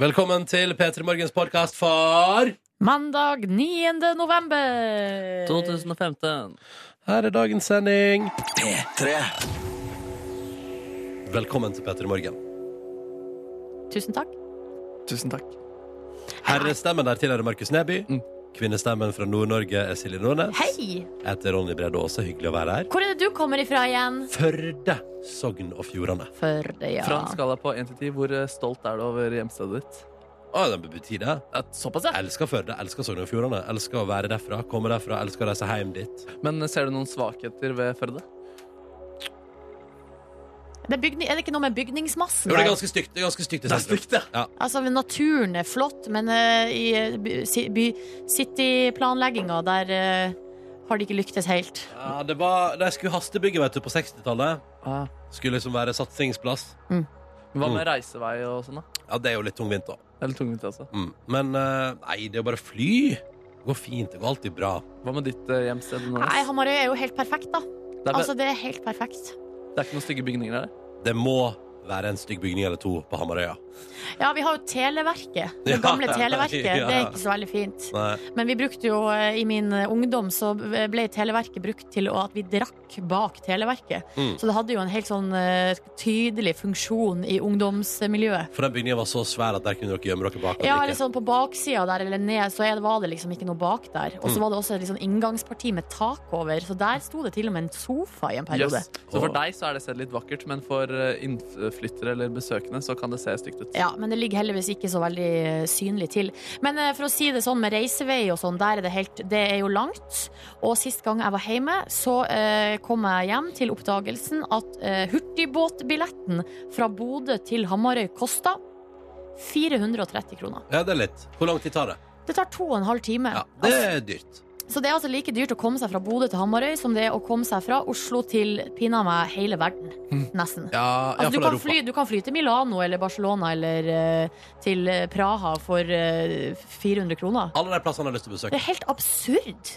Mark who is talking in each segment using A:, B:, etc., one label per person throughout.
A: Velkommen til P3 Morgens podkast for
B: Mandag 9. november.
C: 2015.
A: Her er dagens sending. Velkommen til P3 Morgen.
B: Tusen takk.
C: Tusen takk.
A: Herrestemmen der til er Markus Neby. Kvinnestemmen fra Nord-Norge er Silje Nordnes.
B: Hei!
A: Jeg heter Ronny Brede Aase. Hyggelig å være her.
B: Hvor er det du kommer ifra igjen?
A: Førde, Sogn og Fjordane.
B: Førde, ja.
C: Fra en skala på 1 til 10, hvor eh, stolt er du over hjemstedet ditt?
A: Å, det betyr det.
C: Såpass, ja.
A: Elsker Førde, elsker Sogn og Fjordane. Elsker å være derfra, komme derfra, elsker å reise hjem dit.
C: Men eh, ser du noen svakheter ved Førde?
B: Det er, bygning, er det ikke noe med bygningsmassen?
A: Jo, det er
B: der?
A: ganske stygt. Det er ganske stygt i sentrum.
B: Altså, men Naturen er flott, men eh, i by- si- by- cityplanlegginga, der eh, har de ikke lyktes helt.
A: Ja, det var, da jeg skulle hastebygge vet du, på 60-tallet,
C: Ah.
A: skulle liksom være satsingsplass.
C: Hva
B: Mm.
C: med reisevei og sånn, da?
A: Ja, det er jo litt tungvint, da.
C: Eller tungvint, altså.
A: Mm. Men eh, nei, det er jo bare fly. Det går fint. Det går alltid bra.
C: Hva med ditt eh, hjemsted? Nordnes?
B: Nei, Hamarøy er jo helt perfekt, da.
C: det, er,
B: Altså, det er helt perfekt.
C: det er ikke noen stygge bygninger der?
A: Det må være en stygg bygning eller to på Hamarøya.
B: Ja, vi har jo Televerket. Det
A: Ja.
B: gamle Televerket.
A: Ja.
B: Det er ikke så veldig fint.
A: Nei.
B: Men vi brukte jo eh, i min eh, ungdom så ble Televerket brukt til å- at vi drakk bak Televerket.
A: Mm.
B: Så det hadde jo en helt sånn eh, tydelig funksjon i ungdomsmiljøet.
A: For den bygningen var så svær at der kunne dere gjemme dere bak. og
B: Ja,
A: drikke.
B: eller sånn på baksida der eller ned, så er det, var det liksom ikke noe bak der. Og så
A: Mm.
B: var det også et litt sånn inngangsparti med tak over, så der sto det til og med en sofa i en periode.
C: Jøss. Så for
A: Åh.
C: deg så er det stedet litt vakkert, men for eh, innflyttere eller besøkende så kan det se stygt ut.
B: Ja, men det ligger heldigvis ikke så veldig eh, synlig til. Men eh, for å si det sånn med reisevei og sånn, der er det helt Det er jo langt. Og sist gang jeg var hjemme, så eh, kom jeg hjem til oppdagelsen at eh, hurtigbåtbilletten fra Bodø til Hamarøy kosta 430 kroner.
A: Ja, det er litt. Hvor lang tid tar det?
B: Det tar to og en halv time.
A: Ja, Det er dyrt.
B: Så det er altså like dyrt å komme seg fra Bodø til Hamarøy som det er å komme seg fra Oslo til pinadø meg hele verden.
A: Mm.
B: Nesten.
A: Ja,
B: Altså,
A: ja,
B: du,
A: for
B: kan
A: Europa.
B: fly, du kan fly til Milano eller Barcelona eller eh, til eh, Praha for eh, 400 kroner.
A: Alle de plassene jeg har lyst til å
B: Det
A: besøke.
B: er helt absurd!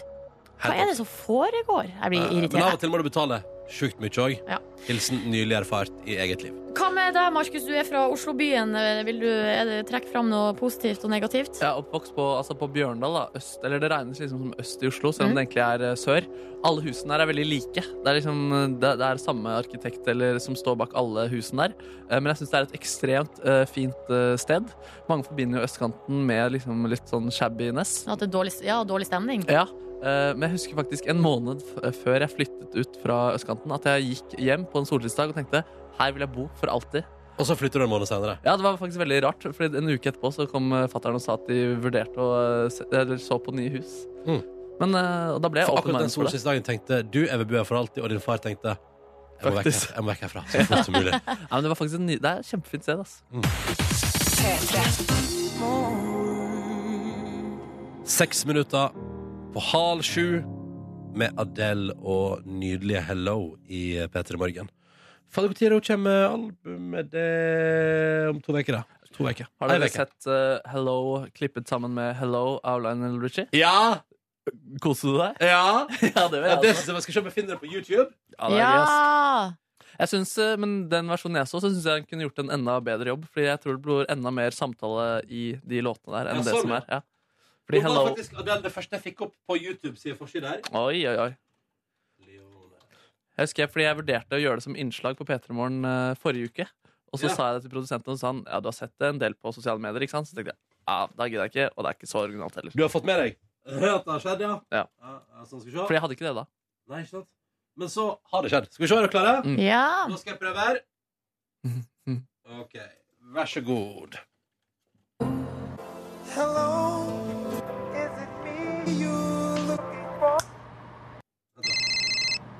B: Hva
A: Helt
B: er det som foregår? Jeg
A: Eh,
B: blir
A: Men av og
B: irritert.
A: til må du betale sjukt mye òg.
B: Ja.
A: Hilsen nylig erfart i eget liv.
B: Eh, Hva med deg, Markus? Du er fra Oslobyen. Eh, Vil du er det- trekke fram noe positivt og negativt?
C: Jeg er oppvokst på, altså på Bjørndal, da, øst, eller det regnes liksom som øst i Oslo, selv om det egentlig er eh, sør. Alle husene her er veldig like. Det er, liksom, eh, det, det er samme arkitekt eller, som står bak alle husene der. Eh, Men jeg syns det er et ekstremt eh, fint eh, sted. Mange forbinder jo østkanten med liksom litt sånn shabbiness.
B: At det er dårlig, ja, dårlig stemning?
C: Ja, eh, men jeg husker faktisk en måned f eh, før jeg flyttet ut fra østkanten, at jeg gikk hjem på en solskinnsdag og tenkte her vil jeg bo for alltid.
A: Og så flytter du en måned senere.
C: Ja, det var faktisk veldig rart, for en uke etterpå så kom eh, fattern og sa at de vurderte å eh, se, eller så på nye hus.
A: Mm.
C: Men eh, og da ble jeg
A: For
C: open
A: akkurat den
C: minded for det.
A: solskinnsdagen tenkte du jeg vil bo her for alltid, og din far tenkte jeg må, vekk,
C: Faktisk.
A: her- jeg må vekk herfra så fort som mulig.
C: Ja, men det var faktisk en ny, det er et kjempefint sted, altså.
A: 6 minutter på halv sju med Adele og nydelige Hello i P3 Morgen. Fader, når kommer med albumet? Det om to uker, da. To uker.
C: Har dere
A: Ei uke.
C: sett eh, Hello klippet sammen med Hello av Lionel Richie?
A: Ja!
C: Koser du deg?
A: Ja!
C: Ja, det
A: ja det altså- synes jeg man skal se om jeg finner det på YouTube.
C: Ja, det er gøy, ass.
B: Ja!
C: Jeg synes, eh, men den versjonen jeg så, så syns jeg den kunne gjort en enda bedre jobb. Fordi jeg tror det blir enda mer samtale i de låtene der enn
A: Ja,
C: det
A: sånn,
C: som
A: ja.
C: er. Ja. Fordi
A: Nå var
C: Hello
A: faktisk Adele det første jeg fikk opp på YouTube siden forsiden her.
C: Oi, oi, oi.
A: Leone.
C: Jeg husker jeg, fordi jeg vurderte å gjøre det som innslag på P3 Morgen eh, forrige uke. Og så
A: Ja.
C: sa jeg det til produsenten, og så sa han ja, du har sett det en del på sosiale medier. ikke sant? Så tenkte jeg ja, da gidder jeg ikke, og det er ikke så originalt heller.
A: Du har fått med deg at det har skjedd, ja?
C: Ja.
A: sånn skal vi se.
C: Fordi jeg hadde ikke det da.
A: Nei, ikke sant? Men så har det skjedd. Skal vi se, er dere klare?
C: Mm.
B: ja.
A: Nå skal jeg prøve her.
C: Mm.
A: OK. Vær så god.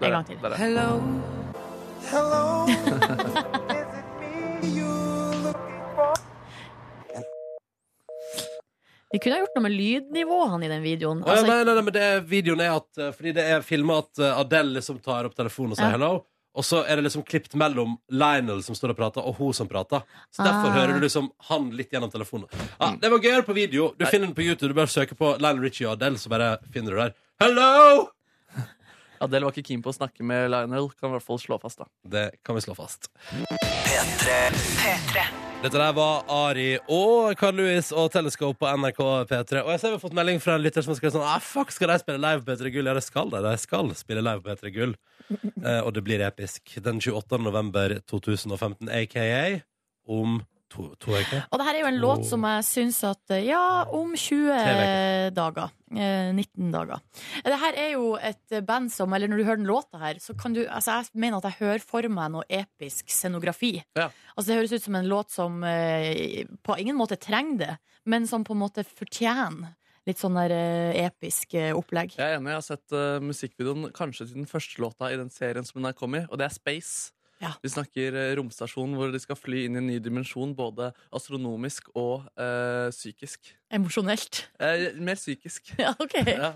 B: En gang til.
C: Der, ja.
D: Hello.
B: Vi kunne ha gjort noe med lydnivåene i den videoen.
A: Å, ja,
B: Altså,
A: nei, nei, nei, men det er, videoen er at eh, Fordi det er filma at eh, Adele liksom tar opp telefonen og sier
B: Ja.
A: hello. Og så er det liksom klipt mellom Lionel som står og prater, og hun som prater. Så derfor
B: Ah.
A: hører du liksom han litt gjennom telefonen. Ja, det var gøyere på video. Du finner den på YouTube. Du bare søker på Lionel Richie og Adele, så bare finner du det der. Hello!
C: Adele var ikke keen på å snakke med Lionel. Kan i hvert fall slå fast da
A: Det kan vi slå fast. Dette der var Ari og Carl Louis og Telescope på NRK P3. Og jeg ser vi har fått melding fra en lytter som har skrevet sånn ah, Fuck, skal de spille live på P3 Gull? Ja, det skal de. De skal spille live på P3 Gull. Eh, og det blir episk. Den 28. november 2015, aka om to, to uker.
B: Og det her er jo en
A: Åh.
B: låt som jeg syns at eh, Ja, om 20
A: veker.
B: dager. eh, 19 dager. Det her er jo et band som Eller når du hører den låta her, så kan du Altså, jeg mener at jeg hører for meg noe episk scenografi.
C: Ja.
B: Altså, det høres ut som en låt som eh, på ingen måte trenger det, men som på en måte fortjener litt sånn der eh, episk eh, opplegg.
C: Jeg er enig, jeg har sett eh, musikkvideoen kanskje til den første låta i den serien som hun er kommet i, og det er Space.
B: Ja.
C: Vi snakker eh, romstasjon hvor de skal fly inn i en ny dimensjon, både astronomisk og eh, psykisk.
B: Emosjonelt.
C: Eh, mer psykisk.
B: Ja, OK.
C: Ja.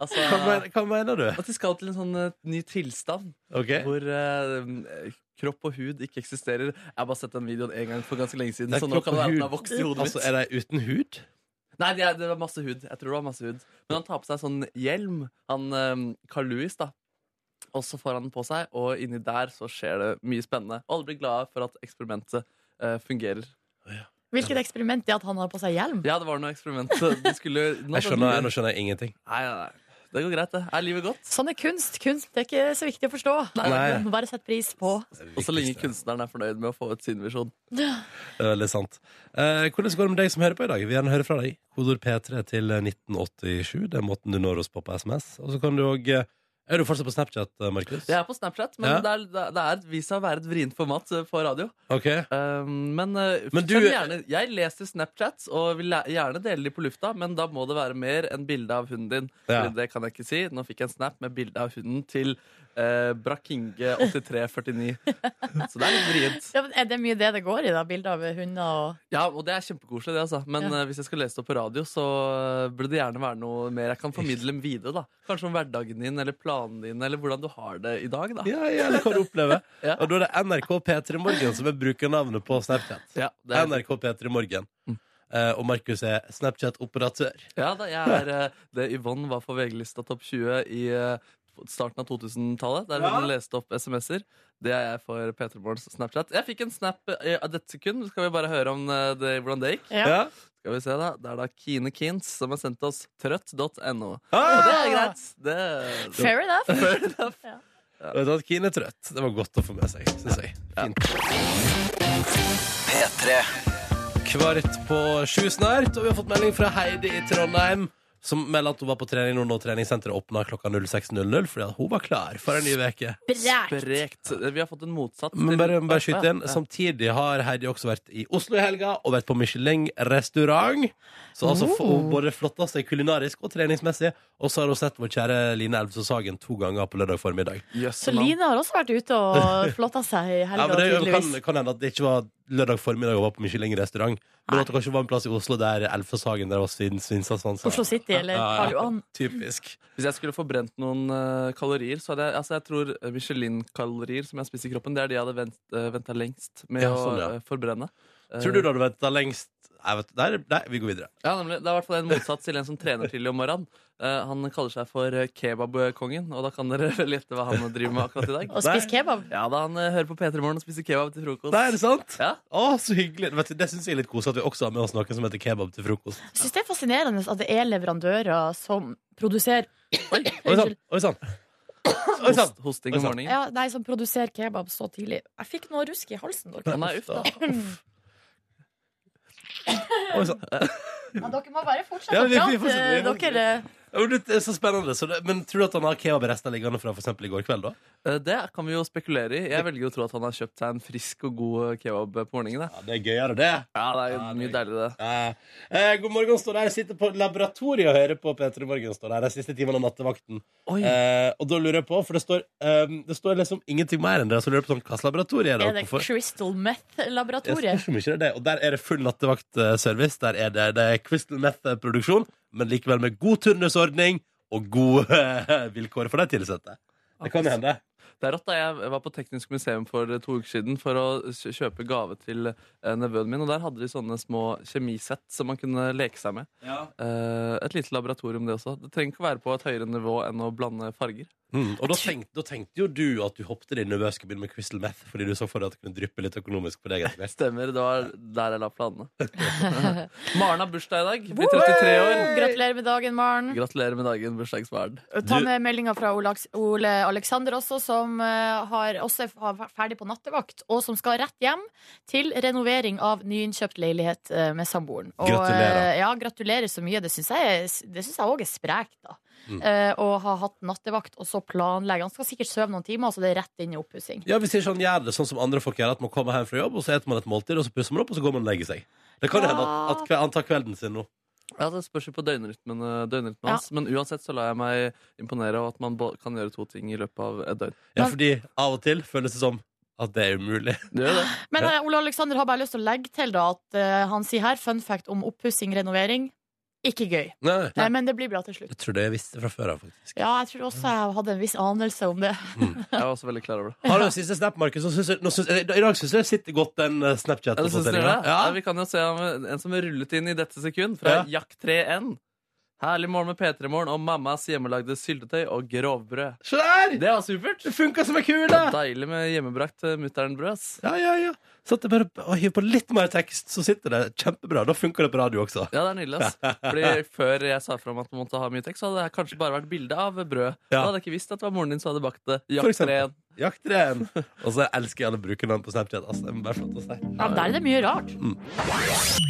C: Altså,
A: Hva, men- hva mener du?
C: at de skal til en sånn eh, ny tilstand
A: Ok
C: hvor eh, kropp og hud ikke eksisterer. Jeg har bare sett den videoen en gang for ganske lenge siden,
A: Det er
C: så nå
A: kropp
C: kan det
A: og
C: være sånn at den
A: hud.
C: har vokst i hodet mitt.
A: Altså, Er de uten hud?
C: Nei, det, er, det var masse hud. Jeg tror det var masse hud. Men han tar på seg sånn hjelm, han um, Carl Louis, da. Og så får han den på seg, og inni der så skjer det mye spennende. Og alle blir glade for at eksperimentet eh, fungerer.
B: Hvilket eksperiment det er at han har på seg hjelm?
C: Ja, det var noe eksperiment. De skulle nå,
A: Jeg skjønner, nå skjønner jeg ingenting.
C: Nei, nei, nei. Det går greit, det. Er livet godt?
B: Sånn er kunst. Kunst det er ikke så viktig å forstå.
A: Nei.
B: Du må Bare sett pris på.
C: Og så lenge kunstneren er fornøyd med å få ut sin visjon.
A: Det er veldig sant. Eh, hvordan går det med deg som hører på i dag? Vi vil gjerne høre fra deg. Kodord P3 til 1987. Det er måten du når oss på på SMS. Og så kan du òg Er du fortsatt på Snapchat, eh, Markus?
C: Det er på Snapchat, men
A: Ja.
C: det, er, det er- det er vist seg å være et vrient format eh, på radio.
A: Ok.
C: Um, men uh,
A: Men du-
C: send gjerne, jeg leser Snapchats og vil læ- gjerne dele de på lufta, men da må det være mer enn bilde av hunden din.
A: Ja.
C: Fordi Det kan jeg ikke si. Nå fikk jeg en snap med bilde av hunden til uh, Brakinge8349. Så det er litt vrient.
B: Ja, men er det mye det det går i, da? Bilder av hunder og
C: Ja, og det er kjempekoselig, det, altså. Men
B: Ja.
C: uh, hvis jeg skal lese det opp på radio, så uh, burde det gjerne være noe mer jeg kan formidle videre, da. Kanskje om hverdagen din, eller planene dine, eller hvordan du har det i dag, da.
A: Ja, ja, det kan du oppleve.
C: Ja.
A: Og da er det NRK P3 Morgen som er brukernavnet på Snapchat.
C: Ja, det er,
A: NRK P3 Morgen.
C: Mm.
A: Eh, og Markus er Snapchat-operatør.
C: ja da, jeg er uh, det Yvonne var for VG-lista Topp 20 i uh, starten av 2000-tallet, der hun leste opp SMS-er. Det er jeg for P3 Morgens Snapchat. Jeg fikk en snap uh, av dette sekund. Skal vi bare høre om uh, det, hvordan det gikk?
B: Ja.
C: Skal vi se da, Det er da Kine Kins som har sendt oss trøtt.no. Og
A: Ah!
C: det er greit. Det,
B: Fair enough.
A: Vet du at Kine er trøtt. Det var godt å få med seg, syns jeg. Fint. Kvart på sju snart, og vi har fått melding fra Heidi i Trondheim. Som melder at hun var på trening nå når treningssenteret åpna klokka 06.00. Fordi at hun var klar for en ny uke.
B: Brært.
C: Brekt. Vi har fått en motsatt.
A: Men bare, bare skyt inn.
C: Ja, ja.
A: Samtidig har Heidi også vært i Oslo i helga og vært på Michelin-restaurant. Så altså får hun både flotta seg kulinarisk og treningsmessig. Og så har hun sett vår kjære Line Elvsås Hagen to ganger på lørdag formiddag.
C: Jøsse
B: Så
C: navn.
B: Line har også vært ute og flotta seg i
A: Ja,
B: helga,
A: men det kan,
B: tydeligvis.
A: kan hende at det ikke var lørdag formiddag og var på Michelin-restaurant. Men at det kanskje var en plass i Oslo der Elfeshagen der var svin, svinsa svansa.
B: Oslo City eller
A: Ja, ja.
B: Karl Johan.
A: Typisk.
C: Hvis jeg skulle få brent noen eh, kalorier, så hadde jeg altså jeg tror Michelin-kalorier som jeg spiser i kroppen, det er de jeg hadde vent, venta lengst med
A: Ja, sånn, ja.
C: å eh, forbrenne. Eh,
A: Tror du du hadde venta lengst Nei, vet du, nei, nei, vi går videre.
C: Ja, nemlig. Det er i hvert fall en motsats til en som trener tidlig om morgenen. Eh, han kaller seg for eh, kebabkongen, og da kan dere vel gjette hva han driver med akkurat i dag.
B: Og spise kebab.
C: Ja, da han eh, hører på P3 Morgen og spiser kebab til frokost.
A: Nei, er det sant?
C: Ja.
A: Å, så hyggelig. Vet du, det syns jeg er litt koselig at vi også har med oss noen som heter kebab til frokost.
B: Jeg syns det er fascinerende at det er leverandører som produserer Oi,
A: Oi
B: unnskyld.
A: sann! Oi sann! Oi, sann.
C: Host, hosting om
A: Oi, sant.
C: morgenen.
B: Ja, nei, som produserer kebab så tidlig. Jeg fikk noe rusk i halsen. Dere,
C: Å, Nei, uff da.
A: Oi, sann.
B: ja, dere må bare fortsette
A: Ja,
B: å
A: vi- vi
B: prate.
A: fortsetter.
B: Dere,
A: Ja, men Det er så spennende. Så det, men tror du at han har kebabrester liggende fra f.eks. i går kveld, da?
C: Eh, Det kan vi jo spekulere i. Jeg velger å tro at han har kjøpt seg en frisk og god eh, kebab på morgenen. da.
A: Ja, det er gøyere, det.
C: Ja, det er jo
A: Ja, det er
C: mye deiligere, det.
A: Eh, eh, god morgen, står der. Sitter på laboratoriet og hører på P3 Morgen. står der De siste timene av nattevakten.
C: Oi.
A: Eh, og da lurer jeg på, for det står, eh, det står liksom ingenting mer enn det. Så lurer jeg på sånn, hva slags laboratorie er det?
B: er det
A: hvorfor?
B: Crystal
A: Jeg
B: Meth-laboratoriet?
A: spørs hvor mye det er det. Og der er det full nattevaktservice. Der er det, det er Crystal Meth-produksjon, men likevel med god turnusordning og gode eh, vilkår for de tilsatte. Det kan jo hende.
C: Det er rått da Jeg var på Teknisk museum for eh, to uker siden for å kj- kjøpe gave til eh, nevøen min. Og der hadde de sånne små kjemisett som man kunne leke seg med. Eh, Et lite laboratorium, det også. Det trenger ikke å være på et høyere nivå enn å blande farger.
A: Mm. Og da tenkte, da tenkte jo du at du hoppet i den nervøse bilen med Crystal Meth fordi du så for deg at det kunne dryppe litt økonomisk på deg etter hvert.
C: Stemmer. Det var der jeg la planene. Maren har bursdag i dag. Blir 33 år.
B: Gratulerer med dagen, Maren.
C: Gratulerer med dagen, bursdagsbarn.
B: Ta
A: Du-
B: med meldinga fra Ole, Aks- Ole Aleksander også, som eh, har, også er f- ferdig på nattevakt, og som skal rett hjem til renovering av nyinnkjøpt leilighet eh, med samboeren. Og, eh,
A: Gratulerer.
B: Ja, gratulerer så mye. Det syns jeg det syns jeg òg er sprekt, da.
A: Mm.
B: Eh, Å ha hatt nattevakt og så planlegge. Han skal sikkert sove noen timer, så det er rett inn i oppussing.
A: Ja, Hvis ikke han gjør det sånn som andre folk gjør, at man kommer hjem fra jobb, og så spiser man et måltid, og så pusser man opp, og så går man og legger seg. Det kan jo
B: Ja.
A: hende at, at kve- han tar kvelden sin nå.
C: Ja, Det spørs jo på døgnrytmen, eh,
B: Ja.
C: døgnrytmen hans. Men uansett så lar jeg meg imponere av at man bo- kan gjøre to ting i løpet av et døgn.
A: Ja,
B: Men-
A: fordi av og til føles det som at det er umulig.
C: Det gjør det.
B: Men
A: Ja.
B: eh, Ole Aleksander har bare lyst til å legge til da at eh, han sier her fun fact om oppussing, renovering. Ikke gøy,
A: Nei,
B: Eh, men det blir bra til slutt.
A: Jeg trodde jeg visste fra før av, faktisk.
B: Ja, jeg tror også jeg hadde en viss anelse om det.
C: Jeg var også veldig klar over det.
A: Har du en siste snap, Markus? Nå syns jeg- nå syns jeg- I dag syns jeg sitter godt den eh,
C: Ja, det synes dere
A: Snapchat-oppdateringen.
C: det? Ja, Vi kan jo se om en som er rullet inn i dette
A: Ja.
C: sekund, fra Jack3N. Herlig morgen med P3 Morgen og mammas hjemmelagde syltetøy og grovbrød.
A: Se der!
C: Det var supert!
A: Det funka som ei
C: Det
A: kule!
C: er deilig med hjemmebrakt eh, mutternbrød. ass.
A: Ja, ja, ja. Så at det bare å hive på litt mer tekst, så sitter det kjempebra. Da funker det på radio også.
C: Ja, det er nydelig. ass. Fordi Før jeg sa fra om at man måtte ha mye tekst, så hadde det kanskje bare vært bilde av brød. Da
A: Ja.
C: hadde jeg ikke visst at det var moren din som hadde bakt det.
A: For
C: Jack3N.
A: eksempel. Jakter en. Og så elsker jeg alle brukernavn på Snapchat. Altså, det er bare flott å si.
B: Ja, der er det mye rart.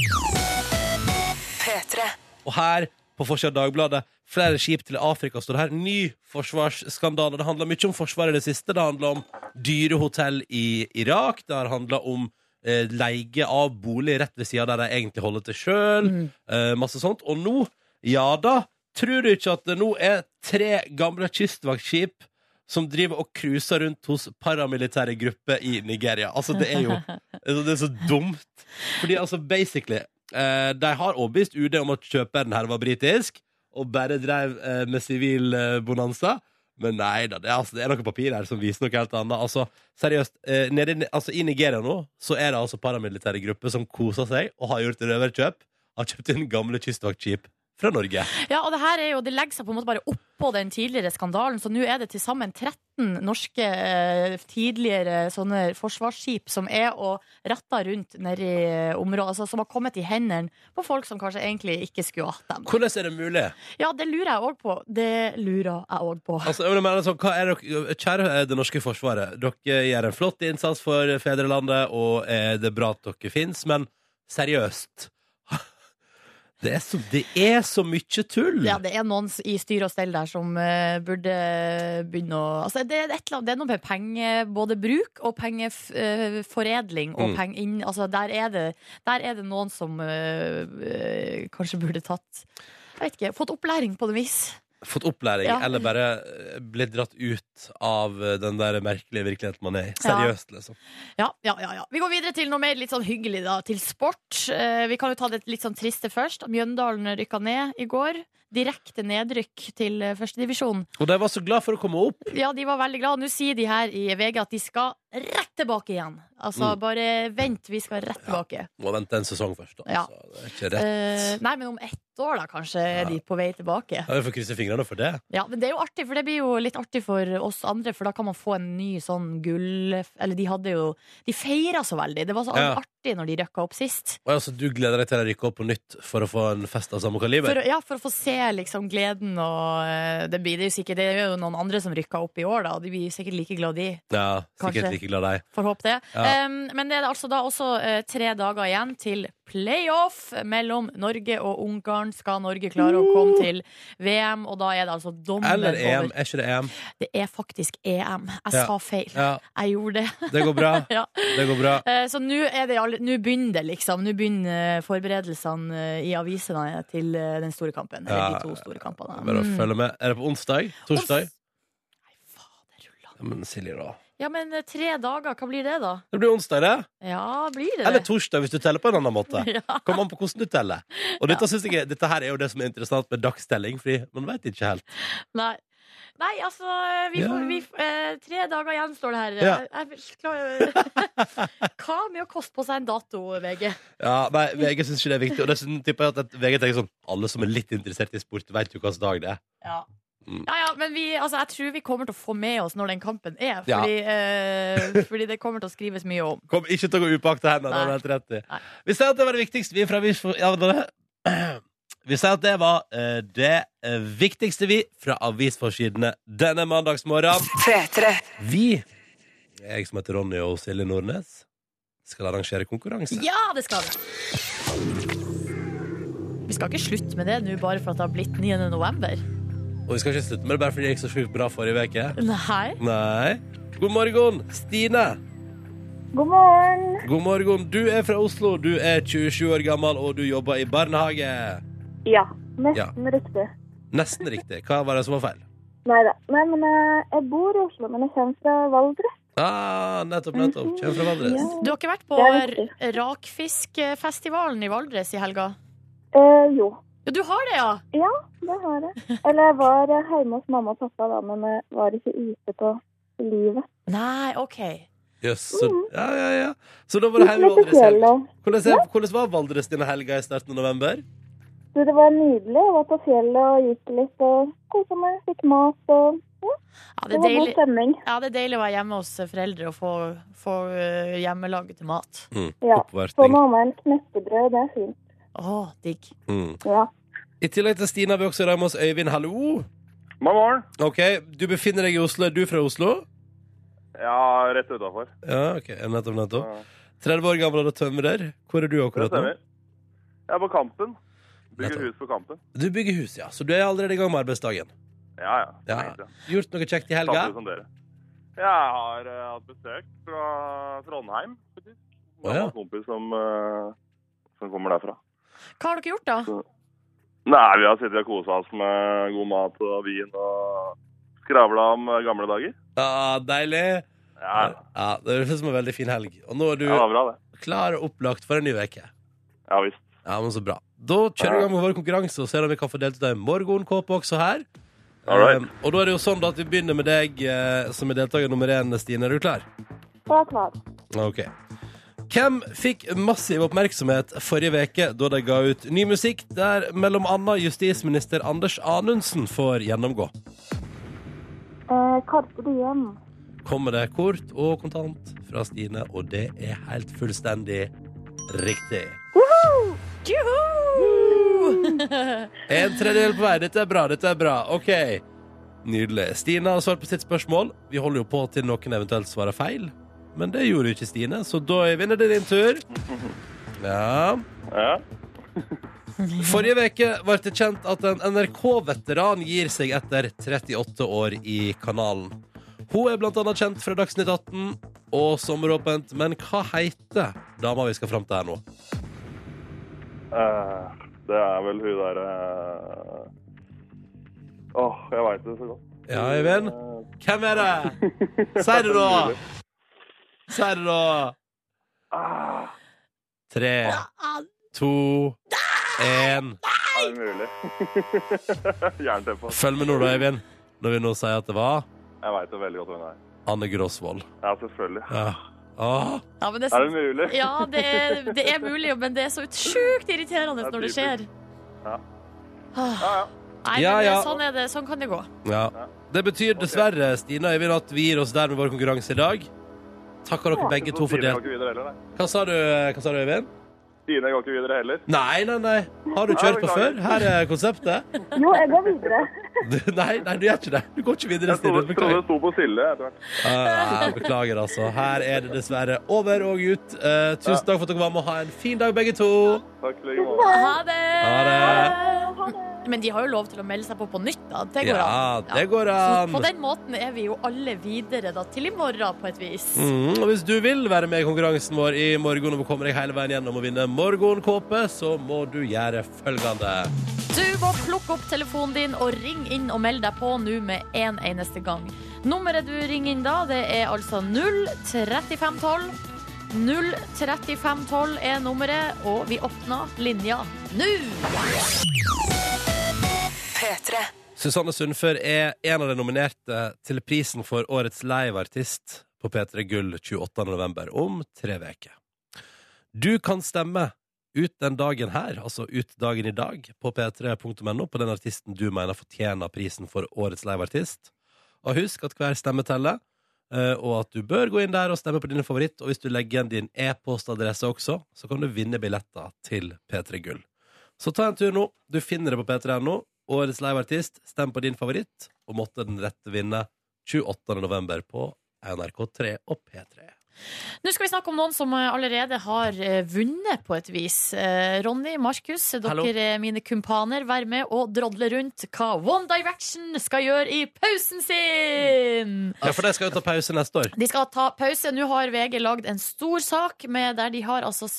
A: Og her på forsida av Dagbladet, flere skip til Afrika står det her. Ny forsvarsskandale. Det handler mye om forsvaret i det siste. Det handler om dyre hotell i Irak. Det har handla om eh, leie av bolig rett ved sida der de egentlig holder til sjøl. Eh, masse sånt. Og nå, ja da, tror du ikke at det nå er tre gamle kystvaktskip som driver og cruiser rundt hos paramilitære grupper i Nigeria. Altså, det er jo altså, Det er så dumt. Fordi altså, basically eh, De har overbevist UD om at kjøperen her var britisk, og bare drev eh, med sivil eh, bonanza. Men nei da, det er, altså, det er noe papir her som viser noe helt annet. Altså, seriøst, eh, nede, i- altså, I Nigeria nå så er det altså paramilitære grupper som koser seg og har gjort røverkjøp. Har kjøpt inn gamle kystvaktskip fra Norge.
B: Ja, og det her er jo, det legger seg på en måte bare oppå den tidligere skandalen, så nå er det til sammen 13 norske eh, tidligere sånne forsvarsskip som er og retta rundt nedi eh, området, altså som har kommet i hendene på folk som kanskje egentlig ikke skulle hatt dem.
A: Hvordan er det mulig?
B: Ja, det lurer jeg òg på. Det lurer jeg òg på.
A: Altså, jeg mener sånn, hva er dere, kjære eh, det norske forsvaret, dere gjør en flott innsats for fedrelandet, og eh, det er bra at dere finnes, men seriøst. Det er så, det er så mye tull.
B: Ja, det er noen i styr og stell der som eh, burde begynne å altså, det, er et eller annet, det er noe med penge, både bruk og pengeforedling. og
A: Mm.
B: peng inn, altså, der, er det, der er det noen som eh, eh, kanskje burde tatt jeg vet ikke, Fått opplæring på noe vis.
A: Fått opplæring,
B: Ja.
A: eller bare eh, blitt dratt ut av eh, den der merkelige virkeligheten man er i.
B: Ja.
A: Seriøst, liksom.
B: Ja, ja, ja, ja. Vi går videre til noe mer litt sånn hyggelig, da. Til sport. Eh, vi kan jo ta det litt sånn triste først. Mjøndalen rykka ned i går. Direkte nedrykk til eh, førstedivisjon.
A: Og de var så glad for å komme opp.
B: Ja, de var veldig glad. Nå sier de her i VG at de skal rett tilbake igjen. Altså,
A: Mm.
B: bare vent, vi skal rett tilbake.
A: Må vente en sesong først, da.
B: Ja.
A: Så det er ikke rett.
B: Eh, nei, men om ett år, da, kanskje, er de på vei tilbake.
A: Ja, vi får krysse fingrene for det.
B: Ja, men det er jo artig, for det blir jo litt artig for oss andre, for da kan man få en ny sånn gull... Eller de hadde jo De feira så veldig. Det var så
A: Ja.
B: artig når de rykka opp sist.
A: Og altså, du gleder deg til å rykke opp på nytt for å få en fest av samme kaliber?
B: For, å- ja, for å få se liksom gleden og eh, Det blir det jo sikkert. Det er jo noen andre som rykka opp i år, da, og de blir sikkert like glad, de.
A: Ja, sikkert
B: Kanskje.
A: like glad de.
B: Får håpe det.
A: Ja.
B: Um, men det er altså da også eh, tre dager igjen til playoff mellom Norge og Ungarn. Skal Norge klare å komme til VM, og da er det altså dommen
A: Eller EM.
B: over.
A: Er ikke det EM?
B: Det er faktisk EM. Jeg
A: Ja.
B: sa feil.
A: Ja,
B: Jeg gjorde det.
A: det går bra.
B: Ja.
A: Det går bra.
B: Eh, Så nå er det all- nå begynner det, liksom. Nå begynner eh, forberedelsene eh, i avisene til eh, den store kampen. Eller
A: Ja.
B: de to store kampene.
A: Bare å
B: Mm.
A: følge med. Er det på onsdag? Torsdag?
B: Nei, fader rulla.
A: Ja, men Silje, da.
B: Ja, men eh, tre dager, hva blir det, da?
A: Det blir onsdag, det.
B: Ja, blir det
A: Eller
B: det?
A: torsdag, hvis du teller på en annen måte.
B: Ja.
A: Kom an på hvordan du teller. Og dette, synes jeg, er- dette her er jo det som er interessant med dagstelling, fordi man veit ikke helt.
B: Nei. Nei, altså vi
A: Ja.
B: får, vi, f- eh, Tre dager igjen står det her.
A: Ja.
B: Jeg, jeg, klarer- hva med å koste på seg en dato, VG?
A: Ja, nei, VG syns ikke det er viktig. Og dessuten tipper jeg at VG tenker sånn Alle som er litt interessert i sport, vet jo hvilken dag det er.
B: Ja.
A: Mm.
B: Ja, ja, men vi, altså, jeg tror vi kommer til å få med oss når den kampen er,
A: Ja.
B: fordi, eh, fordi det kommer til å skrives mye om.
A: Kom ikke til å gå upakta hender. Det er
B: Nei.
A: helt rett i.
B: Nei.
A: Vi sier at det var det viktigste vi fra Avis for ja, det- Vi sier at det var eh, det eh, viktigste vi fra avisforsidene denne mandagsmorgen. Vi, jeg som heter Ronny og Silje Nordnes, skal arrangere konkurranse.
B: Ja, det skal vi! Vi skal ikke slutte med det nå bare for at det har blitt 9. november.
A: Og vi skal ikke slutte med det bare fordi det gikk så sjukt bra forrige uke.
B: Nei.
A: Nei. God morgen, Stine.
D: God morgen.
A: God morgen. Du er fra Oslo. Du er 27 år gammel, og du jobber i barnehage.
D: Ja, nesten riktig.
A: Nesten riktig. Hva var det som var feil?
D: Nei da. Nei, men eh, jeg bor i Oslo, men jeg kommer fra Valdres.
A: Ah, nettopp, nettopp. Kjem fra Valdres.
D: Ja.
B: Du har ikke vært på
D: Det er
B: r- rakfiskfestivalen i Valdres i helga?
D: Eh, jo,
B: Ja, du har det, ja!
D: det har jeg. Eller jeg var eh, hjemme hos mamma og pappa da, men jeg var ikke ute på livet.
B: Nei, OK.
A: Jøss. så, ja, ja, ja. så da var det her i
D: Mm. Litt
A: Valdres. helg.
D: spesielle.
A: Hvordan, er- hvordan var Valdres denne helga i starten av november?
D: Du, det var nydelig. Jeg var på fjellet og gikk litt og kosa meg. Fikk mat og
B: Ja, det er
D: Det var god
B: deilig,
D: stemning.
B: ja, det er deilig å være hjemme hos foreldre og få, få eh, hjemmelaget mat.
A: Mm.
D: Ja. Få
A: Oppvarting.
D: mamma en knekkebrød, det er fint.
B: Å, digg.
A: Mm.
D: Ja.
A: I tillegg til Stine har vi også i dag med oss Øyvind. Hallo.
E: God morgen.
A: OK, du befinner deg i Oslo. Er du fra Oslo?
E: Ja, rett utafor.
A: Ja, ok, nettopp, nettopp.
E: Ja.
A: 30 år gammel og du er tømrer. Hvor er du
E: Det
A: akkurat nå?
E: stemmer. Jeg er på Kampen. Bygger
A: Nettopp.
E: hus på Kampen.
A: Du bygger hus, ja. Så du er allerede i gang med arbeidsdagen.
E: Ja, ja.
A: Ja.
E: Tenkte jeg.
A: Gjort noe kjekt i helga?
E: Samtidig som dere. Jeg har eh, hatt besøk fra Trondheim, faktisk. Jeg
A: Å,
E: har
A: ja.
E: en kompis som, eh, som kommer derfra.
B: Hva har dere gjort, da?
E: Nei, vi har sittet og kosa oss med god mat og vin og skravla om eh, gamle dager.
A: Ja, deilig.
E: Ja,
A: Ja, Det høres ut som en veldig fin helg. Og nå er du
E: ja det var bra, det.
A: klar og opplagt for en ny uke.
E: Ja visst.
A: Ja, men så bra. Da kjører vi i gang med vår konkurranse og ser om vi kan få delt ut en morgenkåpe også her.
E: All right.
A: Um, og da er det jo sånn da at vi begynner med deg eh, som er deltaker nummer én, Stine. Er du klar?
D: Det var klart.
A: Ok. Hvem fikk massiv oppmerksomhet forrige veke da de ga ut ny musikk der mellom annet justisminister Anders Anundsen får gjennomgå?
D: Eh, Karpe Diem.
A: kommer det kort og kontant fra Stine, og det er helt fullstendig riktig. En tredjedel på vei. Dette er bra, dette er bra. OK. Nydelig. Stine har svart på sitt spørsmål. Vi holder jo på til noen eventuelt svarer feil, men det gjorde jo ikke Stine, så da vinner det din tur. Ja.
E: Ja.
A: Forrige veke ble det kjent at en NRK-veteran gir seg etter 38 år i kanalen. Hun er blant annet kjent fra Dagsnytt 18 og Sommeråpent, men hva heter dama vi skal fram til her nå?
E: Eh, det er vel hun derre Åh, jeg veit det så godt.
A: Ja, Øyvind?
E: Eh,
A: Hvem er det? Si det, da! Si det, da!
E: Ah,
A: Tre,
B: Ah,
A: to, én
E: er det mulig? Jernteppe.
A: Følg med nå, da, Øyvind, når vi nå sier at det var
E: Jeg veit det veldig godt hvem det er.
A: Anne Gråsvold.
E: Ja, selvfølgelig.
A: Ja. Åh.
B: Ja, men det
E: Er
B: er,
E: det mulig?
B: ja det, er, det er mulig, men det er så ut- sjukt irriterende
E: Det er
B: når det skjer.
E: typisk. Ja.
B: Ah,
E: Ja, ja.
B: Nei,
A: Ja,
B: men det,
A: ja.
B: sånn er det. Sånn kan det gå.
A: Ja. Det betyr dessverre, Stine og Øyvind, at vi gir oss der med vår konkurranse i dag. Takker dere begge to for
E: Stine
A: det.
E: går ikke videre heller, nei.
A: Hva sa du, hva sa du Øyvind?
E: Stine går ikke videre heller.
A: Nei, nei, nei. Har du kjørt på
E: Nei,
A: før?
E: beklager.
A: Her er konseptet.
D: Jo, jeg går videre.
A: Du, nei, nei, du gjør ikke det. Du går ikke videre,
E: Jeg
A: Stine.
E: trodde trodde
A: Beklager.
E: det sto på Silje etter hvert.
A: Ah, beklager, altså. Her er det dessverre over og ut. Eh, tusen takk for at dere var med. Ha en fin dag, begge to.
E: Takk i like måte.
B: Ha det!
A: Ha
B: Men de har jo lov til å melde seg på på nytt, da. Det går an.
A: Ja, det går
B: Så
A: an.
B: på den måten er vi jo alle videre da, til i morgen, på et vis.
A: Mm, og hvis du vil være med i konkurransen vår i morgen og komme deg hele veien gjennom og vinne morgenkåpe, så må du gjøre følgende.
B: Du må plukke opp telefonen din og ring inn og melde deg på nå med en eneste gang. Nummeret du ringer inn da, det er altså 03512. 03512 er nummeret, og vi åpner linja nå!
A: Susanne Sundfør er en av de nominerte til prisen for Årets liveartist på P3 Gull 28. november, om tre uker. Du kan stemme ut den dagen her, altså ut dagen i dag, på p3.no, på den artisten du mener fortjener prisen for Årets liveartist. Og husk at hver stemme teller, eh, og at du bør gå inn der og stemme på din favoritt. Og hvis du legger igjen din e-postadresse også, så kan du vinne billetter til P3 Gull. Så ta en tur nå. Du finner det på p3.no. Årets liveartist, stem på din favoritt, og måtte den rette vinne 28. november på NRK3 og P3.
B: Nå skal vi snakke om noen som eh, allerede har eh, vunnet på et vis. Eh, Ronny, Markus,
C: Hallo.
B: dere er mine kumpaner. Vær med og drodle rundt hva One Direction skal gjøre i pausen sin!
A: Ja, for de skal jo ta pause neste år.
B: De skal ta pause. Nå har VG lagd en stor sak med der de har altså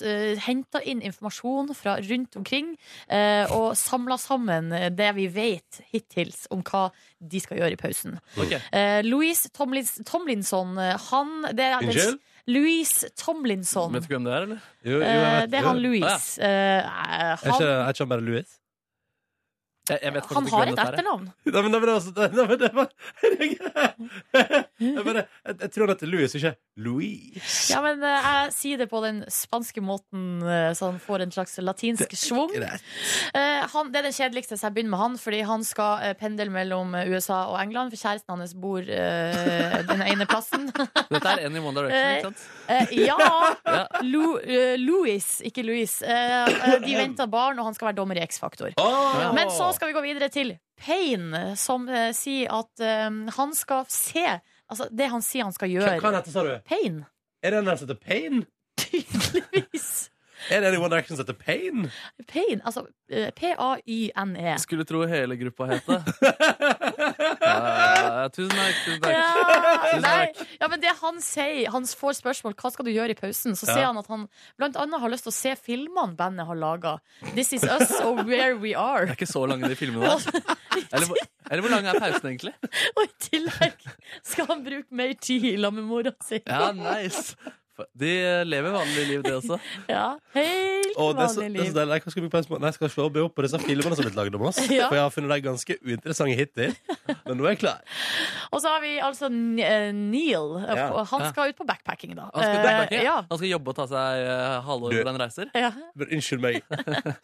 B: henta inn informasjon fra rundt omkring eh, og samla sammen det vi vet hittils om hva de skal gjøre i pausen.
C: Ok.
B: Eh, Louise Tomlins, Tomlinson, eh, han det er,
A: Unnskyld?
B: Louise Tomlinson.
C: Vet du hvem det er, eller?
A: Jo, jo, jeg
B: Eh,
A: vet-
B: det er han
A: jo.
B: Louis. Eh,
A: Er ikke,
B: han,
A: er ikke han bare Louis?
C: Jeg, jeg vet faktisk
B: han
C: ikke
B: har
C: hvem
B: et
C: dette er.
B: etternavn.
A: Nei, men, nei, men altså det- nei, men det var Jeg bare- jeg- Jeg tror han heter Louis, ikke Louis.
B: Ja, men eh, jeg sier det på den spanske måten, eh, så han får en slags latinsk schwung.
A: Greit.
B: Eh, han, det er den kjedeligste, så jeg begynner med han. Fordi han skal eh, pendle mellom eh, USA og England, for kjæresten hans bor eh, den ene plassen.
C: Dette er en i One Direction, ikke sant?
B: Eh, ja!
C: Ja.
B: Lou- eh, Louis, ikke Louis. Eh, eh, de venter barn, og han skal være dommer i X-Faktor.
A: Åh!
B: Men så skal vi gå videre til Payne, som eh, sier at eh, han skal se Altså, det han sier han skal
A: Hva hva
B: gjøre.
A: heter, sa du?
B: Payne,
A: Er det en som heter Pain?
B: tydeligvis.
A: Er det en i One Direction som heter Pain?
B: Payne, altså eh, P-a-y-n-e.
C: Skulle tro hele gruppa het det. Ja, tusen takk. Tusen takk.
B: Ja,
C: Tusen
B: nei, ja, men det han sier Han får spørsmål hva skal du gjøre i pausen. Så
A: Ja.
B: sier han at han blant annet har lyst til å se filmene bandet har laga. This Is Us og Where We
C: Det
B: Are.
C: er ikke så lange de filmene der. Eller, hvor- eller hvor lang er pausen, egentlig?
B: Og i tillegg skal han bruke mer tid i lag med mora si.
C: Ja, nice. De lever vanlig liv, det også.
B: Ja, helt
A: Og det er så,
B: vanlig
A: det er så
B: liv.
A: deilig. Jeg kan skru på en små- Nei, jeg skal se og be opp på disse filmene som er blitt lagd om oss.
B: Ja.
A: For jeg har funnet de ganske uinteressante hittil. Men nå er jeg klar.
B: Og så har vi altså N- eh, Neil.
A: Ja.
B: Og Han
C: Ja.
B: skal ut på backpacking, da.
C: Han skal,
B: Eh, ja.
C: han skal jobbe og ta seg eh, halvår
A: Du-
C: hvor han reiser.
B: Ja.
A: Men unnskyld meg.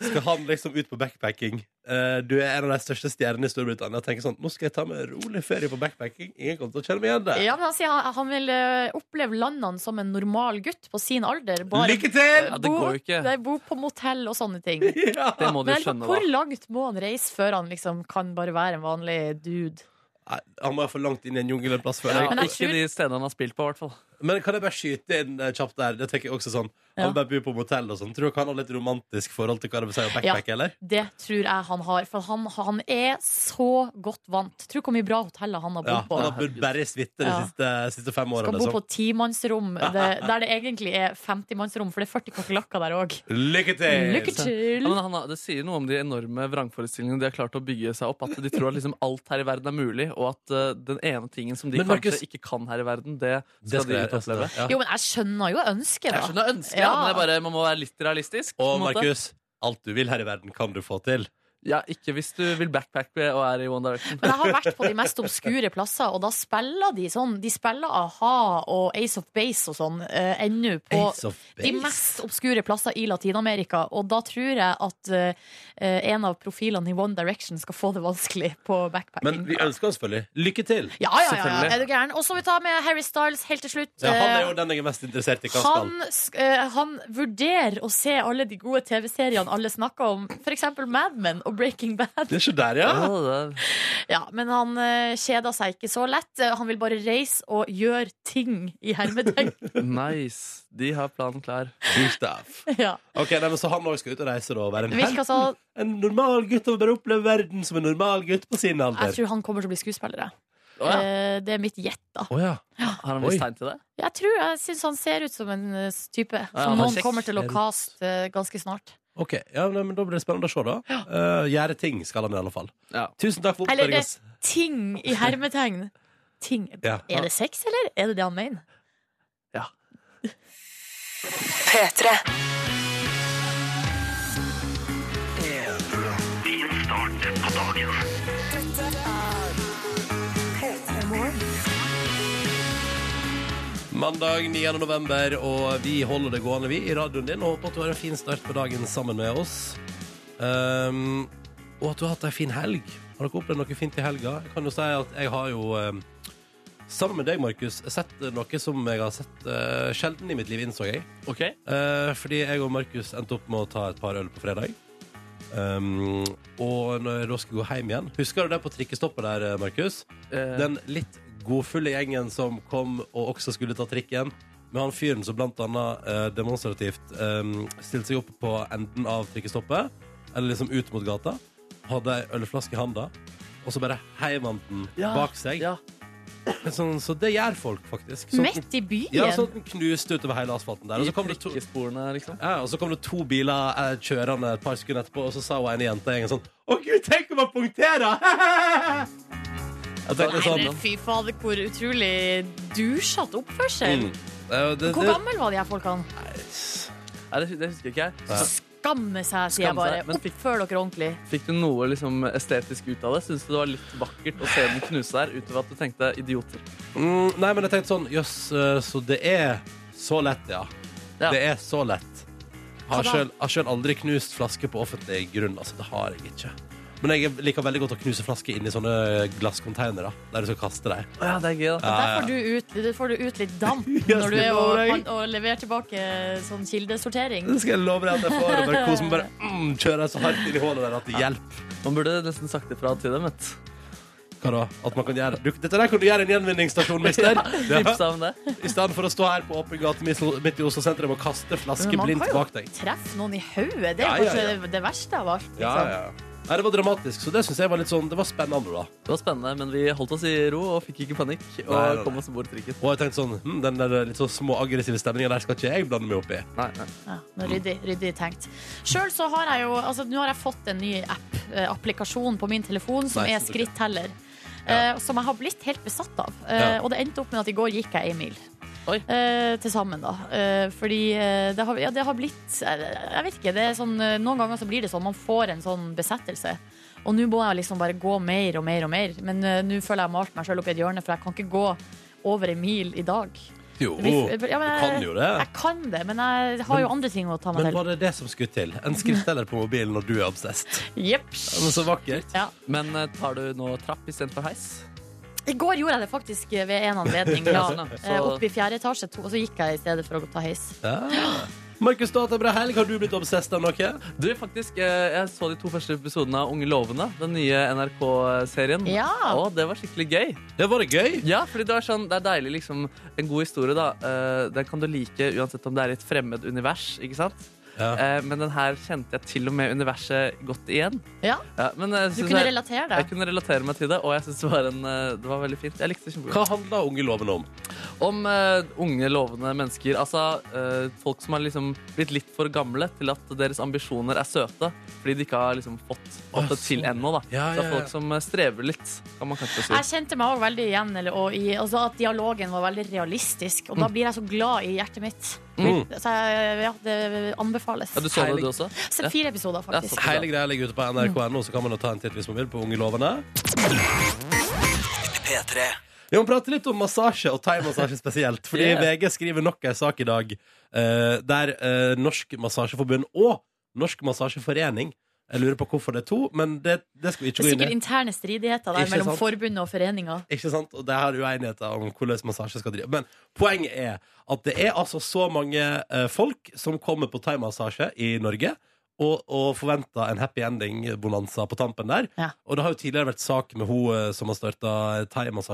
A: Skal han liksom ut på backpacking? Eh, du er en av de største stjernene i Storbritannia. Og tenker sånn Nå skal jeg ta meg en rolig ferie på backpacking. Ingen kommer til å kjenne meg igjen der.
B: ja, men Han sier han, han vil eh, oppleve landene som en normal gutt på sin alder. Bare
A: Lykke til!
C: Ja, det går jo ikke.
B: Nei, bo på motell og sånne ting.
A: Ja.
C: Det må du
B: Men jeg
C: jo
B: lurer på,
C: skjønne,
B: hvor
C: da.
B: langt må han reise før han liksom kan bare være en vanlig dude?
A: Nei, Han må jo for langt inn i en jungel en plass før.
C: Ja,
A: jeg-
B: Men jeg
C: ikke
B: tror-
C: de stedene han har spilt på, i hvert fall.
A: Men kan jeg bare skyte inn eh, kjapt der? Det tenker jeg også sånn
B: Ja.
A: Han bare bor på motell og sånn. Tror dere han har litt romantisk forhold til hva det vil si å backpacke, eller?
B: Det tror jeg han har, for han, han er så godt vant. Tror hvor mye bra hoteller han har
A: Ja,
B: bodd på.
A: han har bodd bare i suite de
B: Ja.
A: siste, siste fem årene.
B: Skal bo
A: Liksom.
B: på timannsrom, det- der det egentlig er 50-mannsrom, for det er 40 kakerlakker der òg.
A: Lykke til!
B: Lykke
C: Ja,
B: til!
C: men han, har- det sier noe om de enorme vrangforestillingene de har klart å bygge seg opp. At de tror at liksom alt her i verden er mulig, og at eh, den ene tingen som de
A: Men Markus-
C: kanskje ikke kan her i verden, det
A: Det
C: skal,
A: skal jeg
C: de
A: oppleve.
C: oppleve.
A: Ja.
B: Jo, men jeg skjønner jo ønsket,
C: Jeg
B: da.
C: skjønner ønsket, ja.
B: Ja.
C: men det er bare, man må være litt realistisk. på
A: Og
C: en måte.
A: Markus, alt du vil her i verden, kan du få til.
C: Ja, ikke hvis du vil backpacke og er i One Direction.
B: Men jeg har vært på de mest obskure plasser, og da spiller de sånn. De spiller a-ha og Ace of Base og sånn eh, ennå på
A: Ace of
B: De
A: Base.
B: mest obskure plasser i Latin-Amerika, og da tror jeg at eh, eh, en av profilene i One Direction skal få det vanskelig på
A: Men
B: backpacking.
A: vi ønsker oss selvfølgelig lykke til.
B: ja, ja, ja, ja,
C: Selvfølgelig.
B: er du gæren? Og så vil vi ta med Harry Styles helt til slutt. Eh,
A: Ja, han er jo den jeg er mest interessert i. Hva han
B: Han, sk- eh, han vurderer å se alle de gode TV-seriene alle snakker om, f.eks. Mad Men og Breaking Bad.
A: skal Det er ikke der, ja?
C: Ja, det er-
B: Ja, men han eh, kjeder seg ikke så lett. Eh, Han vil bare reise og gjøre ting i hermetegn.
C: Nice. De har planen klar.
A: Gustav.
B: ja.
A: Ok, nei, men Så han også skal ut og reise da, og være en,
B: Virker sånn.
A: en normal gutt og bare oppleve verden som en normal gutt på sin
B: Jeg
A: alder?
B: tror han kommer til å bli skuespiller. jeg.
C: Å, ja.
B: Eh, det er mitt gjett, da.
A: Å ja.
C: Har han
A: Oi.
C: vist tegn til det?
B: Jeg tror jeg syns han ser ut som en eh, type som
C: han
B: noen
C: ser
B: kommer til å
A: ut.
B: kaste eh, ganske snart.
A: Ok, ja, nei, men Da blir det spennende å se, da. Eh, gjøre ting skal han i alle fall.
C: Ja.
A: Tusen takk for
B: Eller
A: oppføringa.
B: Ting i hermetegn. Ting.
A: Ja.
B: Er det sex, eller er det det han mener?
C: Ja.
F: Din start på dagen.
A: Mandag 9. november, og vi holder det gående, vi, i radioen din. Og håper at du har en fin start på dagen sammen med oss. Ehm, og at du har hatt ei en fin helg. Har dere opplevd noe fint i helga? Jeg kan jo si at jeg har jo ehm, Sammen med deg, Markus, sett noe som jeg har sett eh, sjelden i mitt liv, innså jeg.
C: OK?
A: Eh, fordi jeg og Markus endte opp med å ta et par øl på fredag. Um, og når jeg da skulle gå hjem igjen Husker du det på trikkestoppet der, eh, Markus?
C: Eh,
A: Den litt godfulle gjengen som kom og også skulle ta trikken. Med han fyren som blant annet eh, demonstrativt um, stilte seg opp på enden av trikkestoppet. Eller liksom ut mot gata. Hadde ei ølflaske i handa. Og så bare heiv han den
C: ja,
A: bak seg.
C: Ja.
A: Sånn, så det gjør folk, faktisk. Sånn, at den-
B: Midt i byen?
A: ja, sånn at den knuste utover hele asfalten der. Og så kom det to,
C: trikkesporene, liksom.
A: ja, og så kom det to biler eh, kjørende et par sekunder etterpå, og så sa hun ene jenta i gjengen sånn Å gud, tenk om han punkterer! Jeg tenkte
B: Nei,
A: sånn
B: men fy fader, hvor utrolig dusjete oppførsel.
A: mm. Eh, det,
B: Hvor
A: det,
B: gamle var de her folkene?
C: Nei, det, det husker ikke jeg.
A: Nei.
C: Så
B: Skamme seg, sier jeg
C: Skamme
B: bare.
C: seg, men fikk-
B: Oppfør dere ordentlig.
C: Fikk du noe liksom, estetisk ut av det? Syns du det var litt vakkert å se den knuse der, utover at du tenkte idioter?
A: mm, nei, men jeg tenkte sånn Jøss, eh, så det er så lett, ja.
C: Ja.
A: Det er så lett. Har
B: Hva da?
A: selv- har sjøl aldri knust flaske på offentlig grunn. Altså, det har jeg ikke. Men jeg liker veldig godt å knuse flasker inni sånne glasscontainere der du skal kaste dem.
C: Å ja, det er gøy, da.
B: Der får du ut, der får du ut litt damp
A: Yes,
B: når du
A: det
B: er
A: lover
B: og,
A: jeg.
B: og leverer tilbake sånn kildesortering.
A: Det skal jeg love deg at jeg får. Og bare kose meg bare mm, kjøre så hardt inn i hullet der at det hjelper.
C: Man burde nesten sagt ifra til dem. Vet. du.
A: Hva da? At man kan gjøre du, Dette der kan du gjøre i en gjenvinningsstasjon, mister. Ja.
C: Tipsa om det.
A: I stedet for å stå her på åpen gate midt midt i Oslo sentrum og kaste flasker
B: Men man
A: blindt
B: kan jo-
A: bak deg.
B: Treff noen i hodet, det
A: Ja,
B: er
A: ja, ja.
B: kanskje det- det verste av alt. Liksom.
A: Ja, ja, ja. Nei, det var dramatisk, så det syns jeg var litt sånn Det var spennende, da.
C: Det var spennende, men vi holdt oss i ro og fikk ikke panikk. Og
A: Nei, nei, nei.
C: kom oss om bord trikken.
A: Og jeg tenkte sånn hm, Den der litt så små aggressive stemninga der skal ikke jeg blande meg opp i.
C: Nei, nei.
B: Ja, nå ryddig, ryddig tenkt. Sjøl så har jeg jo altså, Nå har jeg fått en ny app, eh, applikasjon på min telefon som
A: Nei,
B: er
A: så bra.
B: skritteller.
A: Ja.
B: eh, Som jeg har blitt helt besatt av. Eh,
A: Ja.
B: Og det endte opp med at i går gikk jeg ei mil.
C: Oi.
B: Eh, til sammen, da. Eh, fordi eh, det har, ja, det har blitt eh, Jeg vet ikke. Det er sånn, eh, noen ganger så blir det sånn. Man får en sånn besettelse. Og nå må jeg liksom bare gå mer og mer og mer. Men eh, nå føler jeg malt meg sjøl opp i et hjørne, for jeg kan ikke gå over ei mil i dag.
A: Jo,
B: Det blir- ja, men-
A: du kan jo det.
B: Jeg kan det, men jeg har jo andre ting å ta meg
A: Men
B: til.
A: var det det som skulle til? En skrittdeler på mobilen når du er obsessed?
B: Jepp.
A: Ja, Men så vakkert.
C: Men eh, tar du nå trapp istedenfor heis?
B: I går gjorde jeg det faktisk ved en anledning. Ja.
C: Ja, sånn, ja.
B: Eh,
C: Så-
B: Opp i fjerde etasje, to, og så gikk jeg i stedet for å ta heis.
A: Ja. Markus Data Bra Helg, har du blitt obsessed av noe?
C: Du, faktisk, eh, Jeg så de to første episodene av Unge lovende, den nye NRK-serien.
B: Ja.
C: Og det var skikkelig gøy.
A: Det var det gøy.
C: Ja, fordi det, var sånn, det er deilig, liksom. En god historie, da. eh, Den kan du like uansett om det er i et fremmed univers, ikke sant?
A: Ja.
C: Eh, Men den her kjente jeg til og med universet godt igjen.
B: Ja,
C: Ja, men jeg
B: Du
C: synes
B: kunne
C: jeg,
B: relatere
C: jeg
B: deg.
C: kunne relatere meg til det, og jeg synes det, var en, eh, det var veldig fint. Jeg likte det kjempegodt.
A: Hva handla Unge loven om?
C: Om eh, unge, lovende mennesker. Altså eh, folk som har liksom blitt litt for gamle til at deres ambisjoner er søte, fordi de ikke har liksom fått, fått det
A: Å,
C: til
A: sånn.
C: ennå, da.
A: Ja,
C: Så
A: ja, ja.
C: folk som eh, strever litt, kan man kanskje si.
B: Jeg kjente meg òg veldig igjen eller, og i, altså at dialogen var veldig realistisk. Og da blir jeg så glad i hjertet mitt.
A: Mm.
B: Så jeg, ja, det anbefales.
C: Ja, du så
A: Heilig.
C: det, du også?
B: Så Fire episoder, faktisk.
C: Ja, så-
A: Hele greia ligger ute på nrk.no, så kan man jo ta en titt hvis man vil på Unge lovende. Vi må prate litt om massasje, og thaimassasje spesielt. Fordi
C: Yeah.
A: VG skriver nok en sak i dag eh, der eh, Norsk Massasjeforbund og Norsk Massasjeforening Jeg lurer på hvorfor det er to, men det, det skal vi
B: Det
A: ikke gå
B: er
A: inn
B: sikkert
A: i.
B: interne stridigheter der
A: Ikke
B: mellom
A: sant?
B: forbundet og foreninga.
A: Ikke sant? Og det er uenigheter om hvordan massasje skal drive. Men poenget er at det er altså så mange eh, folk som kommer på thaimassasje i Norge. Og, og forventer en happy ending-bonanza på tampen der.
B: Ja.
A: Og det har jo tidligere vært sak med hun eh, som har starta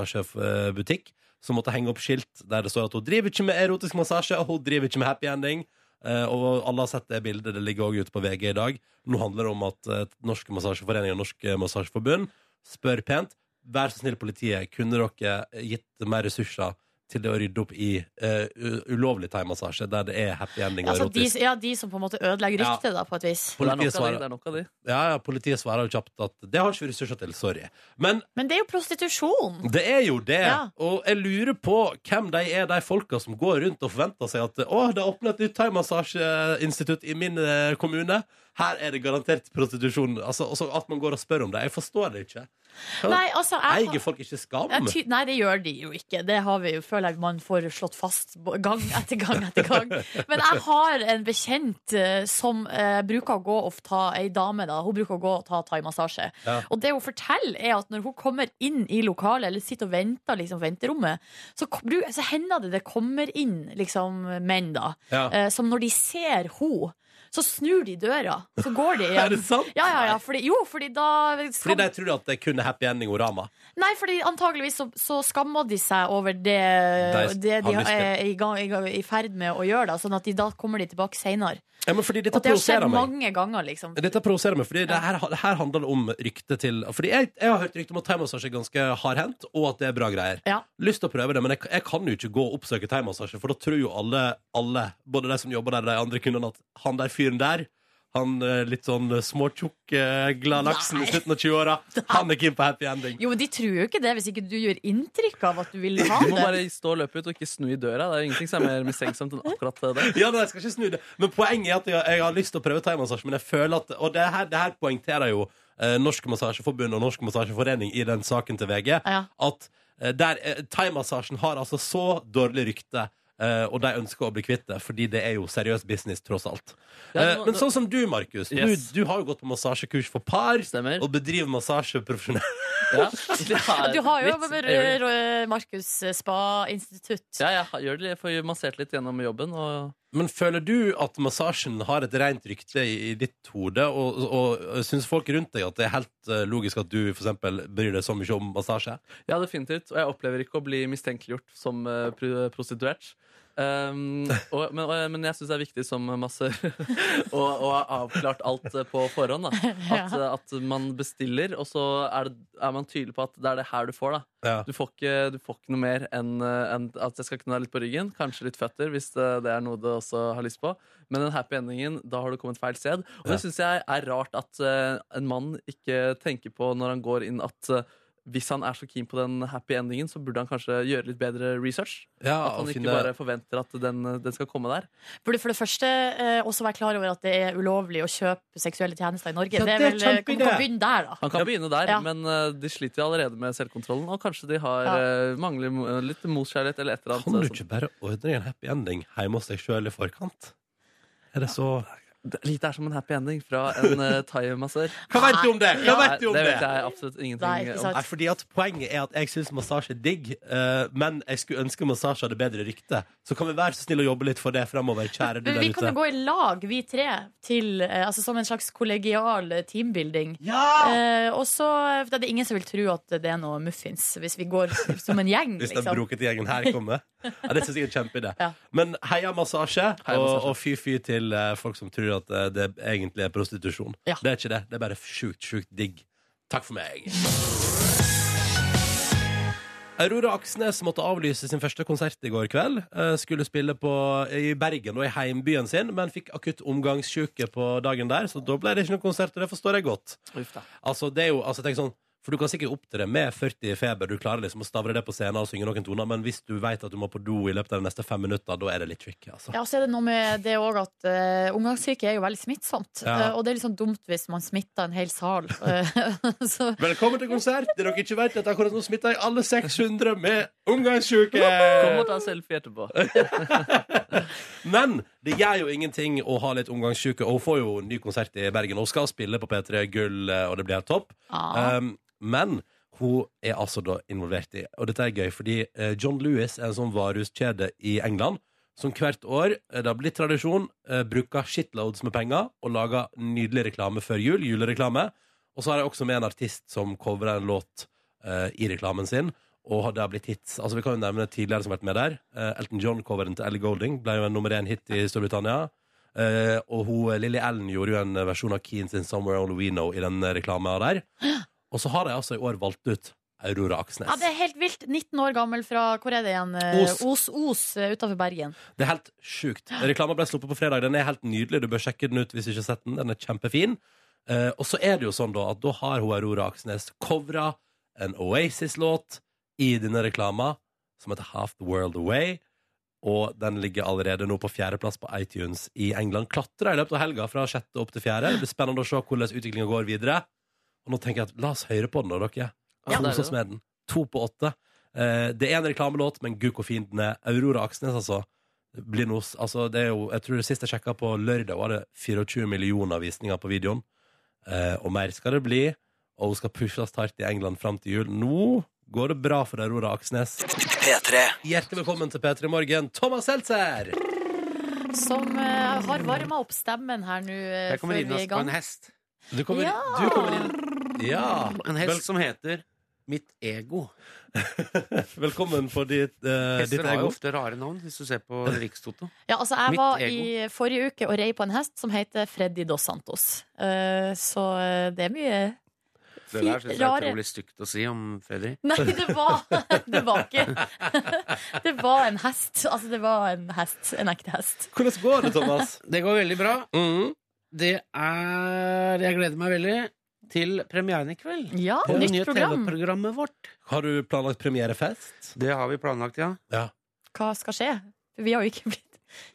A: thaimassasjebutikk, som måtte henge opp skilt der det står at hun driver ikke med erotisk massasje, og hun driver ikke med happy ending. Eh, og alle har sett det bildet, det ligger også ute på VG i dag. Nå handler det om at eh, Norske Massasjeforening og Norske Massasjeforbund spør pent Vær så snill, politiet, kunne dere gitt mer ressurser til det å rydde opp i eh, u- ulovlig thaimassasje, der det er happy ending og
B: Altså, de,
A: erotisk?
B: ja, de som på en måte ødelegger
A: Ja.
B: ryktet, da, på et vis.
C: Det er
A: Politiet
C: nok av de. Det
A: svarer,
C: er nok av de.
A: ja, ja, politiet svarer jo kjapt at det har ikke vi ressurser til, sorry. Men
B: Men det er jo prostitusjon!
A: det er jo det.
B: Ja.
A: Og jeg lurer på hvem de er, de folka som går rundt og forventer seg at å, det er åpnet et nytt thaimassasjeinstitutt i min eh, kommune. Her er det garantert prostitusjon. Altså, også at man går og spør om det. Jeg forstår det ikke.
B: Nei, altså, jeg,
A: Eier folk ikke skam?
B: jeg ty nei, det gjør de jo ikke. Det har vi jo, føler jeg man får slått fast b- gang etter gang etter gang. Men jeg har en bekjent eh, som eh, bruker å gå og ta ei dame, da. Hun bruker å gå og ta thaimassasje.
A: Ja.
B: Og det hun forteller, er at når hun kommer inn i lokalet, eller sitter og venter, liksom, venterommet, så, kom- bru- så hender det det kommer inn liksom, menn, da,
A: Ja.
B: eh, som når de ser hun så snur de døra, så går de
A: Er
B: igjen.
A: det sant?
B: Ja, ja, ja, fordi, jo, fordi da
A: Fordi
B: skam,
A: de tror at det er kun er happy ending orama.
B: Nei, fordi antageligvis så, så skammer de seg over det
A: De
B: det de,
A: har lyst til.
B: er i, gang, i, gang, i ferd med å gjøre, da, sånn at de, da kommer de tilbake seinere.
A: Ja, men fordi dette
B: Og det har skjedd
A: provoserer meg.
B: mange ganger, liksom.
A: Dette provoserer meg, fordi det
B: Ja.
A: her, det her handler det om ryktet til Fordi jeg, jeg har hørt rykte om at thaimassasje er ganske hardhendt, og at det er bra greier.
B: Ja.
A: Lyst til å prøve det, men jeg, jeg kan jo ikke gå og oppsøke thaimassasje, for da tror jo alle, alle både de som jobber der, og de andre kundene, at han der fyren der han eh, litt sånn småtjukk, eh, glad laksen i
B: Nei.
A: slutten av 20-åra. Han er keen på happy ending.
B: Jo, men de tror jo ikke det hvis ikke du gjør inntrykk av at du vil ha
C: Du må
B: det.
C: bare stå og løpe ut og ikke snu i døra. Det er ingenting som er mer mistenksomt enn akkurat det.
A: Ja, nei, jeg skal ikke snu det. Men poenget er at jeg, jeg har lyst til å prøve thaimassasje, men jeg føler at Og det her, det her poengterer jo eh, Norsk Massasjeforbund og Norsk Massasjeforening i den saken til VG.
B: Ja.
A: at eh, der, eh, thaimassasjen har altså så dårlig rykte, eh, og de ønsker å bli kvitt det, fordi det er jo seriøs business, tross alt.
C: Ja,
A: Eh,
C: nå-
A: men
C: nå-
A: sånn som du, Markus.
C: Yes.
A: Du, du har jo gått på massasjekurs for par,
C: Stemmer.
A: og bedriver massasje profesjonelt.
C: Ja. Det er
B: Du har jo
C: litt-
B: med
C: jeg gjør det.
B: Rø- Markus eh, spa-institutt.
C: Ja, jeg gjør det. Jeg får massert litt gjennom jobben. Og
A: Men føler du at massasjen har et rent rykte i, i ditt hode, og, og, og syns folk rundt deg at det er helt eh, logisk at du for eksempel bryr deg så mye om massasje?
C: Ja, definitivt. Og jeg opplever ikke å bli mistenkeliggjort som eh, pro- prostituert. Um, og, men, og, men jeg syns det er viktig som masse å å ha avklart alt eh, på forhånd. Da. At, eh, at man bestiller, og så er, det, er man tydelig på at det er det her du får. Da.
A: Ja.
C: Du, får ikke, du får ikke noe mer enn eh, enn at jeg skal kunne ha litt på ryggen, kanskje litt føtter, hvis det, det er noe du også har lyst på. Men den happy endingen, da har du kommet feil sted. Og det syns jeg er rart at eh, en mann ikke tenker på når han går inn at eh, hvis han er så keen på den happy endingen, så burde han kanskje gjøre litt bedre research.
A: Ja,
C: At han
A: og
C: ikke
A: finne-
C: bare forventer at den, den skal komme der.
B: Burde for det første eh, også være klar over at det er ulovlig å kjøpe seksuelle tjenester i Norge.
A: Ja,
B: det er
A: det er
B: vel, eh, kan,
A: kjempeidé.
B: kan begynne der, da.
C: Han kan begynne der,
B: Ja.
C: men eh, de sliter jo allerede med selvkontrollen. Og kanskje de har,
B: Ja.
C: eh, mangler mo- eh, litt moskjærlighet eller et eller
A: Kan du
C: annet. eh,
A: ikke bare ordne deg en happy ending hjemme hos deg sjøl i forkant? Er det så
C: som- Det- Litt er som en happy ending fra en uh, thaimassør.
A: Hva vet du om det? Hva
C: Nei,
A: vet du om
C: det
A: det?
C: vet jeg absolutt
B: Nei,
C: ingenting
B: ikke
C: om.
B: sant.
A: Nei, fordi at Poenget er at jeg syns massasje er digg, eh, men jeg skulle ønske massasje hadde bedre rykte. Så kan vi være så snill å jobbe litt for det fremover, kjære du
B: Men
A: der
B: vi kan jo
A: ute.
B: gå i lag, vi tre, til, eh, altså som en slags kollegial eh, teambuilding.
A: Ja!
B: Eh, og så for Det er ingen som vil tro at det er noe muffins, hvis vi går som en
C: Mm,
B: gjeng.
A: Hvis den
B: liksom.
A: brokete gjengen her kommer. Ja, det syns jeg er en kjempeidé.
B: Ja.
A: Men heia massasje,
C: Heia massasje.
A: og, og fy-fy til eh, folk som tror at eh, det egentlig er prostitusjon.
B: Ja.
A: Det er ikke det. Det er bare sjukt, sjukt digg. Takk for meg. Aurora Aksnes måtte avlyse sin første konsert i går kveld. Eh, Skulle spille på, i Bergen og i heimbyen sin, men fikk akutt omgangssjuke på dagen der, så da ble det ikke noen konsert, og det forstår jeg godt.
C: Uff da.
A: Altså, det er jo, altså, tenk sånn for du kan sikkert opptre med 40 i feber, du klarer liksom å stavre det på scenen og synge noen toner, men hvis du vet at du må på do i løpet av de neste fem minutter, da er det litt tricky, altså.
B: Ja, og så er det noe med det også at eh, Omgangssyke er jo veldig smittsomt.
A: Ja.
B: Eh, og det er litt sånn dumt hvis man smitter en hel sal. Eh, så,
A: Velkommen til konsert! Det dere ikke vet, er at akkurat nå smitter jeg alle 600 med omgangssjuke!
C: Kom og ta en selfie etterpå.
A: Men det gjør jo ingenting å ha litt omgangssjuke, og hun får jo ny konsert i Bergen. Hun skal spille på P3 Gull, eh, og det blir helt topp.
B: ja.
A: Um, men hun er altså da involvert i Og dette er gøy, fordi eh, John Lewis er en sånn varehuskjede i England som hvert år, eh, det har blitt tradisjon, eh, bruker shitloads med penger og lager nydelig reklame før jul, julereklame. Og så har jeg også med en artist som coverer en låt eh, i reklamen sin, og det har blitt hits. Altså Vi kan jo nevne tidligere som har vært med der. Eh, Elton John-coveren til Ellie Golding ble jo en nummer én hit i Storbritannia. Eh, og hun, Lily Allen gjorde jo en versjon av Keane sin 'Somewhere Only We Know' i den reklama der. Og så har de altså i år valgt ut Aurora Aksnes.
B: ja, det
A: det...
B: er helt vilt. 19 år gammel fra hvor er det igjen? Eh,
A: Os.
B: Os, Os eh, utenfor Bergen.
A: er helt sjukt. Reklama ble sluppet på fredag. Den er helt nydelig. Du bør sjekke den ut hvis du ikke har sett den. Den er kjempefin. Eh, og så er det jo sånn da at da har hun Aurora Aksnes covra en Oasis-låt i denne reklama som heter Half the World Away. Og den ligger allerede nå på fjerdeplass på iTunes i England. Klatra i løpet av helga fra sjette opp til fjerde. Det blir spennende å se hvordan utviklinga går videre. Og nå tenker jeg at la oss høre på den, da, dere.
C: Ja, det er
A: Kos oss
C: det.
A: med den. To på åtte. Eh, det er en reklamelåt, men gud hvor fin den er. Aurora Aksnes, altså. Blir noe, s- altså det er jo, jeg tror det sist jeg sjekka på lørdag, var det 24 millioner visninger på videoen. Eh, og mer skal det bli. Og hun skal pushes hardt i England fram til jul. Nå går det bra for Aurora Aksnes. Hjertelig velkommen til P3 Morgen, Thomas Seltzer!
B: Som eh, har varma opp stemmen her nå eh,
F: Jeg kommer
B: før
F: inn
B: vi er i
F: på
B: gang.
F: en hest.
A: Du kommer,
B: Ja!
A: du kommer inn Ja!
F: En
A: Vel-
F: hest som heter Mitt ego.
A: velkommen for ditt, eh, ditt
F: Hester har jo
A: ego.
F: ofte rare navn, hvis du ser på Rikstoto.
B: Ja, altså jeg
F: Mitt
B: var
F: ego.
B: i forrige uke og rei på en hest som heter Freddy Dos Santos. Eh, så eh, det er mye
F: Det der synes jeg er
B: Rare.
F: utrolig stygt å si om Freddy.
B: Nei, det var, det var ikke Det var en hest. Altså, det var en hest. En ekte hest.
A: Hvordan går det, Thomas?
F: Det går veldig bra.
A: Mm.
F: Det er Jeg gleder meg veldig til premieren i kveld.
B: Ja,
F: På det
B: nytt
F: nye
B: program.
F: TV-programmet vårt.
A: Har du planlagt premierefest?
F: Det har vi planlagt, ja.
B: Hva skal skje? Vi har jo ikke blitt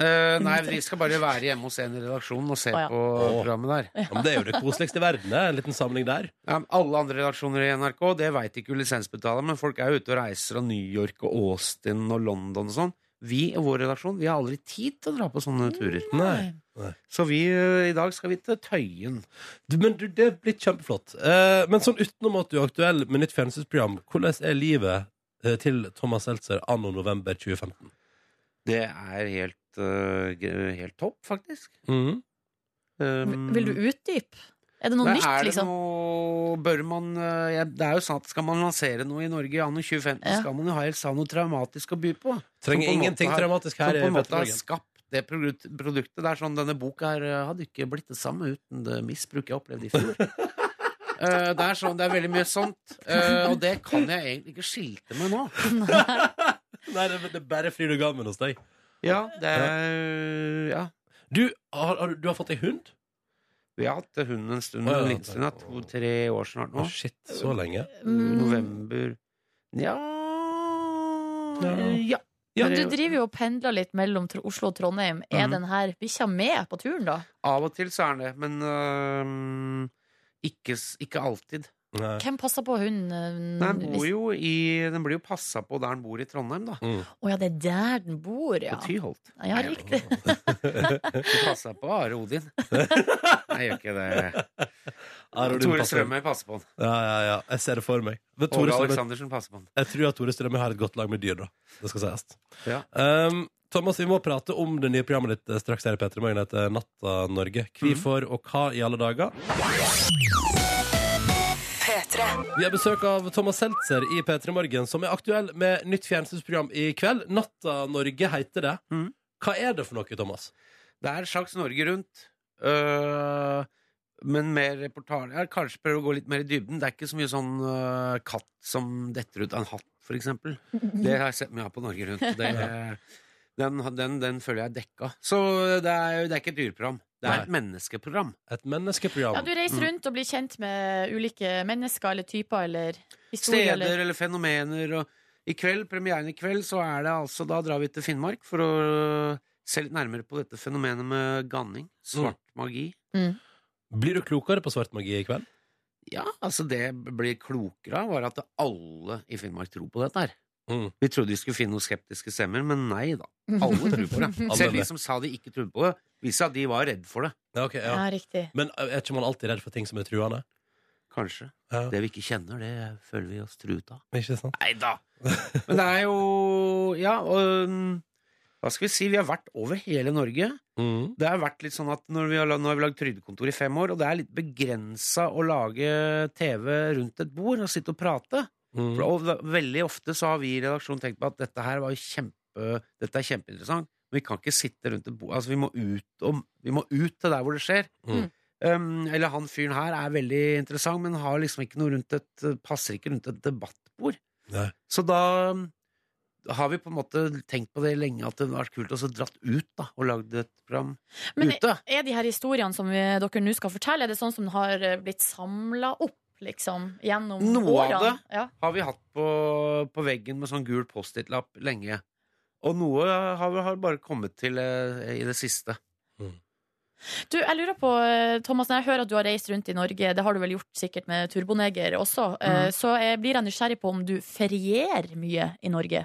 F: Eh, nei, vi skal bare være hjemme hos en i redaksjonen og se
B: Å, ja.
F: på
A: Å.
F: programmet der.
A: Ja, men det er jo det koseligste i verden. det. En liten samling der.
F: Ja, men alle andre redaksjoner i NRK, det veit ikke lisensbetalere, men folk er jo ute og reiser fra New York og Austin og London og sånn. Vi og vår redaksjon vi har aldri tid til å dra på sånne turer.
A: Nei.
F: Så vi, eh, i dag skal vi til Tøyen.
A: Du, men du, det blir kjempeflott. Eh, men sånn utenom at du er aktuell med nytt fjernsynsprogram, hvordan er livet eh, til Thomas Seltzer anno november 2015?
F: Det er helt, eh, g- helt topp, faktisk.
A: Mhm.
F: Um,
B: Vil du utdype? Er det noe
F: men
B: nytt,
F: er det
B: liksom?
F: Noe, bør man, eh, jeg- det er jo sant, Skal man lansere noe i Norge i anno 2015,
B: Ja.
F: skal man jo helst ha noe traumatisk å by på.
A: Trenger
F: Som på en
A: ingenting
F: måte har-
A: traumatisk
F: Som
A: her.
F: på en måte har
A: i
F: skapt det produkt, produktet. Det er sånn, Denne boka her eh, hadde ikke blitt det samme uten det misbruket jeg opplevde i fjor. Eh, det er sånn, det er veldig mye sånt. Eh, og det kan jeg egentlig ikke skilte med nå.
A: Nei, det, det er bare fryd og gammen hos deg.
F: Ja, det er, ja.
A: Du har, har, du har fått deg hund?
F: Vi har hatt hund en stund,
A: Å, ja,
F: en liten stund, ja,
A: det-
F: to-tre år snart nå.
A: Å, shit, så lenge.
B: Mm.
F: November Nja
A: Ja.
F: ja.
A: Ja,
B: Men du driver jo og pendler litt mellom Tro- Oslo og Trondheim. Er
F: Mhm.
B: den her bikkja med på turen, da?
F: Av og til så er det, men øhm, ikke, s- ikke alltid.
A: Nei.
B: Hvem passer på hunden? eh,
F: Den,
A: Mm,
F: bor jo i, den blir jo passa på der den bor i Trondheim, da.
A: Mm.
B: Å ja, det er der den bor, ja.
F: På Tyholt.
B: Ja, riktig.
F: Du passa på Are Odin. Nei, jeg gjør ikke det.
A: Ja, Rodin
F: Tore
A: passer.
F: Strømøy passer på den.
A: Ja, ja, ja. Jeg ser det for meg. Men Tore
F: Tore
A: Strømøy-
F: Aleksandersen passer på den.
A: Jeg tror at Tore Strømme har et godt lag med dyr, da. Det skal sies.
F: Ja.
A: Um, Thomas, vi må prate om det nye programmet ditt eh, straks her i P3 Morgen. Det heter Natta Norge.
F: Mhm.
A: Hvorfor og hva i alle dager? Vi har besøk av Thomas Seltzer i P3 Morgen, som er aktuell med nytt fjernsynsprogram i kveld. Natta Norge heter det.
F: Mhm.
A: Hva er det for noe, Thomas?
F: Det er slags Norge rundt. øh, men mer reportasje Jeg Kanskje prøve å gå litt mer i dybden. Det er ikke så mye sånn øh, katt som detter ut av en hatt, for eksempel. Det har jeg sett mye av på Norge rundt. Det, den, den, den føler jeg er dekka. Så det er, det er ikke et dyreprogram. Det er et menneskeprogram.
A: Et menneskeprogram.
B: Ja, du reiser rundt og blir kjent med ulike mennesker eller typer eller historier.
F: Steder
B: Eller.
F: eller fenomener. Og I kveld, premieren i kveld, så er det altså Da drar vi til Finnmark for å se litt nærmere på dette fenomenet med ganning. Svart magi.
B: Mm.
A: Blir du klokere på svart magi i kveld?
F: Ja, altså det jeg ble klokere av, var at alle i Finnmark tror på dette her.
A: Mm.
F: Vi trodde vi skulle finne noen skeptiske stemmer, men nei da. Alle tror på det.
A: Alle
F: Selv de
A: det.
F: som sa de ikke trodde på det, viste at de var redd for det.
A: Ja, ok,
B: Ja,
A: ja.
B: riktig.
A: Men eh, er ikke man alltid redd for ting som er truende?
F: Kanskje.
A: Ja.
F: Det vi ikke kjenner, det føler vi oss truet av.
A: Ikke sant?
F: Nei da! Men det er jo Ja, og mm, hva skal vi si? Vi har vært over hele Norge.
A: Mhm.
F: Det har vært litt sånn at når vi har, la- nå har vi lagd Trygdekontor i fem år, og det er litt begrensa å lage TV rundt et bord og sitte og prate.
A: Mhm.
F: For, og ve- veldig ofte så har vi i redaksjonen tenkt på at dette her var jo kjempe, dette er kjempeinteressant, men vi kan ikke sitte rundt et bord. Altså, vi må ut, om, vi må ut til der hvor det skjer.
A: Mm.
F: Um, eller han fyren her er veldig interessant, men har liksom ikke noe rundt et, passer ikke rundt et debattbord.
A: Nei.
F: Så da um, har vi på en måte tenkt på det lenge, at det hadde vært kult å så dratt ut da, og lagd et program
B: Men
F: ute.
B: er de her historiene som vi- dere nå skal fortelle, er det sånn som den har eh, blitt samla opp, liksom, gjennom
F: Noe av
B: årene?
F: det.
B: Ja.
F: har vi hatt på, på veggen med sånn gul post-it-lapp lenge. Og noe har, har bare kommet til eh, i det siste.
B: Du, jeg lurer på, eh, Thomas, når jeg hører at du har reist rundt i Norge, det har du vel gjort sikkert med Turboneger også,
F: Mm.
B: eh, så jeg blir jeg nysgjerrig på om du ferierer mye i Norge.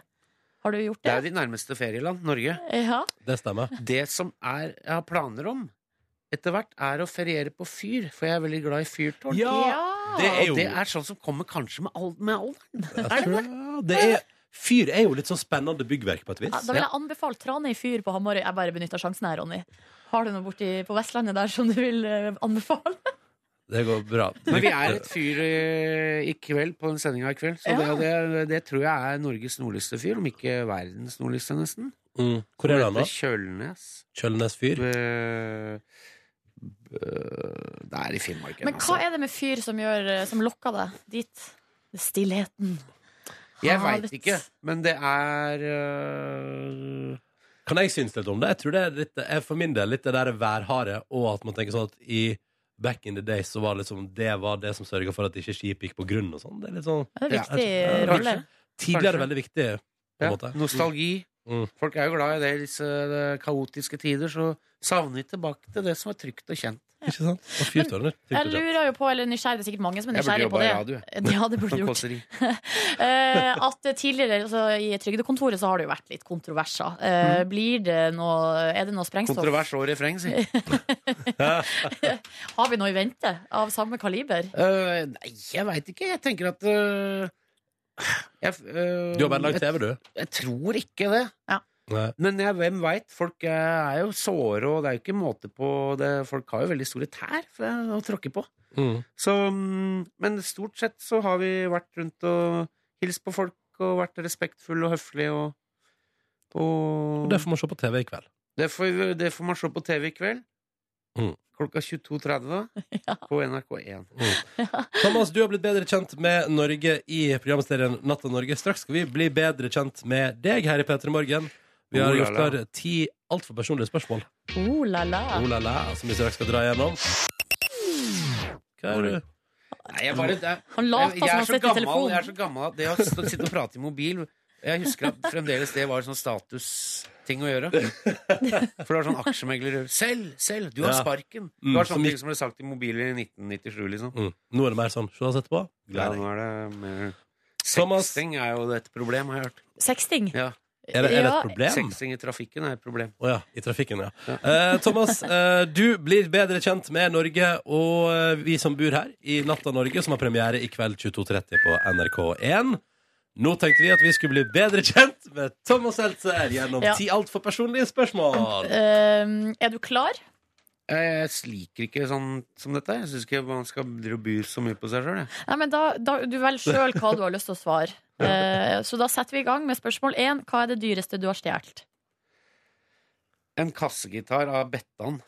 B: Har du gjort
F: Det
B: det?
F: er jo de nærmeste ferieland, Norge.
B: Ja.
A: Det stemmer.
F: Det som er, jeg har planer om etter hvert, er å feriere på fyr, for jeg er veldig glad i fyrtårn.
B: Ja.
A: det er jo
F: Og det er sånn som kommer kanskje med al- med alderen.
A: Jeg tror- ja, det er, Fyr er jo litt sånn spennende byggverk på et
B: Ja,
A: vis.
B: Da vil jeg anbefale Tranøy fyr på Hamarøy. Jeg bare benytter sjansen her, Ronny. Har du noe borti på Vestlandet der som du vil eh, anbefale?
A: Det går bra.
F: Men vi er et fyr eh, i, i kveld, på den sendinga i kveld, så det,
B: Ja.
F: det, det tror jeg er Norges nordligste fyr, om ikke verdens nordligste, nesten.
A: Mm. Hvor er det han da?
F: Heter Kjølnes.
A: Kjølnes fyr?
F: Øh, øh, Det er i Finnmark. altså.
B: Men hva er det med fyr som, gjør, eh, som lokker deg dit? Stillheten.
F: Jeg
B: Havet.
F: veit ikke, men det er øh,
A: Kan jeg synes litt om det? Jeg tror det er litt, jeg, for min del litt det der værharde, og at man tenker sånn at i back in the days så var det liksom det var det som sørga for at ikke skip gikk på grunn og sånn. Det er litt sånn
B: Det er en
F: Ja,
B: viktig
A: jeg tror-
B: Eh, rolle.
F: Kanskje.
A: tidligere
F: Kanskje.
A: veldig viktig. På en
F: Ja,
A: måte.
F: nostalgi.
A: Mm.
F: Folk er jo glad i det i disse øh, kaotiske tider, så savner de tilbake til det som er trygt og kjent.
A: Ikke sant? Og fyrtårner.
B: Jeg
A: tenkte jeg.
B: lurer jo på, eller nysgjerrig, det er sikkert mange som er
F: Jeg burde
B: nysgjerrig på
F: jobba i
B: det.
F: radio.
B: Ja, det burde
F: Som
B: du gjort.
F: kåseri.
B: Eh, at tidligere altså, I Trygdekontoret så har det jo vært litt kontroverser. Eh, blir det noe, er det noe sprengstoff?
F: Mm. Kontrovers og refreng, si.
B: Har vi noe i vente av samme kaliber?
F: Øh, nei, jeg veit ikke. Jeg tenker at øh, jeg, øh,
A: Du har bare lagd
F: jeg,
A: TV, du?
F: jeg tror ikke det.
A: Nei.
F: Men jeg, hvem veit? Folk eh, er jo såre, og det er jo ikke måte på det. Folk har jo veldig store tær for å tråkke på.
A: Mm.
F: Så, mm, men stort sett så har vi vært rundt og hilst på folk, og vært respektfulle og høflige og, og
A: Det får man se på TV i kveld.
F: det, får, det får man se på TV i kveld.
A: Mm.
F: Klokka 22.30 på NRK1.
A: Thomas, du har blitt bedre kjent med Norge i programserien Natta Norge. Straks skal vi bli bedre kjent med deg her i P3 Morgen. Vi har
F: Oh la
A: gjort klar
F: la.
A: ti altfor personlige spørsmål
F: Eh.
B: Oh la la.
A: oh, la, la, som vi straks skal dra igjennom. Hva er det?
F: Nei, jeg bare det er-
B: Han later
F: jeg, jeg
B: som
F: er
B: han
F: så
B: sitter i
F: gammel, jeg er
B: telefonen.
F: så gammel at det å stå- sitte og prate i mobil Jeg husker at fremdeles det var sånn statusting å gjøre. For det var sånn aksjemegler Selv! Selv! Du har
A: Ja.
F: sparken!
A: Mm,
F: Det var
A: som
F: sånne ting som ble sagt i mobil i 1997, liksom.
A: Mm. Nå er det mer sånn. Se oss etterpå.
F: Ja,
A: Gleder deg.
F: nå er det mer
A: Thomas-
F: Sexting er jo et problem, har jeg hørt.
B: Sexting.
F: Ja.
A: Er det, er det
B: Ja,
A: et problem?
F: Sexting i trafikken er et problem.
A: Å ja. I trafikken, ja.
F: Ja.
A: Eh, Thomas, eh, du blir bedre kjent med Norge og eh, vi som bor her i Natta Norge, som har premiere i kveld 22.30 på NRK1. Nå tenkte vi at vi skulle bli bedre kjent med Thomas Seltzer gjennom
B: Ja.
A: ti altfor personlige spørsmål.
B: Eh, er du klar?
F: Jeg liker ikke sånn som dette. Jeg syns ikke man skal drive og by så mye på seg sjøl.
B: Nei, men da, da, du velger sjøl hva du har lyst til å svare. Eh, så da setter vi i gang med spørsmål én. Hva er det dyreste du har stjålet?
F: En kassegitar av Bettan.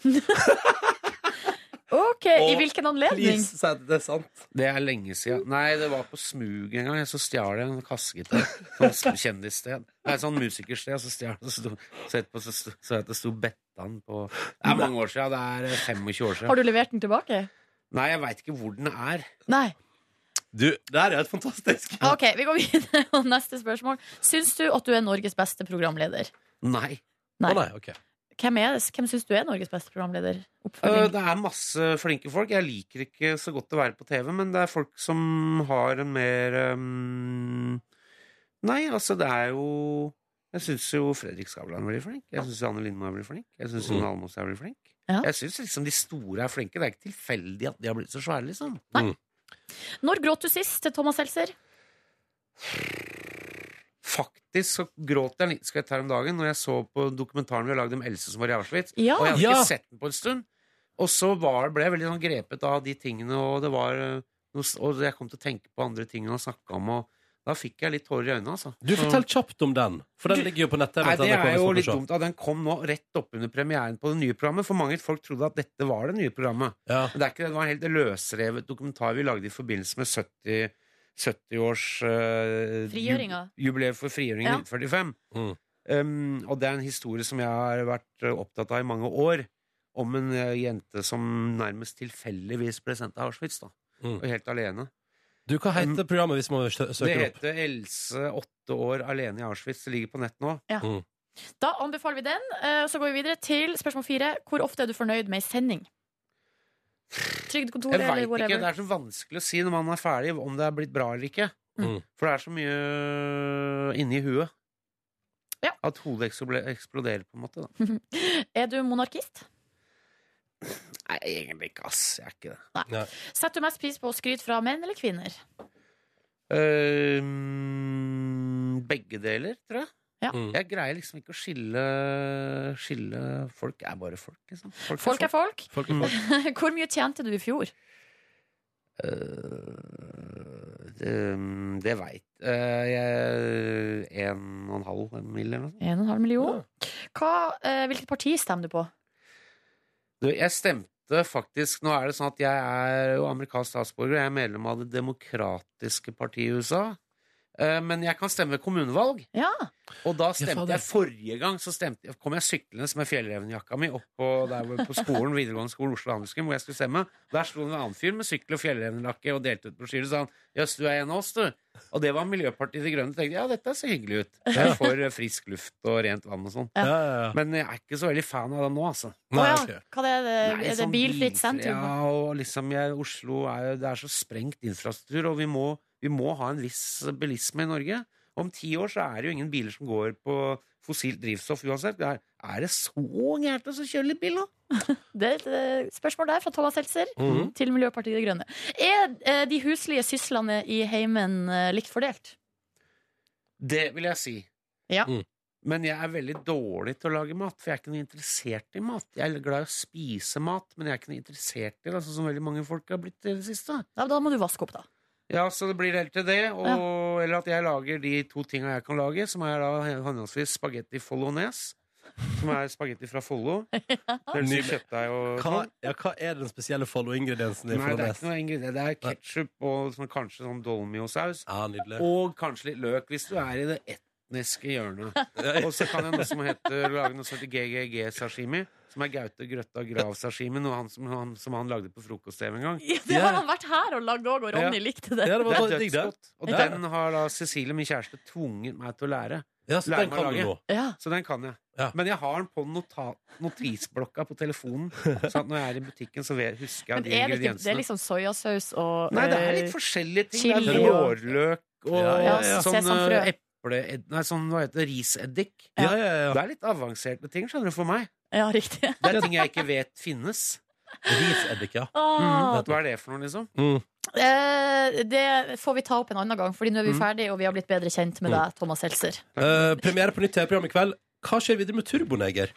B: OK, i
A: Å,
B: hvilken anledning?
A: Please, si at det er sant.
F: Det er lenge siden. Nei, det var på smug en gang. Så stjal jeg en kassegitar. Sånn kjendissted. Nei, sånn musikersted. Så stjal jeg, så, sto, så, etterpå, så, sto- så jeg at det sto Bettan på Det er mange år siden. Det er eh, 25 år
B: Har
F: siden.
B: du levert den tilbake?
F: Nei, jeg veit ikke hvor den er.
B: Nei.
A: Du, det her er helt fantastisk.
B: OK, vi går videre på neste spørsmål. Syns du at du er Norges beste programleder?
F: Nei.
A: Å
B: Nei.
A: nei, ok.
B: Hvem, er, hvem syns du er Norges beste programleder?
F: Eh,
B: Oppfølging.
F: Det er masse flinke folk. Jeg liker ikke så godt å være på TV, men det er folk som har en mer ehm, Nei, altså, det er jo Jeg syns jo Fredrik Skavlan er veldig flink. Jeg syns Anne Lindmo er veldig flink. Jeg syns Jon Almaas er veldig flink.
B: Ja.
F: Jeg syns liksom de store er flinke. Det er ikke tilfeldig at de har blitt så svære, liksom.
B: Når gråt du sist til Thomas Seltzer?
F: Faktisk så gråt jeg en liten skvett her om dagen når jeg så på dokumentaren vi har lagd om Else som var i Auschwitz.
B: Ja.
F: Og jeg hadde
A: Ja.
F: ikke sett den på en stund. Og så var, ble jeg veldig sånn grepet av de tingene, og det var eh, noe, s- Og jeg kom til å tenke på andre ting han snakka om, og da fikk jeg litt tårer i øynene, altså.
A: Du, fortell kjapt om den, for den
F: Du-
A: ligger jo på nettet.
F: Nei,
A: vet
F: det
A: jeg,
F: er
A: NRK,
F: jo
A: hvis
F: litt
A: folk
F: dumt. at Den kom nå rett oppunder premieren på det nye programmet, for mange folk trodde at dette var det nye programmet.
A: får se.
F: Men det er ikke det. Det var en helt løsrevet dokumentar vi lagde i forbindelse med 70 70-års eh,
B: Frigjøringa.
F: ju- Jubileet for
B: Ja.
F: frigjøringen i 1945.
A: Mm.
F: Um, og det er en historie som jeg har vært eh, opptatt av i mange år. Om en eh, jente som nærmest tilfeldigvis ble sendt til Auschwitz. Da,
A: Mm.
F: og helt alene.
A: Du, hva heter programmet hvis man sø-
F: Mm. Det
A: søker opp?
F: heter Else åtte år alene i Auschwitz. Det ligger på nett nå.
B: Ja.
A: Mm.
B: Da anbefaler vi den. eh, Så går vi videre til spørsmål fire. Hvor ofte er du fornøyd med ei sending? Trygdekontoret
F: Jeg
B: eller
F: veit ikke. Det
B: whatever.
F: er så vanskelig å si når man er ferdig, om det er blitt bra eller ikke.
A: Mm.
F: For det er så mye eh, inni huet.
B: Ja.
F: At hodet eksple- eksploderer, på en måte. Da.
B: Er du monarkist?
F: Nei, egentlig ikke, ass. Jeg er ikke det.
B: Setter du mest pris på å skryte fra menn eller kvinner?
F: Øhm, Ehm, begge deler, tror jeg.
A: Mm.
F: Jeg greier liksom ikke å skille, skille Folk er bare folk, liksom. Folk,
B: Folk er folk.
A: Folk er folk.
B: Hvor mye tjente du i fjor?
F: Øh, det det veit øh, jeg. En og en halv en mil, eller noe sånt.
B: 1,5 million. Hva, eh, hvilket parti stemmer du på?
F: Du, jeg stemte faktisk Nå er det sånn at jeg er jo amerikansk statsborger, og jeg er medlem av Det demokratiske partiet i USA. Eh, Men jeg kan stemme ved kommunevalg,
B: Ja,
F: og da
A: Ja, faen,
F: stemte
A: det-
F: jeg forrige gang så stemte, kom jeg syklende med fjellrevenjakka mi opp på, der hvor- på skolen, videregående skole Oslo Handelsgym, hvor jeg skulle stemme. Der sto det en annen fyr med sykkel og fjellrevenjakke og delte ut brosjyrer og sa han 'Jøss, du er en av oss, du'. Og det var Miljøpartiet De Grønne. tenkte jeg, ja, dette ser hyggelig ut. Det er for eh, frisk luft og rent vann og sånn.
A: Ja, ja, ja.
F: Men jeg er ikke så veldig fan av det nå, altså.
B: Å
A: Nei,
B: ja.
A: ok.
B: Hva er det? er
F: Nei,
B: Eh, det
F: sånn
B: bilfritt
F: bilfri-
B: sentrum?
F: Ja, og liksom jeg, Oslo er jo Det er så sprengt infrastruktur, og vi må, vi må ha en viss bilisme i Norge. Om ti år så er det jo ingen biler som går på fossilt drivstoff uansett. Det er, er det så gærent å så kjøre litt bil, da?
B: Det er et eh, spørsmål der fra Thomas Seltzer
A: Mhm.
B: til Miljøpartiet De Grønne. Er eh, de huslige syslene i heimen eh, likt fordelt?
F: Det vil jeg si.
B: Ja.
A: Mm.
F: Men jeg er veldig dårlig til å lage mat, for jeg er ikke noe interessert i mat. Jeg er glad i å spise mat, men jeg er ikke noe interessert i det, altså, som veldig mange folk har blitt i det siste.
B: Ja, da må du vaske opp, da.
F: Ja, så det blir helt til det. Og, Eller at jeg lager de to tinga jeg kan lage, som er da henholdsvis spagetti follones, som er spagetti fra Follo. Det vil si
A: Nydelig.
F: kjøttdeig og sånn.
A: Hva, ja, hva er den spesielle follow-ingrediensen i
F: Nei, det er
A: follones?
F: ikke noe ingrediens. Det er ketsjup og sånn, kanskje sånn dolmiosaus.
A: Ja, nydelig.
F: Og kanskje litt løk, hvis du er i det etniske hjørnet. Og så kan jeg noe som heter, lage noe som heter GGG-sashimi, som er Gaute Grøtta Grav-sashimi, noe han, som, han, som han lagde på frokost-TV en gang.
B: Ja, det
A: Ja.
B: har han vært her og lagd òg, og Ronny likte det.
A: Ja, det var
F: Det
A: bare
F: er
A: digg, det.
F: dødsgodt. Og
A: Ja.
F: den har da Cecilie, min kjæreste, tvunget meg til å lære.
A: Ja, så
F: Lær
A: den
F: meg å
A: kan du
F: lage.
A: nå.
B: Ja.
F: Så den kan jeg.
A: Ja.
F: Men jeg har den på nota notisblokka på telefonen. Så at når jeg er i butikken, så vet- husker jeg
B: Men
F: de
B: er det, ikke, det er
F: ingrediensene.
B: liksom soyasaus og
F: Nei, det er
B: eh,
F: litt forskjellige ting. Det er
B: chili og-
F: blårløk og
A: Ja, ja,
B: ja.
F: sånn
B: Sesamfrø.
F: eh, eple... ed- Nei, sånn hva heter det? Riseddik.
A: Ja, ja, ja.
F: Det er litt avanserte ting, skjønner du, for meg.
B: Ja, riktig.
F: Det er ting jeg ikke vet finnes.
A: Riseddik, ja.
B: Ah.
F: Hva er det for noe, liksom?
A: Mm.
B: Eh, det får vi ta opp en annen gang, Fordi nå er vi
F: Mm.
B: ferdige, og vi har blitt bedre kjent med deg, Thomas Seltzer.
A: Eh, premiere på nytt TV-program i kveld. Hva skjer videre med Turboneger?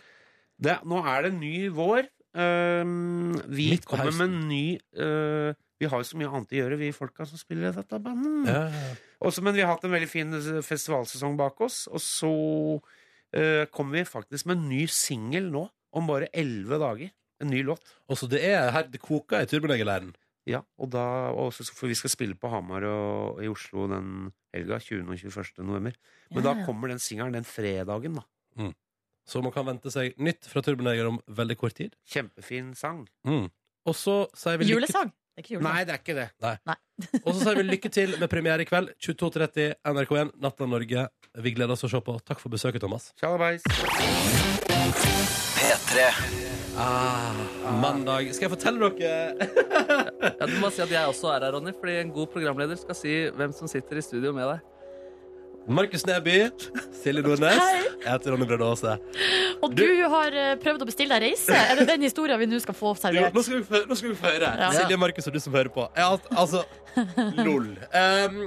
F: det, nå er det ny vår. Ehm, vi
A: Midt på
F: kommer med
A: høsten.
F: en ny eh, Vi har jo så mye annet å gjøre, vi folka som spiller i dette bandet.
A: Ja, ja,
F: Også, men vi har hatt en veldig fin eh, festivalsesong bak oss, og så eh, kommer vi faktisk med en ny singel nå, om bare elleve dager. En ny låt.
A: ja. så det er her det koker i Turbonegerleiren.
F: Ja, og da, og også, for vi skal spille på Hamar og, og i Oslo den helga, 20. og 21. november. Men
B: Ja,
F: da
B: ja.
F: kommer den singelen den fredagen, da.
A: Så man kan vente seg nytt fra Turboneger om veldig kort tid.
F: Kjempefin sang.
A: Mm. Og så sier vi lykke
B: Julesang? Det er ikke julesang.
F: Nei, det er ikke det.
A: Og så sier vi lykke til med premiere i kveld. 22.30 NRK1, Natta Norge. Vi gleder oss å se på. Takk for besøket, Thomas.
F: Tjallabais. Ah.
A: Mandag. Skal jeg fortelle dere
C: Ja, du må si at jeg også er her, Ronny, fordi en god programleder skal si hvem som sitter i studio med deg.
A: Markus Neby, Silje Nordnes.
B: Hei.
A: Jeg heter Ronny Brede Aase.
B: Og du har eh, prøvd å bestille deg reise. Er det den historien vi nå skal få
A: Jo,
B: servert?
A: nå skal vi få- nå skal vi få høre.
B: Ja.
A: Silje, Markus og du som hører på. Jeg, har hatt- altså, lol. Um,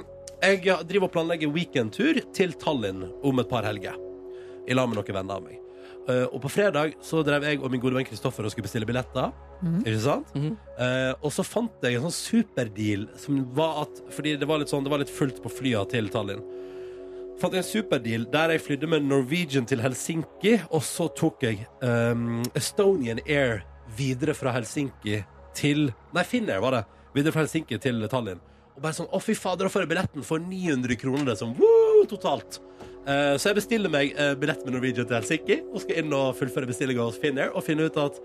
A: jeg driver og planlegger weekendtur til Tallinn om et par helger. I lag med noen venner av meg. Uh, og på fredag så drev jeg og min gode venn Kristoffer og skulle bestille billetter.
B: Mhm.
A: Ikke sant?
C: Mhm.
A: Uh, og så fant jeg en sånn superdeal som var at Fordi det var litt sånn, det var litt fullt på flya til Tallinn. Fant jeg en superdeal der jeg flydde med Norwegian til Helsinki, og så tok jeg um, Estonian Air videre fra Helsinki til Nei, Finnair var det. Videre fra Helsinki til Tallinn. Og bare sånn Å, fy fader, da får jeg billetten for 900 kroner, det er sånn woo, totalt. Eh, så jeg bestiller meg eh, billett med Norwegian til Helsinki og skal inn og fullføre bestillinga hos Finnair og finne ut at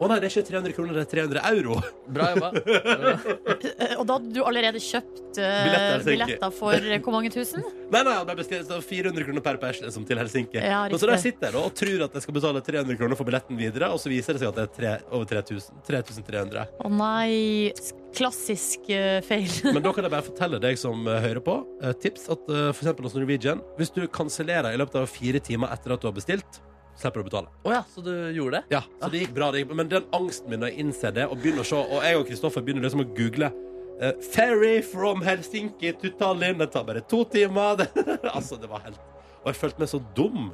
A: Å nei, det er ikke 300 kroner, det er 300 euro.
C: Bra jobba. Eh,
B: Eh, Og da hadde du allerede kjøpt eh,
A: Billetter, tenker jeg.
B: billetter for eh, hvor mange tusen?
A: Nei, nei, han ble bestilt det var 400 kroner per person som til Helsinki.
B: Ja,
A: Men så der
B: riktig.
A: sitter jeg da og tror at jeg skal betale 300 kroner for billetten videre, og så viser det seg at det er tre, over 3000. 3300.
B: Å nei. Klassisk eh, feil.
A: Men da kan jeg bare fortelle deg som eh, hører på, eh, tips at eh, for eksempel hos Norwegian, hvis du kansellerer i løpet av fire timer etter at du har bestilt, slipper du å betale.
C: Å ja, så du gjorde det?
A: Ja, så det gikk bra. Det gikk, men den angsten min når jeg innser det, og begynner å se, og jeg og Kristoffer begynner liksom å google eh, ferry from Helsinki to Tallinn, det tar bare to timer. altså, det var helt Og jeg følte meg så dum.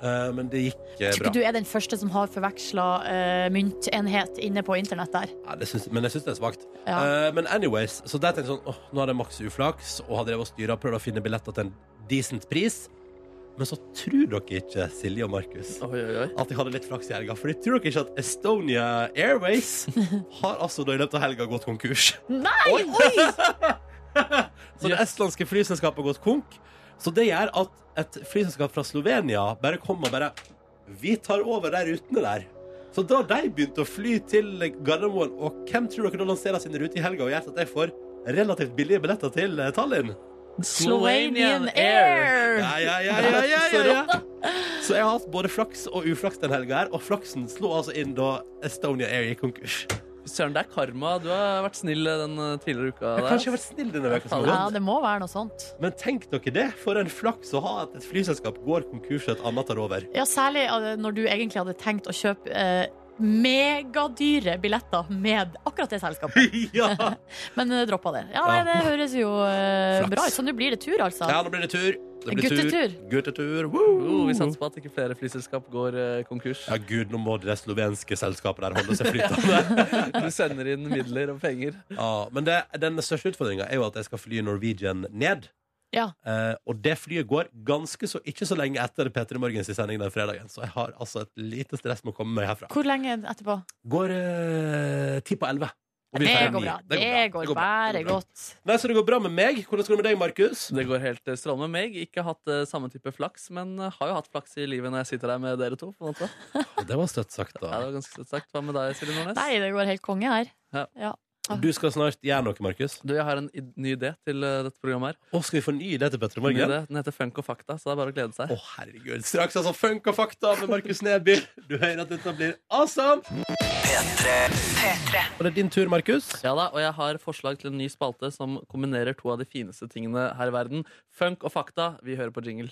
A: Eh, men det gikk eh,
B: Tror
A: bra.
B: ikke du er den første som har forveksla eh, myntenhet inne på internett der.
A: Ja, det syns- men jeg syns det er svakt.
B: Ja.
A: Eh, men anyways, så der tenkte jeg sånn åh, nå hadde jeg maks uflaks og har drevet og styra og prøvd å finne billetter til en decent pris. Men så tror dere ikke, Silje og Markus,
C: Oi, oi, oi.
A: at jeg hadde litt flaks i helga. For tror dere ikke at Estonia Airways har altså da i løpet av helga gått konkurs?
B: Nei! Oi!
A: Så det estlandske flyselskapet har gått konk. Så det gjør at et flyselskap fra Slovenia bare kom og bare Vi tar over de rutene der. Så da de begynte å fly til Gardermoen, og hvem tror dere da lanserer sine ruter i helga og gjør at jeg får relativt billige billetter til eh, Tallinn?
B: Slovenian Air!
A: Ja, ja, ja, ja, ja, ja, ja. Så jeg har hatt både flaks og uflaks den helga her, og flaksen slo altså inn da Estonia Air gikk konkurs.
C: Søren, det er karma. Du har vært snill den eh, tidligere uka.
A: Jeg
C: der,
A: har kanskje
C: ass.
A: vært snill denne veka som har
B: Ja,
A: gått.
B: det må være noe sånt.
A: Men tenk dere det, for en flaks å ha at et flyselskap går konkurs og et annet tar over.
B: Ja, særlig eh, når du egentlig hadde tenkt å kjøpe eh, megadyre billetter med akkurat det selskapet.
A: ja.
B: Men eh, droppa det. Ja, nei,
A: Ja.
B: det høres jo eh,
A: Flaks.
B: bra ut. Så nå blir det tur, altså.
A: ja, nå blir det tur. Det blir
B: Guttetur.
A: Tur. Guttetur. Woo!
C: Oh, vi satser på at ikke flere flyselskap går eh, konkurs.
A: Ja, gud, nå må det slovenske selskapet der holde seg flytende.
C: Du sender inn midler og penger.
A: ja, men det, den største utfordringa er jo at jeg skal fly Norwegian ned.
B: Ja.
A: Eh, og det flyet går ganske så ikke så lenge etter P3 Morgens sending den fredagen, så jeg har altså et lite stress med å komme meg herfra.
B: Hvor lenge etterpå?
A: Går eh, ti på elleve.
B: Det går bra. Det går bare godt.
A: Nei, Så det går bra med meg. Hvordan går det med deg, Markus?
C: Det går helt eh, strålende med meg. Ikke hatt eh, samme type flaks, men eh, har jo hatt flaks i livet når jeg sitter der med dere to. på en måte.
A: Det var støtt sagt,
C: Ja, det
A: da.
C: var ganske søtt sagt. Hva med deg, Silje Nordnes?
B: Nei, det går helt konge her.
A: Du skal snart gjøre noe, Markus.
C: Du, jeg har en id- ny idé til eh, dette programmet. her.
A: Og skal vi fornye det til P3
C: Ny
A: Morgen?
C: idé. Den heter Funk og fakta, så det er bare å glede seg.
A: Å, herregud. Straks altså Funk og fakta med Markus Neby. Du hører at dette blir awesome! Og det er din tur, Markus.
C: Ja da, og jeg har forslag til en ny spalte som kombinerer to av de fineste tingene her i verden. Funk og fakta. Vi hører på jingle.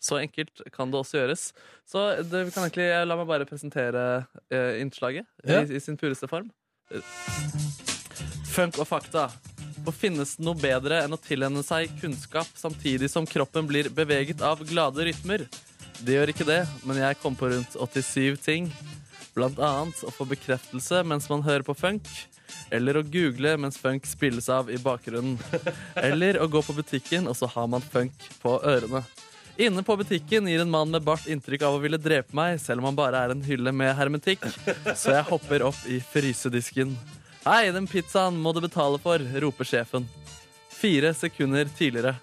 C: Så enkelt kan det også gjøres. Så det vi kan egentlig, la meg bare presentere eh, innslaget
A: Ja.
C: i, i sin pureste form. Eh, Funk og fakta. Og finnes det noe bedre enn å tilhende seg kunnskap samtidig som kroppen blir beveget av glade rytmer? Det gjør ikke det, men jeg kom på rundt 87 ting. Blant annet å få bekreftelse mens man hører på funk. Eller å google mens funk spilles av i bakgrunnen. Eller å gå på butikken, og så har man funk på ørene. Inne på butikken gir en mann med bart inntrykk av å ville drepe meg, selv om han bare er en hylle med hermetikk. Så jeg hopper opp i frysedisken. Hei, den pizzaen må du betale for, roper sjefen. Fire sekunder tidligere.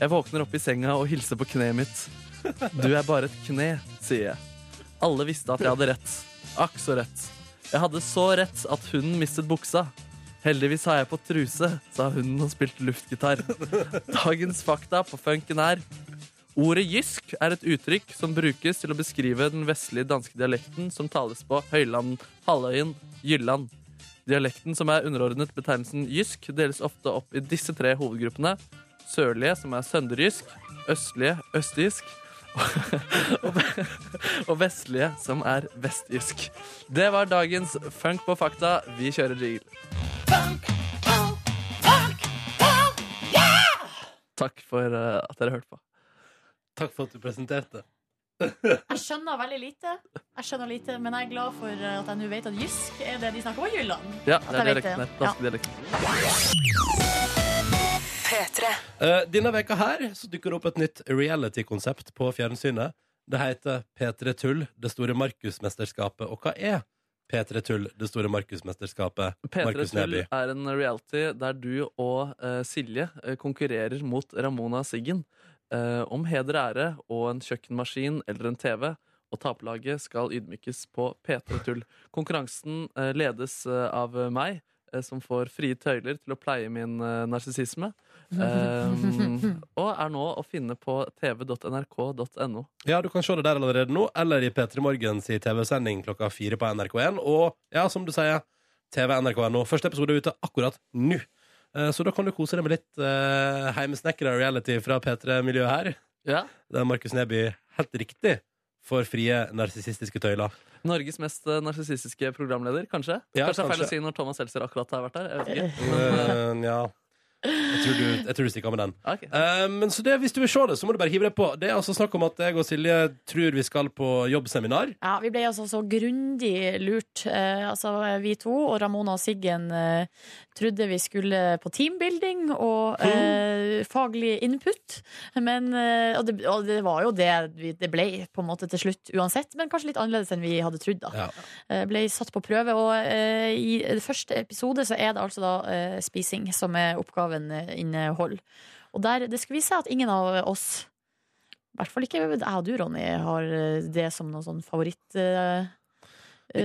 C: Jeg våkner opp i senga og hilser på kneet mitt. Du er bare et kne, sier jeg. Alle visste at jeg hadde rett. Akk så rett. Jeg hadde så rett at hunden mistet buksa. Heldigvis har jeg på truse, sa hunden og spilte luftgitar. Dagens fakta på funken er Ordet jysk er et uttrykk som brukes til å beskrive den vestlige danske dialekten som tales på Høyland, Halvøyen, Jylland. Dialekten som er underordnet betegnelsen jysk, deles ofte opp i disse tre hovedgruppene. Sørlige, som er sønderjysk, østlige, østjysk, og, og vestlige, som er vestjysk. Det var dagens Funk på fakta. Vi kjører jingle. Takk for eh, at dere hørte på.
A: Takk for at du presenterte.
B: Jeg skjønner veldig lite, Jeg skjønner lite men jeg er glad for eh, at jeg nå vet at jysk er det de snakker om i Jylland.
C: Ja,
B: At
C: det er
B: jeg vet det.
C: dialekten her. Danske dialekten.
A: Eh, denne veka her så dukker det opp et nytt reality-konsept på fjernsynet. Det heter P3 Tull, det store Markusmesterskapet. Og hva er P3 Tull, det store Markusmesterskapet?
C: P3
A: Markus
C: Tull
A: Neby.
C: er en reality der du og eh, Silje eh, konkurrerer mot Ramona Siggen. eh, om heder og ære og en kjøkkenmaskin eller en TV. Og taperlaget skal ydmykes på P3 Tull. Konkurransen eh, ledes eh, av meg, eh, som får frie tøyler til å pleie min eh, narsissisme. Eh, og er nå å finne på tv.nrk.no.
A: Ja, du kan se det der allerede nå, eller i P3 Morgens TV-sending klokka fire på NRK1. Og ja, som du sier, TV NRK1 Første episode er ute akkurat nå. Eh, Så da kan du kose deg med litt uh, heimesnekra reality fra P3-miljøet her.
C: Ja.
A: Der Markus Neby helt riktig får frie narsissistiske tøyler.
C: Norges mest eh, narsissistiske programleder, kanskje?
A: Ja,
C: kanskje det er feil
A: kanskje.
C: å si når Thomas Seltzer akkurat har vært der. Jeg vet ikke.
A: Eh, ja. Jeg tror du, jeg tror du stikker av med den.
C: Ja, ok.
A: Eh, men så det, hvis du vil se det, så må du bare hive deg på. Det er altså snakk om at jeg og Silje tror vi skal på jobbseminar.
B: Ja, vi ble altså så grundig lurt. Eh, altså, vi to og Ramona og Siggen eh, trodde vi skulle på teambuilding og eh, faglig input. Men, eh, og, det, og det var jo det vi- det ble på en måte til slutt uansett, men kanskje litt annerledes enn vi hadde trodd. da.
A: Ja.
B: Eh, ble satt på prøve, og eh, i det første episode så er det altså da eh, spising som er oppgaven eh, innehold. Og der, det skulle vise seg at ingen av oss i hvert fall ikke jeg og du, Ronny, har eh, det som noen sånn eh, favorittøvelse.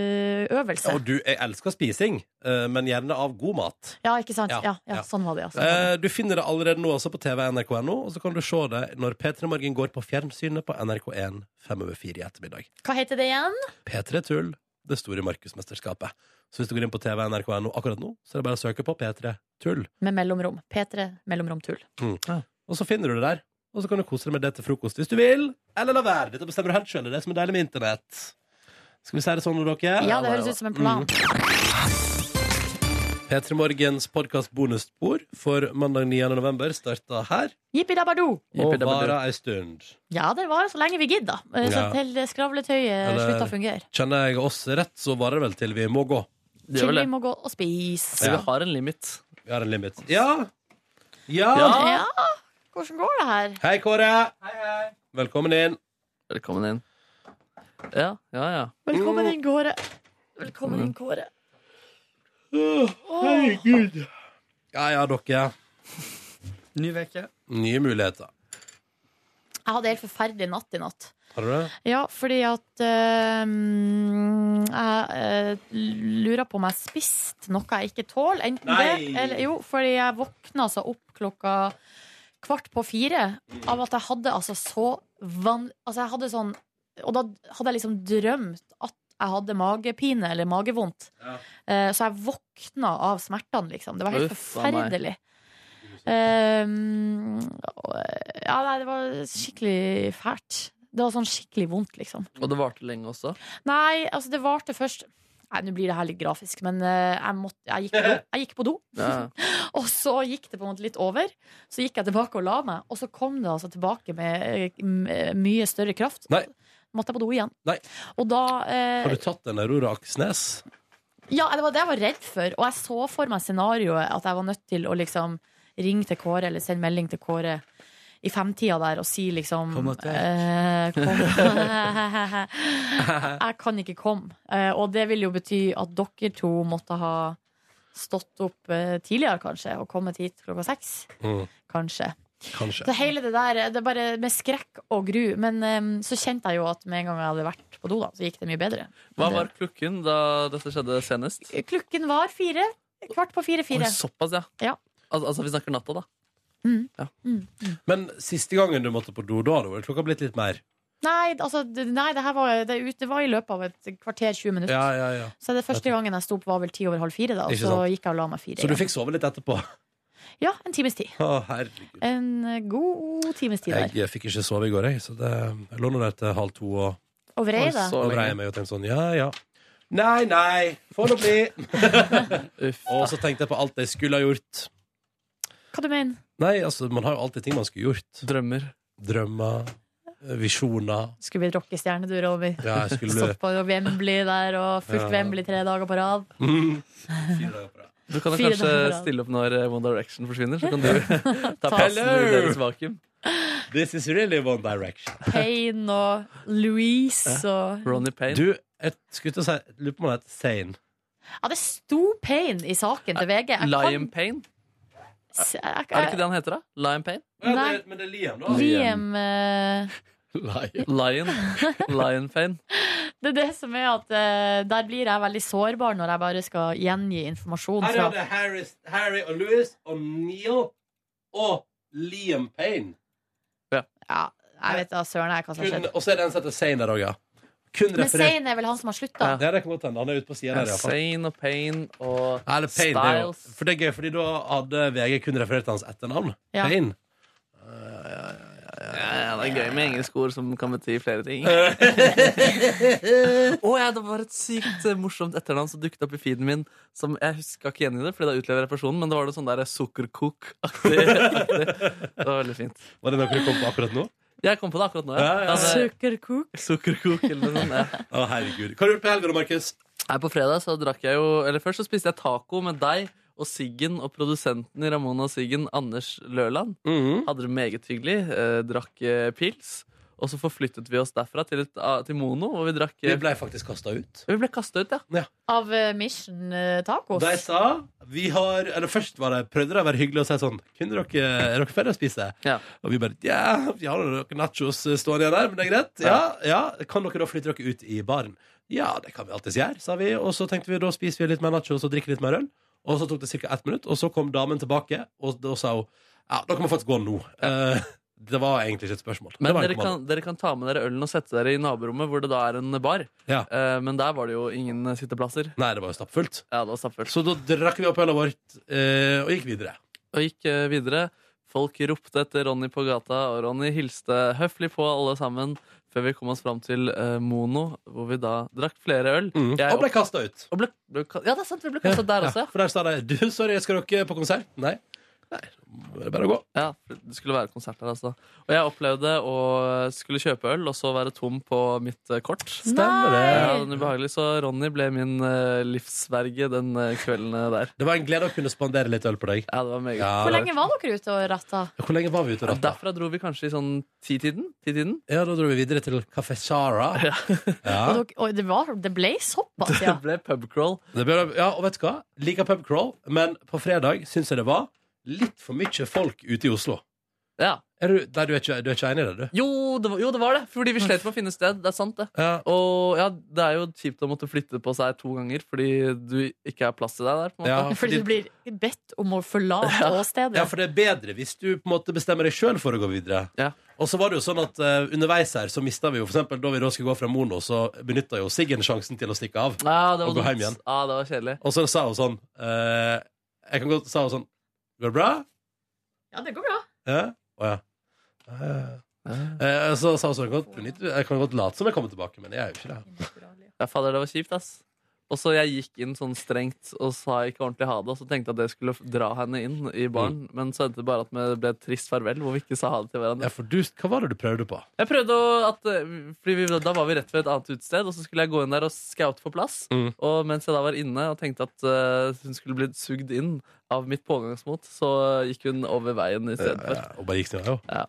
A: Og du, jeg elsker spising, eh, men gjerne av god mat.
B: ja, ikke sant?
A: Ja,
B: Ja, ja,
A: ja.
B: sånn var det, ja. Sånn var det.
A: Eh, Du finner det allerede nå også på TV nrk.no, og så kan du se det når P3 Morgen går på fjernsynet på NRK1 fem over fire i ettermiddag.
B: Hva heter det igjen?
A: P3 Tull, det store Markusmesterskapet. Så hvis du går inn på TV nrk.no akkurat nå, så er det bare å søke på P3 Tull. Mm.
B: Med mellomrom. P3 mellomrom tull.
A: Og så finner du det der. Og så kan du kose deg med det til frokost hvis du vil. Eller la være. Dette bestemmer du helt sjøl. Det er det som er deilig med internett. Skal vi si det sånn, dere?
B: Ja, det høres ut som en plan.
A: P3 Morgens podkast bonusspor for mandag 9. november starta her
B: Jippi dabbardu!
A: og
C: Jippi dabba du.
A: varer ei stund.
B: Ja, det var så lenge vi gidda. eh, Så
A: Ja.
B: til skravletøyet
A: Eller-
B: slutta å fungere.
A: Kjenner jeg oss rett, så varer det vel til vi må gå.
C: Det
B: Til
C: er vel
B: vi
C: det.
B: må gå og spise.
C: Men vi har en limit.
A: Vi har en limit. Ja! Ja!
C: Ja.
B: Ja, hvordan går det her?
A: Hei, Kåre! Hei, hei. Velkommen inn.
C: Velkommen inn. Ja, ja, ja.
B: Velkommen inn, Kåre. Velkommen inn, Kåre.
A: Herregud. Ja ja, dere.
G: Ny uke.
A: Nye muligheter.
B: Jeg hadde helt forferdelig natt i natt.
A: Har du det?
B: Ja, fordi at eh, mm, Jeg eh, lurer på om jeg spiste noe jeg ikke tåler. Enten
A: Nei.
B: det eller Jo, fordi jeg våkna altså opp klokka kvart på fire av at jeg hadde altså så van... Altså, jeg hadde sånn Og da hadde jeg liksom drømt at jeg hadde magepine eller magevondt.
A: Ja.
B: Eh, så jeg våkna av smertene, liksom. Det var helt
C: Uff, a meg.
B: forferdelig. Um, ja, nei, det var skikkelig fælt. Det var sånn skikkelig vondt, liksom.
C: Og det varte lenge også.
B: Nei, altså, det varte først Nei, nå blir det her litt grafisk, men eh, jeg, måtte, jeg, gikk på do. jeg gikk på do.
C: Ja.
B: Og så gikk det på en måte litt over. Så gikk jeg tilbake og la meg, og så kom det altså tilbake med eh, m- eh, mye større kraft.
A: Nei.
B: Måtte jeg på do igjen.
A: Nei.
B: Og da eh,
A: Har du tatt en Aurora Aksnes?
B: Ja, det var det jeg var redd for. Og jeg så for meg scenarioet at jeg var nødt til å liksom ringe til Kåre eller sende melding til Kåre i femtida der og si liksom
G: Kom at jeg-
B: eh, kom. Jeg kan ikke komme. Eh, og det vil jo bety at dere to måtte ha stått opp eh, tidligere, kanskje, og kommet hit klokka seks.
A: Mm,
B: Kanskje.
A: kanskje.
B: Så hele det der, det er bare med skrekk og gru. Men eh, så kjente jeg jo at med en gang jeg hadde vært på do, da, så gikk det mye bedre. eh,
C: Hva var klokken da dette skjedde senest?
B: Klokken var fire. Kvart på fire-fire.
C: Oi, såpass, ja.
B: Ja.
C: Al altså, vi snakker natta, da.
A: Men siste gangen du måtte på do, da hadde vel klokka blitt litt mer?
B: Nei, altså, det- nei det, her var, det, er ut- det var i løpet av et kvarter, 20 minutter.
A: Ja, ja, ja.
B: Så det første gangen jeg sto opp, var vel ti over halv fire. Da, og
A: Ikke
B: så
A: sant.
B: gikk jeg og la meg fire.
A: Så du
B: igjen.
A: fikk sove litt etterpå?
B: Ja, en times tid.
A: Å, herregud.
B: En eh, god times tid der.
A: Jeg eh, fikk ikke sove i går, jeg. Så det, jeg lå nå der til halv to og
B: Og vrei
C: Oi,
B: deg.
C: så
A: Og vrei
C: lenge.
A: meg og tenkte sånn, ja, ja Nei, nei, får det bli
C: Uff.
A: Og så tenkte jeg på alt jeg skulle ha gjort
B: Hva du mener
A: Nei, altså, man har jo alltid ting man skulle gjort
C: Drømmer.
A: Drømmer, eh, visjoner
B: Skulle blitt rockestjerne, du, Romy.
A: Ja, jeg skulle
B: Stått på Wembley der og fulgt
A: Ja.
B: Wembley tre dager på rad.
A: bli Mm. Fire dager på rad.
C: Du kan jo
B: Fire
C: kanskje
B: dager på rad.
C: stille opp når eh, One Direction forsvinner, så kan du ta plassen i
A: Hello!
C: deres vakuum.
A: This is really one direction
B: Payne og Louise og
C: Ronny Payne.
A: Du, jeg skulle til å si Lurer på om han heter Sane
B: Ja, det sto Payne i saken til VG. Jeg
C: Lion
B: kan
C: Payne.
B: S- jeg-
C: Er det ikke det han heter, da? Lion Pain?
A: Ja,
B: Nei.
A: det, men det er Liam, da.
B: Liam eh,
A: Liam.
C: Lion. Lion Pain.
B: Det er det som er at eh, der blir jeg veldig sårbar når jeg bare skal gjengi informasjon.
A: Her
B: Fra.
A: er det Harris, Harry og Louis og Neil og Liam Payne.
B: Ja, jeg vet da søren jeg hva som har
A: Kun,
B: skjedd.
A: og så er det en som heter Zain der òg, ja. Kun
B: Men
A: referert.
B: Zain er vel han som har slutta?
A: Ja, det kan godt hende. Han er ute på sida der, iallfall.
C: Sane og Pain og
A: Eller Payne, det er jo,
C: Styles.
A: for det er gøy, fordi da hadde VG kun referert til hans etternavn.
B: Ja.
A: Payne.
C: Ja, det er gøy med engelske ord som kan bety flere ting. Å ja, det var et sykt eh, morsomt etternavn som dukket opp i feeden min. Som Jeg huska ikke igjen i det, fordi da utleverer jeg personen, men det var noe sånn der sukkerkok-aktig. Det var veldig fint.
A: Var det noe du kom på akkurat nå?
C: Jeg kom på det akkurat nå.
A: Ja, ja, ja.
C: Altså,
B: Sukkerkok.
C: Sukkerkok eller noe sånt. Ja.
A: Å, herregud. Hva har du gjort på helga, da, Markus?
C: Her på fredag så drakk jeg jo Eller først så spiste jeg taco med deg og Siggen og produsenten i Ramona og Siggen, Anders Løland.
A: Mhm.
C: Hadde det meget hyggelig. Eh, drakk eh, pils. Og så forflyttet vi oss derfra til, et, a- til Mono, hvor vi drakk eh,
A: Vi ble faktisk kasta ut.
C: Vi ble kasta ut, ja.
B: Av eh, Mission eh, Tacos.
A: De sa vi har, eller Først var det, prøvde de å være hyggelige og si sånn Kunne dere, Er dere ferdig å spise?
C: Ja.
A: Og vi bare Ja, vi har noen nachos stående igjen her, men det er greit. Ja, ja, Kan dere da flytte dere ut i baren? Ja, det kan vi alltids gjøre, sa vi. Og så tenkte vi da spiser vi litt mer nachos og drikker litt mer øl. Og så tok det ca. ett minutt, og så kom damen tilbake, og da sa hun Ja, dere må faktisk gå nå. Eh, det var egentlig ikke et spørsmål. det
C: Men
A: var en
C: dere
A: kommando.
C: kan, dere kan ta med dere ølen og sette dere i naborommet, hvor det da er en bar.
A: Ja.
C: Eh, men der var det jo ingen eh, sitteplasser.
A: Nei, det var jo stappfullt.
C: Ja, det var stappfullt.
A: Så da drakk vi opp ølet vårt eh, og gikk videre.
C: Og gikk eh, videre. Folk ropte etter Ronny på gata, og Ronny hilste høflig på alle sammen før vi kom oss fram til eh, Mono, hvor vi da drakk flere øl. Mm. Jeg
A: Mm. Og ble kasta ut.
C: og ble, ble, ka- ja, det er sant, vi ble kasta der også,
A: Ja, for der sa de Du, sorry, skal dere på konsert? Nei. Nei, da er det bare å gå.
C: Ja, det skulle være konsert der altså Og jeg opplevde å skulle kjøpe øl Og så være tom på mitt eh, kort
B: Mm.
A: Stemmer det.
C: Ja, den er ubehagelig Så Ronny ble min eh, livsverge den eh, kvelden eh, der
A: Det var en glede å kunne spandere litt øl på deg.
C: Ja, det var meget
A: Ja,
B: Hvor lenge var dere ute og ratta?
A: Hvor lenge var vi ute og ratta?
C: Derfra dro vi kanskje i sånn ti-tiden Ti-tiden
A: Ja, da dro vi videre til Café Sara. Ja.
B: Og dere, og det, var, det ble såpass, ja.
C: Det ble pubcrawl
A: Det ble, ja, og vet du hva? Liker pub crawl, men på fredag syns jeg det var litt for mye folk ute i Oslo.
C: ja.
A: Er du, nei, du, er ikke, du er ikke enig i det, du?
C: jo, det var, jo, det var det Fordi vi slet med å finne sted Det er sant det
A: Ja.
C: Og ja, det er jo kjipt å måtte flytte på seg to ganger Fordi du ikke har plass til deg der på en måte.
A: Ja, fordi,
B: Fordi du blir bedt om å forlate åstedet.
A: ja, for det er bedre hvis du på en måte bestemmer deg sjøl for å gå videre.
C: Ja.
A: Og så var det jo sånn at eh, underveis her så mista vi jo for eksempel da vi da skulle gå fra Mono, så benytta jo Siggen sjansen til å stikke av.
C: Ja, det
A: Og
C: var,
A: gå hjem
C: dumt.
A: igjen.
C: Ja, det var kjedelig
A: Og så sa hun sånn eh, Jeg kan godt sa hun sånn Går det bra?
B: Ja, det går bra.
A: Ja? Å ja. Eh, eh, så sa hun sånn «Godt, benytt- Jeg kan godt late som jeg kommer tilbake, men jeg er jo ikke det.
C: Ja, fader, det var kjipt, ass. Og så jeg gikk inn sånn strengt og sa ikke ordentlig ha det, og så tenkte jeg at det skulle dra henne inn i baren, men så endte det bare at det ble et trist farvel, hvor vi ikke sa ha det til
A: Mm. Ja,
C: hverandre.
A: for du, hva var det du prøvde på?
C: Jeg prøvde å at, eh, fordi vi, Da var vi rett ved et annet utested, og så skulle jeg gå inn der og scoute for plass.
A: Mm.
C: Og mens jeg da var inne og tenkte at eh, hun skulle blitt sugd inn av mitt pågangsmot, så gikk hun over veien istedenfor.
A: Eh, og bare gikk sin vei. jo.
C: Ja,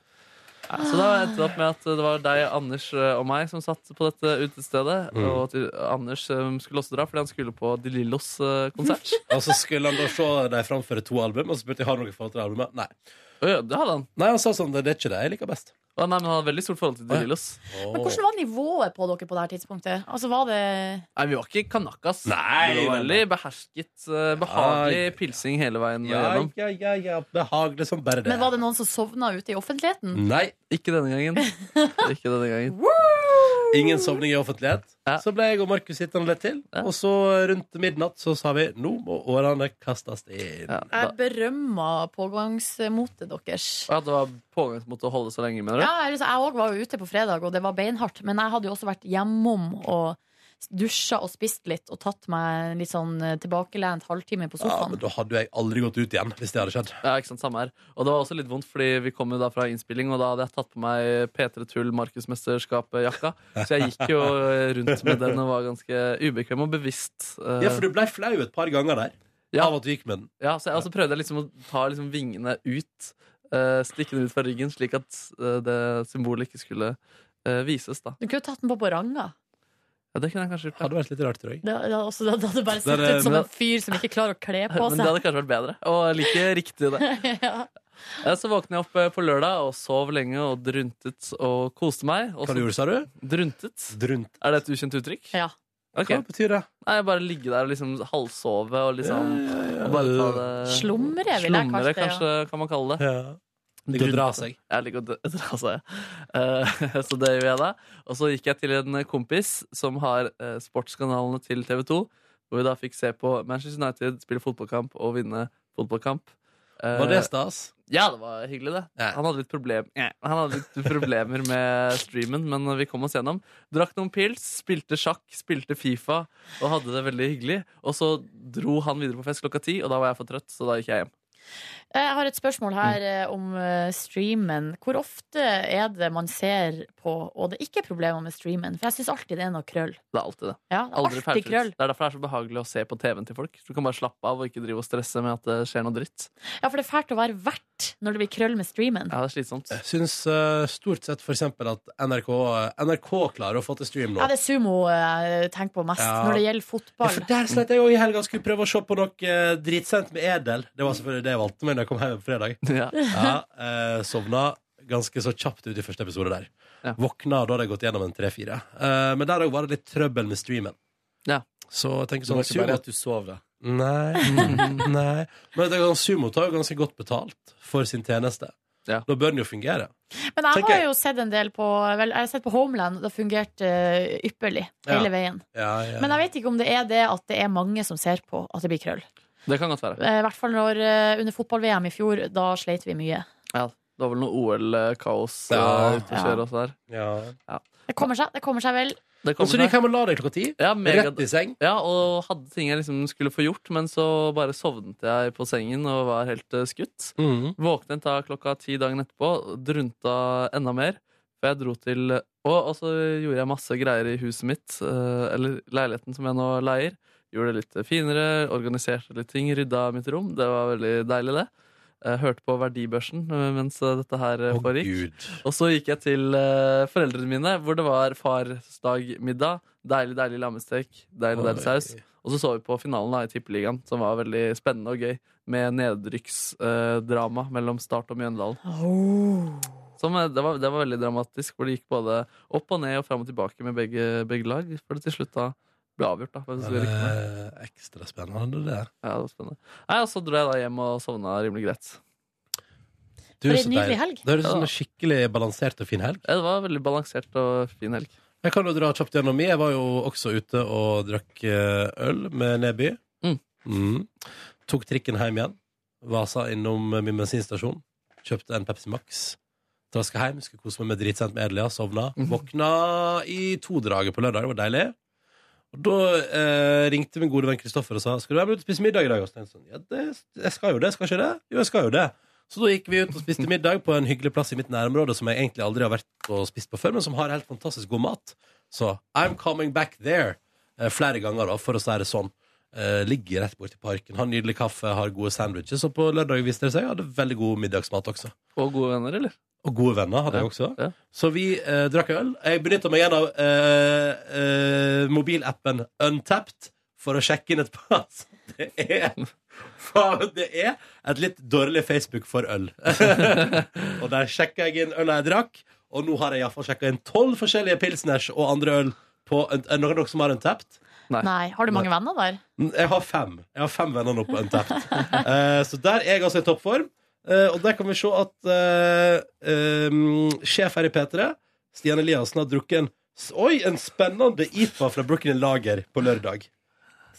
C: så da endte det opp med at det var deg, Anders eh, og meg som satt på dette utestedet. Og at eh, Anders eh, skulle også dra fordi han skulle på De Lillos eh, konsert.
A: Og så skulle han da se deg framføre to album, og så spurte jeg har du noe forhold til det albumet. Nei.
C: Å ja, det hadde han.
A: Nei, han sa sånn Det er ikke det jeg liker best.
C: Å, nei, men han hadde veldig stort forhold til
A: Å, ja.
C: De Lillos.
B: Men hvordan var nivået på dere på det her tidspunktet? Altså, var det
C: Nei, vi var ikke kanakas.
A: Nei,
C: det var
A: nei,
C: veldig behersket, eh, behagelig
A: Ja, ja.
C: pilsing hele veien
A: ja,
C: gjennom.
A: ja, ja, ja, behagelig
C: liksom.
A: som bare det.
B: Men var det noen som sovna ute i offentligheten?
A: Nei,
C: Ikke denne gangen. Ikke denne gangen.
A: ingen sovning i offentlighet.
C: Ja.
A: Så ble jeg og Markus sittende litt til,
C: Ja.
A: og så rundt midnatt så sa vi nå må årene kastes inn.
C: Ja, da,
B: Jeg berømma pågangsmotet deres.
C: ja, det var pågangsmot å holde så lenge, mener du?
B: Ja, jeg òg var jo ute på fredag, og det var beinhardt. Men jeg hadde jo også vært hjemom og dusja og spist litt og tatt meg en litt sånn eh, tilbakelent halvtime på
A: Ja, men
B: sofaen.
A: da hadde jo jeg aldri gått ut igjen hvis det hadde skjedd.
C: Ja, ikke sant, samme her Og det var også litt vondt, fordi vi kom jo da fra innspilling Og da hadde jeg tatt på meg P3 Tull Markusmesterskapet-jakka Så jeg gikk jo eh, rundt med den og var ganske ubekvem og bevisst eh,
A: Ja, for du blei flau et par ganger der
C: Ja.
A: av at du gikk med den.
C: ja, så jeg, og så prøvde jeg liksom å ta liksom vingene ut eh, Stikke den ut fra ryggen Slik at eh, det symbolet ikke skulle eh, vises da
B: Du kunne jo tatt den på på ranga.
C: Ja, det kunne jeg kanskje gjort. ja.
A: Hadde vært litt rart, tror jeg.
B: Det, det, altså, det, det hadde bare
A: Det er
B: sett
A: det-
B: ut som
A: men-
B: en fyr som ikke klarer å kle på
C: Men det
B: seg.
C: hadde kanskje vært bedre. Og like riktig, det.
B: ja.
C: Eh, Så våkna jeg opp eh, på lørdag og sov lenge og druntet og koste meg. Og
A: Hva du
C: så
A: gjorde sa du?
C: druntet.
A: Drunt.
C: Er det et ukjent uttrykk?
B: Ja.
C: Ok.
A: Hva betyr det?
C: Nei, bare ligge der og liksom halvsove og liksom og bare ta det
B: Slumre, vil jeg
C: Slumre,
B: kanskje.
C: Eh, kanskje, kan man kalle det.
A: Ja.
C: Det
A: Det
C: går-
A: drar seg.
C: Jeg liker å dø- dra, sa jeg. Eh, så det gjør jeg da. Og så gikk jeg til en kompis som har eh, sportskanalene til TV 2, hvor vi da fikk se på Manchester United spille fotballkamp og vinne fotballkamp. Eh,
A: Var det stas?
C: ja, det var hyggelig, det.
A: Ja.
C: Han hadde litt, problem, ja, han hadde litt problemer med streamen, men vi kom oss gjennom. Drakk noen pils, spilte sjakk, spilte Fifa og hadde det veldig hyggelig. Og så dro han videre på fest klokka ti, og da var jeg for trøtt, så da gikk jeg hjem.
B: Eh, Jeg har et spørsmål her eh, om eh, streamen. Hvor ofte er det man ser på, og det ikke er problemer med streamen? For jeg syns alltid det er noe krøll.
C: Det er alltid det.
B: Ja, det er
C: Aldri
B: alltid
C: feilfritt.
B: krøll.
C: Det er derfor det er så behagelig å se på TV-en til folk. Du kan bare slappe av og ikke drive og stresse med at det skjer noe dritt.
B: Ja, for det er fælt å være vert når det blir krøll med streamen.
C: Ja, det er slitsomt.
A: Jeg syns eh, stort sett for eksempel at NRK, eh, NRK klarer å få til stream nå.
B: Ja, det er sumo eh, jeg tenker på mest
A: Ja.
B: når det gjelder
A: Ja,
B: fotball.
A: for der slet jeg òg i helga. Skulle prøve å se på noe eh, dritsent med Edel. Det var selvfølgelig det jeg valgte meg da jeg kom hjem på fredag.
C: Ja.
A: Ja, eh, Sovna ganske så kjapt ut i første episode der.
C: Ja.
A: Våkna, og da hadde jeg gått gjennom en tre-fire. Eh, men der òg var det litt trøbbel med streamen.
C: Ja.
A: Så jeg tenker
H: Det
A: sånn
H: var ikke bare
A: sumo,
H: at du sov, da.
A: Nei. nei. Men jeg tenker sånn, sumo tar jo ganske godt betalt for sin tjeneste.
C: Ja.
A: Da bør den jo fungere.
B: Men jeg
A: tenker
B: har
A: jeg.
B: jo sett en del på vel, Jeg har sett på Homeland, det har fungert eh, ypperlig
A: Ja.
B: hele veien.
A: Ja, ja.
B: Men jeg vet ikke om det er det at det er mange som ser på at det blir krøll.
C: Det kan godt være.
B: Eh, I hvert fall når, eh, under fotball-VM i fjor. Da sleit vi mye.
C: Ja, det var vel noe OL-kaos
A: Ja.
C: eh, ute og kjøre også der.
A: ja.
B: Det kommer seg, det kommer seg vel.
C: Det
A: Og
C: kommer
A: så gikk
C: seg.
A: jeg hjem og la deg klokka ti.
C: ja, mega,
A: Rett i seng.
C: Ja, og hadde ting jeg liksom skulle få gjort, men så bare sovnet jeg på sengen og var helt eh, skutt.
A: Mm.
C: Våknet da klokka ti dagen etterpå, drunta enda mer. For jeg dro til og, og så gjorde jeg masse greier i huset mitt, eh, eller leiligheten som jeg nå leier. Gjorde det litt finere, organiserte litt ting, rydda mitt rom. Det var veldig deilig, det. Jeg hørte på Verdibørsen eh, mens eh, dette her eh,
A: Å,
C: foregikk.
A: Gud.
C: Og så gikk jeg til eh, foreldrene mine, hvor det var farsdagmiddag. Deilig, deilig lammestek. Deilig, deilig saus.
A: Oi.
C: Og så så vi på finalen da, i Tippeligaen, som var veldig spennende og gøy. Med nedrykksdrama eh, mellom Start og Mjøndalen.
A: Oh.
C: Som, eh, det, var, det var veldig dramatisk, hvor det gikk både opp og ned og fram og tilbake med begge, begge lag. Før det til slutt da ble avgjort. da. hvem som skulle rykke ned.
A: Eh, Ekstra spennende, det.
C: Ja, det var spennende. Nei, Og så dro jeg da hjem og sovna rimelig greit.
A: Du,
B: For en
A: så
B: nydelig
A: deilig.
B: helg.
A: Det høres ut som
C: Ja.
A: en skikkelig balansert og fin helg.
C: Ja, Det var veldig balansert og fin helg.
A: Jeg kan jo dra kjapt gjennom min. Jeg var jo også ute og drakk eh, øl med Neby.
C: Mm.
A: Mm. Tok trikken hjem igjen. Vasa innom eh, min bensinstasjon. Kjøpte en Pepsi Max. Traska hjem, skulle kose meg med dritsent med Edelia. Sovna.
C: Mhm.
A: Våkna i todraget på lørdag. Det var deilig. Og Da eh, ringte min gode venn Kristoffer og sa Skal du være med ut og spise middag i dag. Og så tenkte jeg sånn, ja, det, jeg skal jo det, skal ikke det? Jo, jeg skal jo det. Så da gikk vi ut og spiste middag på en hyggelig plass i mitt nærområde som jeg egentlig aldri har vært og spist på før, men som har helt fantastisk god mat. Så I'm coming back there eh, flere ganger, da, for å si det sånn. Eh, ligger rett borti parken, har nydelig kaffe, har gode sandwiches. Og på lørdag viste det seg jeg hadde veldig god middagsmat også.
C: Og gode venner, eller?
A: Og gode venner hadde jeg også.
C: ja.
A: Så vi eh, drakk øl. Jeg benytta meg igjen av eh, eh, mobilappen Untapped for å sjekke inn et pass. Det er Faen, det er et litt dårlig Facebook for øl. og der sjekka jeg inn øla jeg drakk, og nå har jeg iallfall sjekka inn tolv forskjellige pilsners og andre øl på Er det noen av dere som har Untapped?
B: Nei. Har du mange venner der?
A: Jeg har fem. Jeg har fem venner nå på Untapped. Eh, så der er jeg altså i toppform. Eh, og der kan vi se at eh, em, sjef her i P3, Stian Eliassen, har drukket en s- Oi, en spennende IPA fra Brooklyn Lager på lørdag.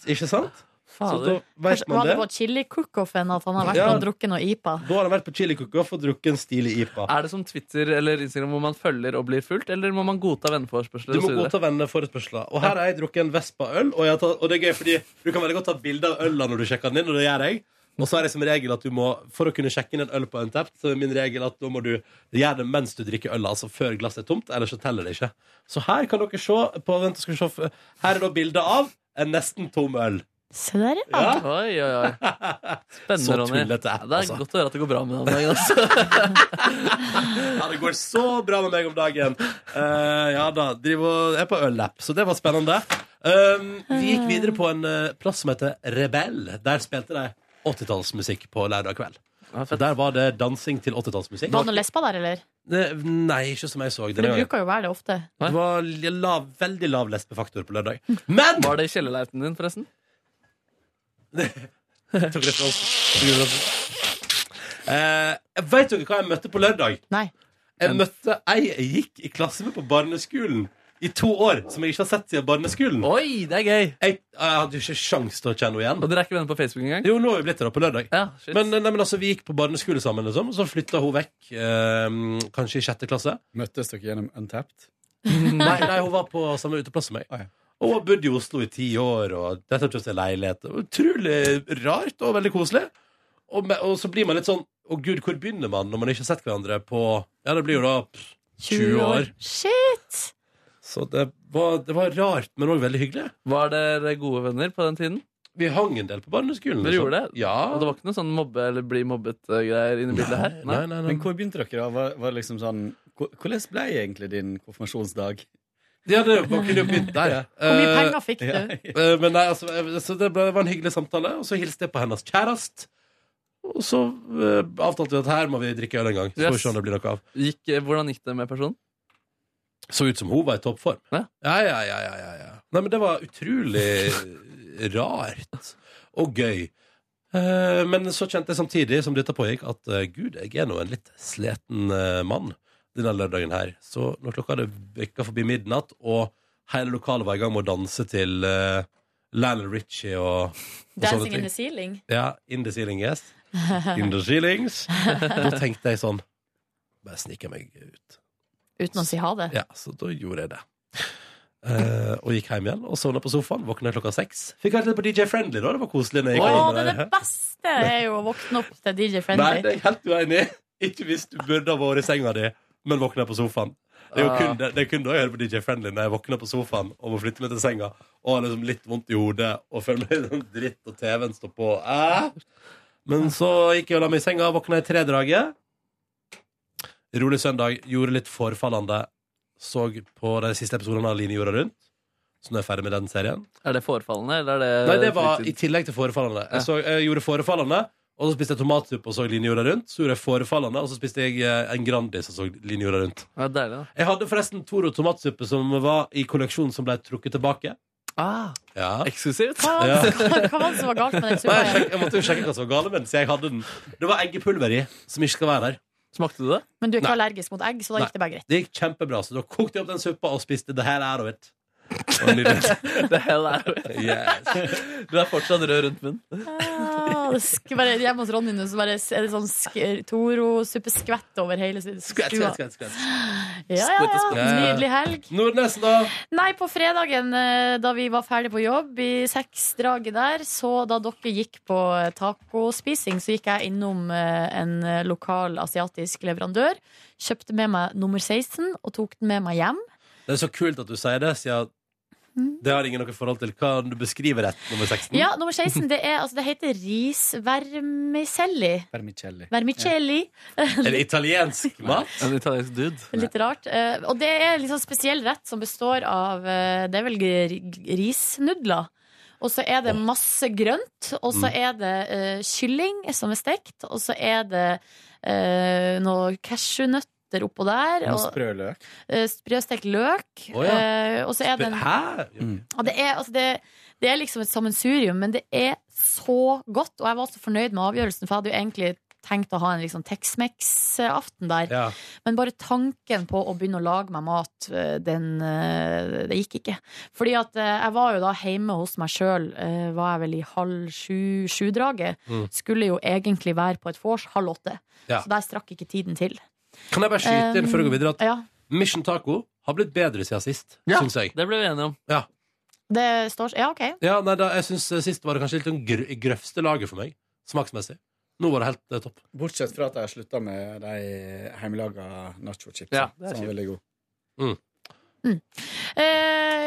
A: Ikke sant? Så da
C: Fader.
A: vet
B: var
A: man
B: det
A: det.
B: på chili cook-offen at han har vært
A: Ja.
B: og drukket noe IPA?
A: Da har han vært på Chili Cook-off og drukket en stilig IPA.
C: Er det som Twitter eller Instagram hvor man følger og blir fulgt, eller må man godta venneforespørsler?
A: Du må
C: og så videre?
A: godta venneforespørsler. Og her har jeg drukket en Vespa-øl. Og, jeg har tatt- og det er gøy, fordi du kan veldig godt ta bilde av øla når du sjekker den inn, og det gjør jeg. Og så er det som regel at du må, for å kunne sjekke inn en øl på Untapped, så er min regel at da må du gjøre det mens du drikker øl, altså før glasset er tomt, ellers så teller det ikke. Så her kan dere se på, vent, skal vi se, her er da bildet av en nesten tom øl.
B: Se der, ja.
A: Ja.
C: Oi, oi, oi.
A: Så
C: Spennende, Ronny.
A: tullete app,
C: Ja, Det
A: altså.
C: er godt å høre at det går bra med deg om dagen. Altså.
A: Ja, det går så bra med meg om dagen. Eh, ja da, driver og er på øllapp, så det var spennende. Um, vi gikk videre på en eh, plass som heter Rebell. Der spilte de 80-tallsmusikk på lørdag kveld.
C: Ja,
A: Så
C: fett.
A: der var det dansing til 80-tallsmusikk.
B: Var det noen lesber der, eller?
A: Ne- Nei, ikke som jeg så.
B: For det
A: Denne gangen.
B: bruker jo å være det ofte.
A: Det var li- lav, veldig lav lesbefaktor på lørdag. Men
C: Var det i kjellerleiten din, forresten?
A: Tok referansen. Tok referansen. Eh, jeg Vet dere hva jeg møtte på lørdag?
B: Nei.
A: Jeg møtte ei jeg gikk i klasse med på barneskolen i to år, som jeg ikke har sett siden barneskolen.
C: Oi, det er gøy!
A: Jeg, jeg hadde jo ikke sjans til å kjenne henne igjen.
C: Og dere er ikke venner på Facebook engang?
A: Jo, nå har vi blitt det da, på lørdag.
C: Ja, shit.
A: Men, nei, men altså, vi gikk på barneskole sammen, liksom, og så flytta hun vekk eh, kanskje i sjette klasse.
G: Møttes dere gjennom Untapped?
A: Nei, nei, hun var på samme uteplass som meg.
G: Ah, ja.
A: Og hun bodde i Oslo i ti år, og dette har kjøpt seg leilighet. Det var Utrolig rart og veldig koselig. Og, me- og så blir man litt sånn Å gud, hvor begynner man når man ikke har sett hverandre på Ja, det blir jo da pff, 20 år.
B: Shit!
A: Så det var, det var rart, men òg veldig hyggelig.
C: Var dere gode venner på den tiden?
A: Vi hang en del på barneskolen.
C: Dere
A: liksom.
C: gjorde det?
A: Ja.
C: Og det var ikke noe sånn mobbe eller bli mobbet-greier inne i bildet her?
A: Nei, nei, nei.
G: Men hvor begynte dere? da? Var, var det liksom sånn, hvor- hvordan ble egentlig din konfirmasjonsdag?
A: Ja, det man kunne jo begynt der.
B: Hvor mye
A: Eh,
B: penger fikk du?
A: Eh, Men nei, altså, eh, så det ble, var en hyggelig samtale, og så hilste jeg på hennes kjærest. Og så eh, avtalte vi at her må vi drikke øl en gang. Så får vi
C: Yes.
A: se om det blir noe av.
C: Gikk, eh, hvordan gikk det med personen?
A: Så ut som hun var i toppform.
C: Ja.
A: Ja, ja, ja, ja, ja, ja. Nei, men det var utrolig rart og gøy. Eh, Men så kjente jeg samtidig som dette pågikk, at eh, gud, jeg er nå en litt sliten eh, mann denne lørdagen her. Så når klokka hadde bikka forbi midnatt, og hele lokalet var i gang med å danse til eh, Lionel Richie og, og
B: Dancing in the ceiling?
A: Ja, in the ceiling, yes. In the ceilings. Da tenkte jeg sånn Bare sniker meg ut.
B: Uten å si ha det?
A: Ja, så da gjorde jeg det. Eh, og gikk hjem igjen og sovna på sofaen. Våkna klokka seks. Fikk vært litt på DJ Friendly, da. Det var koselig. når jeg
B: Å,
A: gikk inn
B: det er
A: der.
B: det beste! er jo å våkne opp til DJ
A: Nei,
B: Friendly.
A: det er jeg helt uenig i. Ikke hvis du burde ha vært i senga di, men våkna på sofaen. Det er jo kun det, det, er kun da jeg hører på DJ Friendly når jeg våkner på sofaen og må flytte meg til senga og har liksom litt vondt i hodet og føler meg sånn dritt, og TV-en står på. Eh? Men så gikk jeg og la meg i senga, våkna i tredraget. Rolig søndag, gjorde litt forfallende. Så på de siste episodene av Line jorda rundt. Så nå er jeg ferdig med den serien.
C: Er det forefallende, eller er det
A: Nei, det var i
C: Eh, fritid?
A: tillegg til forefallende.
C: Ja.
A: Jeg, så, jeg gjorde forefallende, og så spiste jeg tomatsuppe og så linjorda rundt. Så gjorde jeg forefallende, og så spiste jeg eh, en Grandis og så linjorda rundt.
C: ja, Deilig, da.
A: Jeg hadde forresten Toro tomatsuppe som var i kolleksjonen som ble trukket tilbake.
C: Ah,
A: Ja.
C: eksklusivt?
B: Hva,
A: Ja.
B: hva var det som var galt med
A: Nei,
B: den
A: jeg,
B: suppa?
A: sjek- jeg måtte jo sjekke hva som var gale med den, så jeg hadde den. Det var eggepulver i, som ikke skal være der.
C: Smakte du det?
B: Men du er ikke
A: Nei.
B: allergisk mot egg, så da gikk det bare greit.
A: Det gikk kjempebra, så da kokte jeg opp den suppa og spiste det her out of it. Det var nydelig.
C: The hell er det?
A: Yes.
C: Du er fortsatt rød rundt munnen.
B: Ah, det sk- bare Hjemme hos Ronny nå så bare er det sånn sk- Toro-suppeskvett over hele stua.
A: Skvett, skvett, skvett, skvett.
B: Ja, ja,
C: Skvett,
B: ja.
A: skvett.
B: Nydelig helg.
A: Nordnesen, da.
B: Nei, på fredagen eh, da vi var ferdig på jobb i seksdraget der, så da dere gikk på eh, tacospising, så gikk jeg innom eh, en eh, lokal asiatisk leverandør, kjøpte med meg nummer 16 og tok den med meg hjem.
A: Det er så kult at du sier det, siden det har ingen noe forhold til. Kan du beskrive rett nummer 16?
B: Mm. Ja, nummer 16, det, er, altså, det heter risvermicelli.
G: Vermicelli.
B: Vermicelli.
A: Er det italiensk mat?
C: En italiensk dude.
B: Litt rart. Eh, Og det er en litt sånn spesiell rett som består av eh, Det er vel gr- risnudler. Og så er det masse grønt, og
A: Mm.
B: så er det eh, kylling som er stekt, og så er det uh, noe cashewnøtter oppå der,
G: Noe
B: og
G: sprø løk.
B: eh, sprøstekt løk,
A: Å, ja.
B: eh, og så er det en
A: Hæ?
B: ja, det, er, altså det, det er liksom et sammensurium, men det er så godt. Og jeg var så fornøyd med avgjørelsen, for jeg hadde jo egentlig tenkt å ha en liksom Tex-Mex-aften der.
A: Ja.
B: Men bare tanken på å begynne å lage meg mat, eh, den eh, Det gikk ikke. Fordi at eh, jeg var jo da hjemme hos meg sjøl, var jeg vel i halv sju-sju-draget.
A: Mm.
B: Skulle jo egentlig være på et vors halv åtte.
A: Ja.
B: Så der strakk ikke tiden til.
A: Kan jeg bare skyte
B: Um,
A: inn før jeg går videre at
B: Ja,
A: Mission Taco har blitt bedre siden sist,
C: Ja.
A: syns jeg.
C: Det ble vi enige om.
B: det står Ja, OK.
A: Ja, nei, da, jeg synes eh, Sist var det kanskje litt sånn gr i grøvste laget for meg, smaksmessig. Nå var det helt eh, topp.
G: Bortsett fra at jeg har slutta med de hjemmelaga nachochipsene,
C: Ja, det er
G: som
C: kjipt.
G: er veldig gode.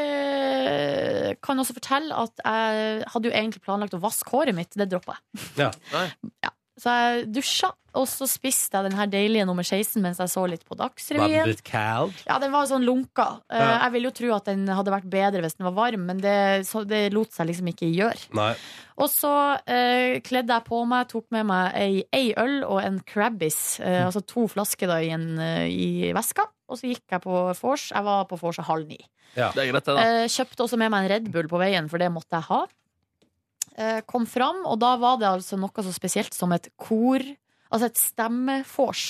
B: Eh, kan også fortelle at jeg hadde jo egentlig planlagt å vaske håret mitt. Det droppa jeg.
A: Ja.
C: Nei.
B: Ja. Så jeg dusja, og så spiste jeg den her deilige nummer 16 mens jeg så litt på
A: Var det
B: Dagsrevyen.
A: litt kaldt?
B: Ja, den var sånn lunka. Eh,
A: Ja.
B: Jeg ville jo tro at den hadde vært bedre hvis den var varm, men det, så det lot seg liksom ikke gjøre.
A: Nei.
B: Og så eh, kledde jeg på meg, tok med meg ei, ei øl og en Crabbis. Eh, altså to flasker da i, en, eh, i veska. Og så gikk jeg på vors. Jeg var på vors halv ni.
C: Det er greit, det, da.
B: Eh, kjøpte også med meg en Red Bull på veien, for det måtte jeg ha. Eh, kom fram, og da var det altså noe så spesielt som et kor, altså et stemmefors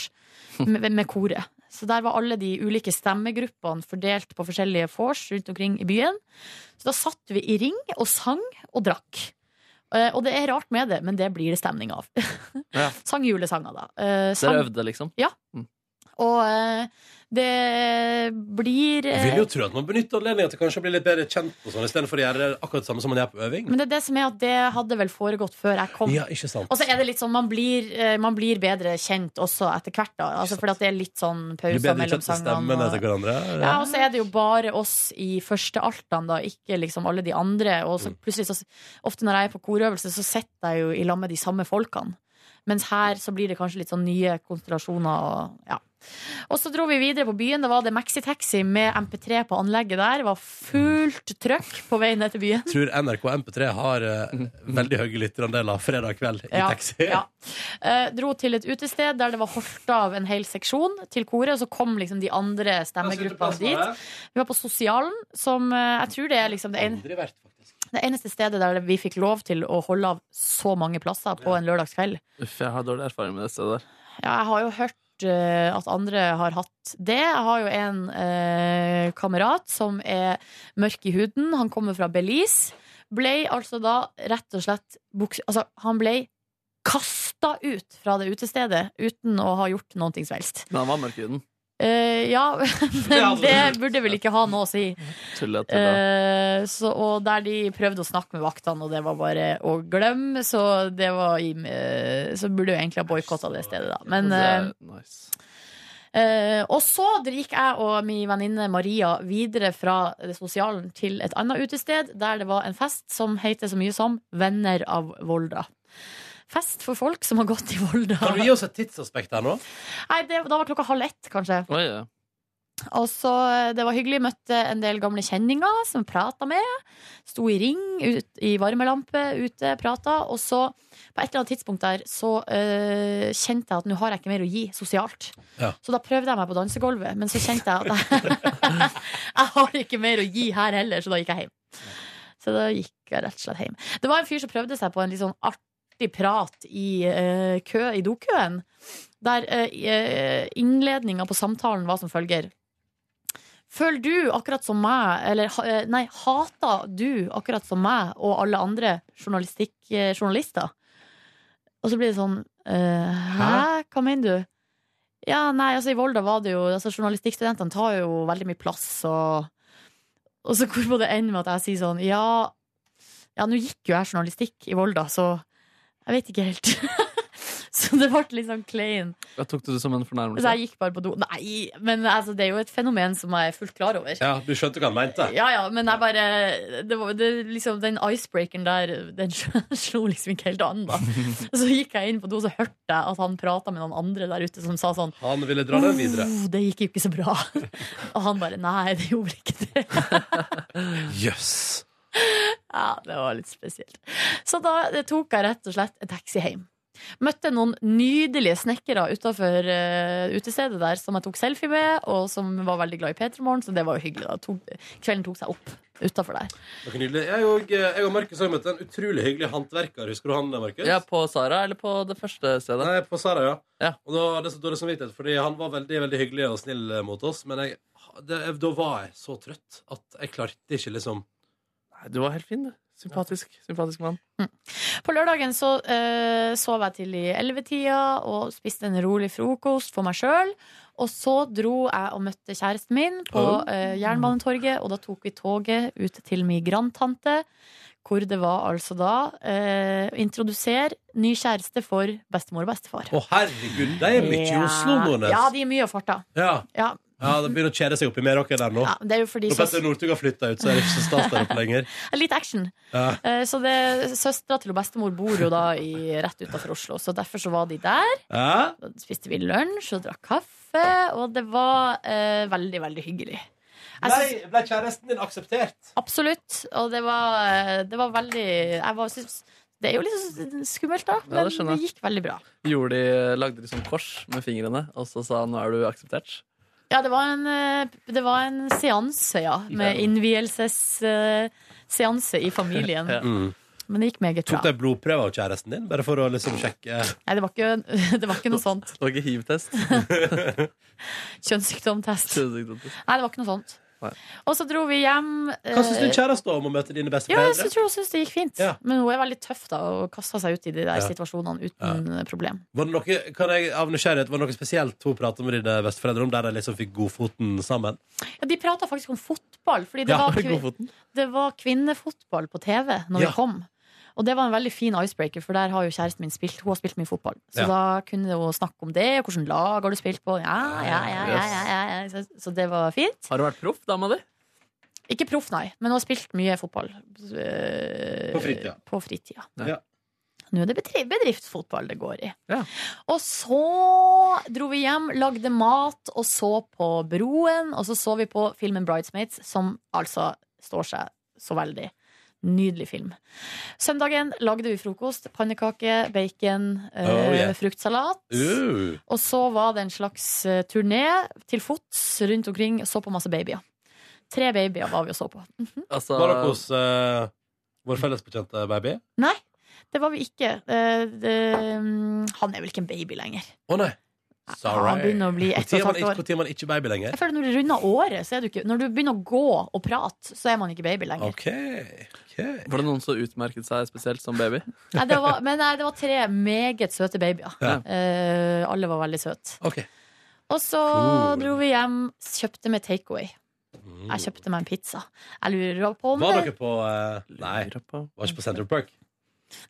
B: med, med koret. Så der var alle de ulike stemmegruppene fordelt på forskjellige vors rundt omkring i byen. Så da satt vi i ring og sang og drakk. Eh, og det er rart med det, men det blir det stemning av.
C: Ja.
B: sang julesanger, da. Eh, sang,
C: Dere øvde, liksom.
B: og eh, det blir eh,
A: Jeg vil jo tro at man benytter anledningen til kanskje å bli litt bedre kjent og sånn, istedenfor å gjøre det akkurat det samme som man gjør på øving.
B: Men det er det som er at det hadde vel foregått før jeg kom.
A: Ja, ikke sant.
B: Og så er det litt sånn, man blir, eh, man blir bedre kjent også etter hvert, da. Altså, fordi at det er litt sånn
A: Blir
B: pauser
A: bedre
B: mellom
A: kjent med
B: sangene.
A: stemmen etter
B: Og...
A: hverandre.
B: Ja, og så er det jo bare oss i førstealtene, da, ikke liksom alle de andre. Og
A: Mm.
B: så plutselig, så, ofte når jeg er på korøvelse, så sitter jeg jo i lag med de samme folkene. Mens her så blir det kanskje litt sånn nye konstellasjoner og ja. Og så dro vi videre på byen. Da var det maxitaxi med MP3 på anlegget der. Det var fullt trøkk på vei ned til byen.
A: tror NRK MP3 har eh, veldig høye lytterandeler fredag kveld i
B: Ja,
A: taxi.
B: Ja. Eh, dro til et utested der det var holdt av en hel seksjon til koret. Og så kom liksom de andre stemmegruppene dit. Vi var på Sosialen, som eh, jeg tror det er liksom det, en,
A: Aldri vært, faktisk.
B: det eneste stedet der vi fikk lov til å holde av så mange plasser på en lørdagskveld.
C: Uff, jeg har dårlig erfaring med det stedet der.
B: Ja, jeg har jo hørt eh, at andre har hatt det. Jeg har jo en eh, kamerat som er mørk i huden. Han kommer fra Belize. Blei altså da rett og slett buks... Altså, han blei kasta ut fra det utestedet uten å ha gjort noe som helst.
C: Men han var mørk i huden.
B: Eh, ja, men
C: altså.
B: det burde vel ikke ha noe å si.
C: Tullet, tullet.
B: Eh, så, og der de prøvde å snakke med vaktene, og det var bare å glemme, så det var i, eh, Så burde jo egentlig ha boikotta det stedet, da. Men
C: det
B: eh,
C: er nice.
B: Eh, og så gikk jeg og min venninne Maria videre fra det sosialen til et annet utested, der det var en fest som heter så mye som Venner av Volda. Fest for folk som har gått i Volda.
A: Kan du gi oss et tidsaspekt her nå?
B: Nei, det, Da var klokka halv ett, kanskje.
C: Oi, ja.
B: Og så eh, Det var hyggelig. Møtte en del gamle kjenninger som prata med. Sto i ring, ut, i varmelampe ute, prata. Og så, på et eller annet tidspunkt der, så eh, kjente jeg at nå har jeg ikke mer å gi sosialt.
A: Ja.
B: Så da prøvde jeg meg på dansegulvet, men så kjente jeg at jeg, jeg har ikke mer å gi her heller, så da gikk jeg hjem. Så da gikk jeg rett og slett hjem. Det var en fyr som prøvde seg på en litt sånn artig prat i eh, kø, i dokøen. Der uh, innledninga på samtalen var som følger. Føler du, akkurat som meg, eller ha- eh, nei, hater du, akkurat som meg og alle andre journalistikk, eh, journalister? Og så blir det sånn eh, Hæ? Hva mener du? Ja, nei, altså i Volda var det jo altså, Journalistikkstudentene tar jo veldig mye plass, og Og så hvorpå det ender med at jeg sier sånn Ja, ja nå gikk jo jeg journalistikk i Volda, så jeg vet ikke helt. så det ble litt sånn klein.
C: Jeg tok det som en
B: Så
C: fornærmelse.
B: jeg gikk bare på do. Nei, men altså, det er jo et fenomen som jeg er fullt klar over.
A: Ja, Du skjønte hva han mente?
B: Ja, ja, men jeg bare det var, det, liksom, Den icebreakeren der, den slo liksom ikke helt an, da. Så gikk jeg inn på do, så hørte jeg at han prata med noen andre der ute som sa sånn
A: Han ville dra den videre.
B: «Oh, det gikk jo ikke så bra. Og han bare Nei, det gjorde ikke det.
A: Jøss.
B: Ja, det var litt spesielt. Så da eh, tok jeg rett og slett en taxi hjem. Møtte noen nydelige snekkere utafor utestedet der som jeg tok selfie med, og som var veldig glad i P3 Morgen, så det var jo hyggelig. da tok, Kvelden tok seg opp utafor der.
A: Noe nydelig. Jeg og, eh, jeg og Markus har møtt en utrolig hyggelig håndverker. Husker du han, Markus?
C: Ja, på Sara, eller på det første stedet?
A: Nei, på Sara, ja.
C: Ja.
A: Og da hadde jeg så dårlig samvittighet, fordi han var veldig veldig hyggelig og snill eh, mot oss. Men jeg, det, da var jeg så trøtt at jeg klarte ikke liksom
C: Nei, du var helt fin, du. Sympatisk, sympatisk mann.
B: På lørdagen så eh, sov jeg til i ellevetida og spiste en rolig frokost for meg sjøl. Og så dro jeg og møtte kjæresten min på
A: Oh.
B: eh, Jernbanetorget, og da tok vi toget ut til min grandtante, hvor det var altså da eh, å introdusere ny kjæreste for bestemor og bestefar.
A: Å, herregud, de er mye i Oslo, Nordnes.
B: Ja, de er mye og farta.
A: Ja.
B: Ja.
A: Ja, det begynner å kjede seg oppi mer dere der nå.
B: Ja, det er jo fordi
A: Når
B: søs,
A: Petter Northug har flytta ut, så er det ikke så stas der oppe lenger.
B: Litt action.
A: Ja.
B: Eh, Så det, Søstera til bestemor bor jo da i, rett utafor Oslo, så derfor så var de der.
A: Ja.
B: Da spiste vi lunsj og drakk kaffe, og det var eh, veldig, veldig hyggelig. Jeg synes,
A: ble kjæresten din akseptert?
B: absolutt. Og det var, eh, det var veldig Jeg var, synes, Det er jo litt skummelt, da, men
C: det skjønner
B: det
C: jeg.
B: gikk veldig bra.
C: Gjorde de, lagde de sånn kors med fingrene og så sa nå er du akseptert?
B: Ja, det var en, eh, det var en seanse, ja. Med innvielsesseanse i familien.
C: Ja.
A: Mm.
B: Men det gikk meget
A: Tok
B: bra.
A: de blodprøve av kjæresten din, bare for å liksom sjekke
B: Nei, det var ikke, det var ikke noe sånt.
C: Det var ikke hiv-test.
B: Kjønnssykdomtest.
C: Kjønnssykdomtest.
B: Nei, det var ikke noe sånt.
C: Nei.
B: Og så dro vi hjem. eh,
A: Hva syns din kjæreste om å møte dine beste
B: ja, jeg
A: foreldre?
B: synes- tror hun syns det gikk fint.
A: Ja.
B: Men hun er veldig tøff da og kasta seg ut i de der
A: Ja.
B: situasjonene uten eh, problem.
A: Var det noe, kan jeg, av nysgjerrighet, var det noe spesielt hun pratet med dine besteforeldre om, der de liksom fikk godfoten sammen?
B: Ja, de prata faktisk om fotball, fordi det,
A: Ja,
B: var, kvi-
C: Godfoten.
B: det var kvinnefotball på TV når
A: Ja.
B: vi kom. Og det var en veldig fin icebreaker, for der har jo kjæresten min spilt. Hun har spilt mye fotball. Så
A: Ja.
B: da kunne hun snakke om det, og hvilket lag har du spilt på? Ja, ja, ja, ja, ja, ja, ja. Så- Så det var fint.
C: Har du vært proff, dama di?
B: Ikke proff, nei, men hun har spilt mye fotball. eh,
A: På fritida.
B: På fritida.
A: Ja.
B: Nå er det bedri- bedriftsfotball det går i.
C: Ja.
B: Og så dro vi hjem, lagde mat og så på Broen. Og så så vi på filmen Bridesmaids, som altså står seg så veldig. Nydelig film. Søndagen lagde vi frokost. Pannekake, bacon, eh,
A: Oh, yeah.
B: fruktsalat.
A: Uh,
B: Og så var det en slags eh, turné til fots rundt omkring. Så på masse babyer. Tre babyer var vi og så på.
C: Altså,
A: var dere hos eh, vår fellesbekjente baby?
B: Nei, det var vi ikke. Eh, det, mm, han er vel ikke en baby lenger.
A: Å nei. Sorry.
B: Han begynner å bli
A: Hvor
B: ett
A: tid
B: og
A: er
B: et
A: man
B: halvt
A: ikke-
B: år.
A: hvor tid er man ikke baby lenger?
B: Jeg føler Når du runder året, så er du ikke Når du begynner å gå og prate, så er man ikke baby lenger.
A: OK. ok.
C: Var det noen som utmerket seg spesielt som baby?
B: Nei, det var, men nei, det var tre meget søte babyer.
A: Ja.
B: Eh, alle var veldig søte.
A: Ok.
B: Og så
A: Cool.
B: dro vi hjem, kjøpte med takeaway.
A: Mm.
B: Jeg kjøpte meg en pizza. Jeg lurer på om
A: Var
B: det
A: dere på eh, Nei,
C: Lurer på.
A: var ikke på Central Park.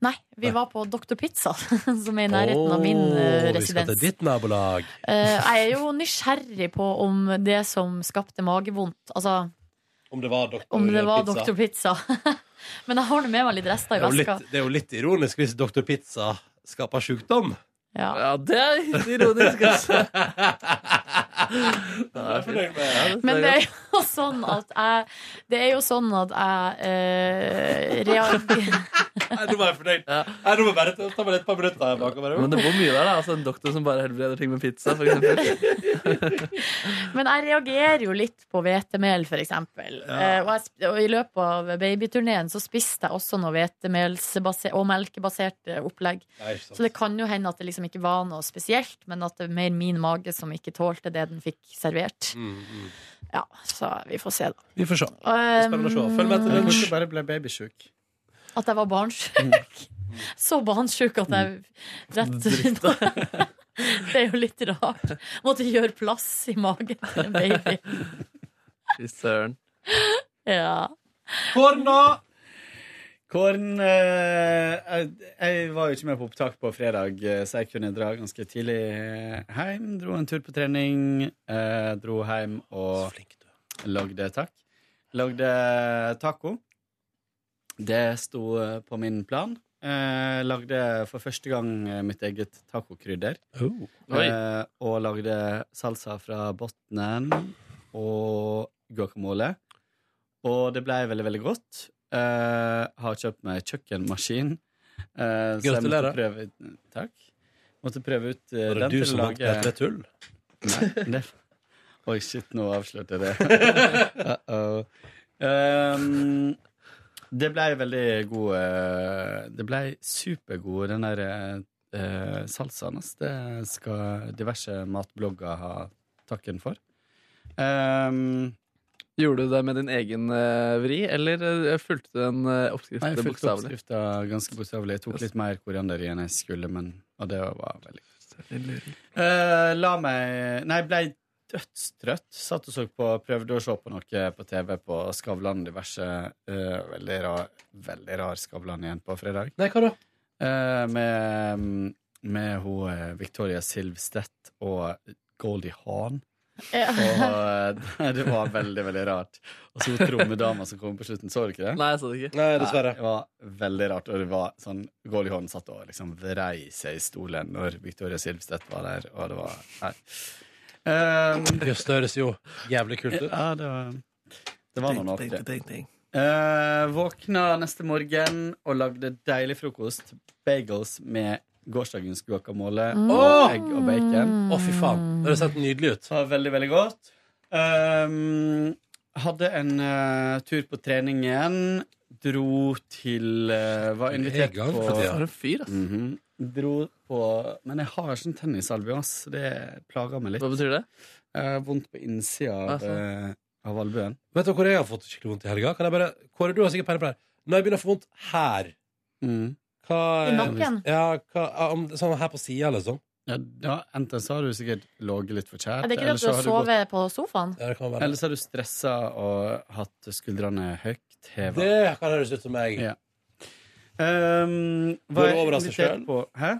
B: Nei, vi var på Dr. Pizza, som er i nærheten av min eh,
A: Å, Vi skal til
B: residens.
A: ditt nabolag.
B: Eh, jeg er jo nysgjerrig på om det som skapte magevondt Altså
A: Om det var Dr.
B: om det var
A: Pizza.
B: Dr. Pizza. Men jeg har det med meg litt rester
A: Det
B: i
A: er, jo
B: veska.
A: litt, det er jo litt ironisk hvis Dr. Pizza skaper sjukdom.
B: Ja.
C: Ja, det er ironisk, altså.
A: Det er jeg fornøyd med.
C: Ja, det
B: Men
C: er
B: det
C: godt.
B: er jo sånn at jeg Det er jo sånn at jeg eh, reagerer
A: Nei, Nå var jeg fornøyd.
C: Ja.
A: Nei, nå må jeg bare ta- ta meg et par minutter her bak. og bare-
C: Men det bor mye der, da. Altså, en doktor som bare helbreder ting med pizza, for eksempel.
B: Men jeg reagerer jo litt på hvetemel, for eksempel. Eh, og, jeg, sp- og i løpet av babyturneen så spiste jeg også noe hvetemelsbasert og melkebasert eh, opplegg.
A: Nei, ikke sant.
B: Så det kan jo hende at det liksom ikke var noe spesielt, men at det er mer min mage som ikke tålte det den fikk servert.
G: Mm,
B: Ja, så vi får se, da. Ehm,
A: Vi får se.
B: Spennende
A: å se. Følg med
B: Um,
A: til
G: Eller kanskje bare ble babysjuk.
B: At jeg var barnsjuk.
G: Mm.
B: Så barnsjuk at jeg rett Det er jo litt rart. Måtte gjøre plass i magen til en baby.
C: Fy søren.
B: Ja.
A: Korna!
G: Kåren eh, jeg, jeg var jo ikke med på opptak på fredag, eh, så jeg kunne dra ganske tidlig eh, hjem. Dro en tur på trening, eh, dro hjem og lagde takk. Lagde taco. Det sto eh, på min plan. Eh, lagde for første gang eh, mitt eget tacokrydder.
C: Oi.
G: Eh, og lagde salsa fra bunnen og guacamole. Og det ble veldig, veldig godt. Eh, har kjøpt meg kjøkkenmaskin. Eh, så jeg måtte
A: Gratulerer.
G: Prøve, takk. Måtte prøve ut eh,
A: Var det
G: den
A: du
G: til
A: som
G: å
A: vant
G: lage
A: med et tull?
G: Nei, det... Oi, shit, nå avslørte jeg det. Uh-oh. Um, det ble veldig god eh, Det ble supergod, den der eh, salsaen. ass. Det skal diverse matblogger ha takken for. Um,
C: Gjorde du det med din egen eh, vri, eller eh, fulgte du en eh, oppskrift
G: nei, jeg fulgte
C: bokstavelig?
G: oppskrifta ganske bokstavelig. Jeg tok litt mer koriander i enn jeg skulle, men, og det var veldig Eh, la meg Nei, blei dødstrøtt. Satt og så på Prøvde å se på noe på TV på Skavlan diverse. eh, veldig rar Veldig rar Skavlan igjen på fredag.
A: Nei, hva da?
G: Eh, med med hun eh, Victoria Silvstedt og Goldie Hawn. Og eh, det var veldig, veldig rart. Og så trommedama som kom på slutten, så du ikke det?
C: Nei, jeg så det ikke.
A: Nei, dessverre.
G: Det var veldig rart. Og det var sånn Goldihånd satt og liksom vrei seg i stolen når Victoria Silvstedt var der, og det var Nei. Um,
A: Jøss, det høres jo jævlig kult ut.
G: ja, det var Det var noen artige. Eh, våkna neste morgen og lagde deilig frokost. Bagels med gårsdagens guacamole og egg og bacon.
A: Å, fy faen. Det høres helt nydelig ut.
G: Det var veldig, veldig godt. Ehm, hadde en eh, tur på trening igjen. Dro til eh, Var invitert
A: i gang
G: på
A: for tida.
C: For en fyr, ass.
G: Mhm. Dro på Men jeg har sånn tennisalbue, ass. Det plager meg litt.
C: Hva betyr det?
G: Jeg har vondt på innsida
C: Ah,
G: av,
C: sånn.
G: eh, av albuen.
A: Vet du hvor jeg har fått skikkelig vondt i helga? Kan jeg bare, Kåre, du har sikkert peiling på det her. Når jeg begynner å få vondt her
G: Mm.
A: hva,
B: I nakken?
A: Ja, hva, om, sånn her på sida, eller sånn.
G: Ja, ja, enten så har du sikkert ligget litt for kjært,
B: Er det ikke
G: eller
B: det at du
G: så
B: har
G: har du gått
B: sovet på sofaen?
A: Ja, det kan være.
G: Eller så har du stressa og hatt skuldrene høyt heva.
A: Det kan høres ut som meg.
G: Ja. Um,
A: Går det over av seg selv? Ah.
G: På? Hæ?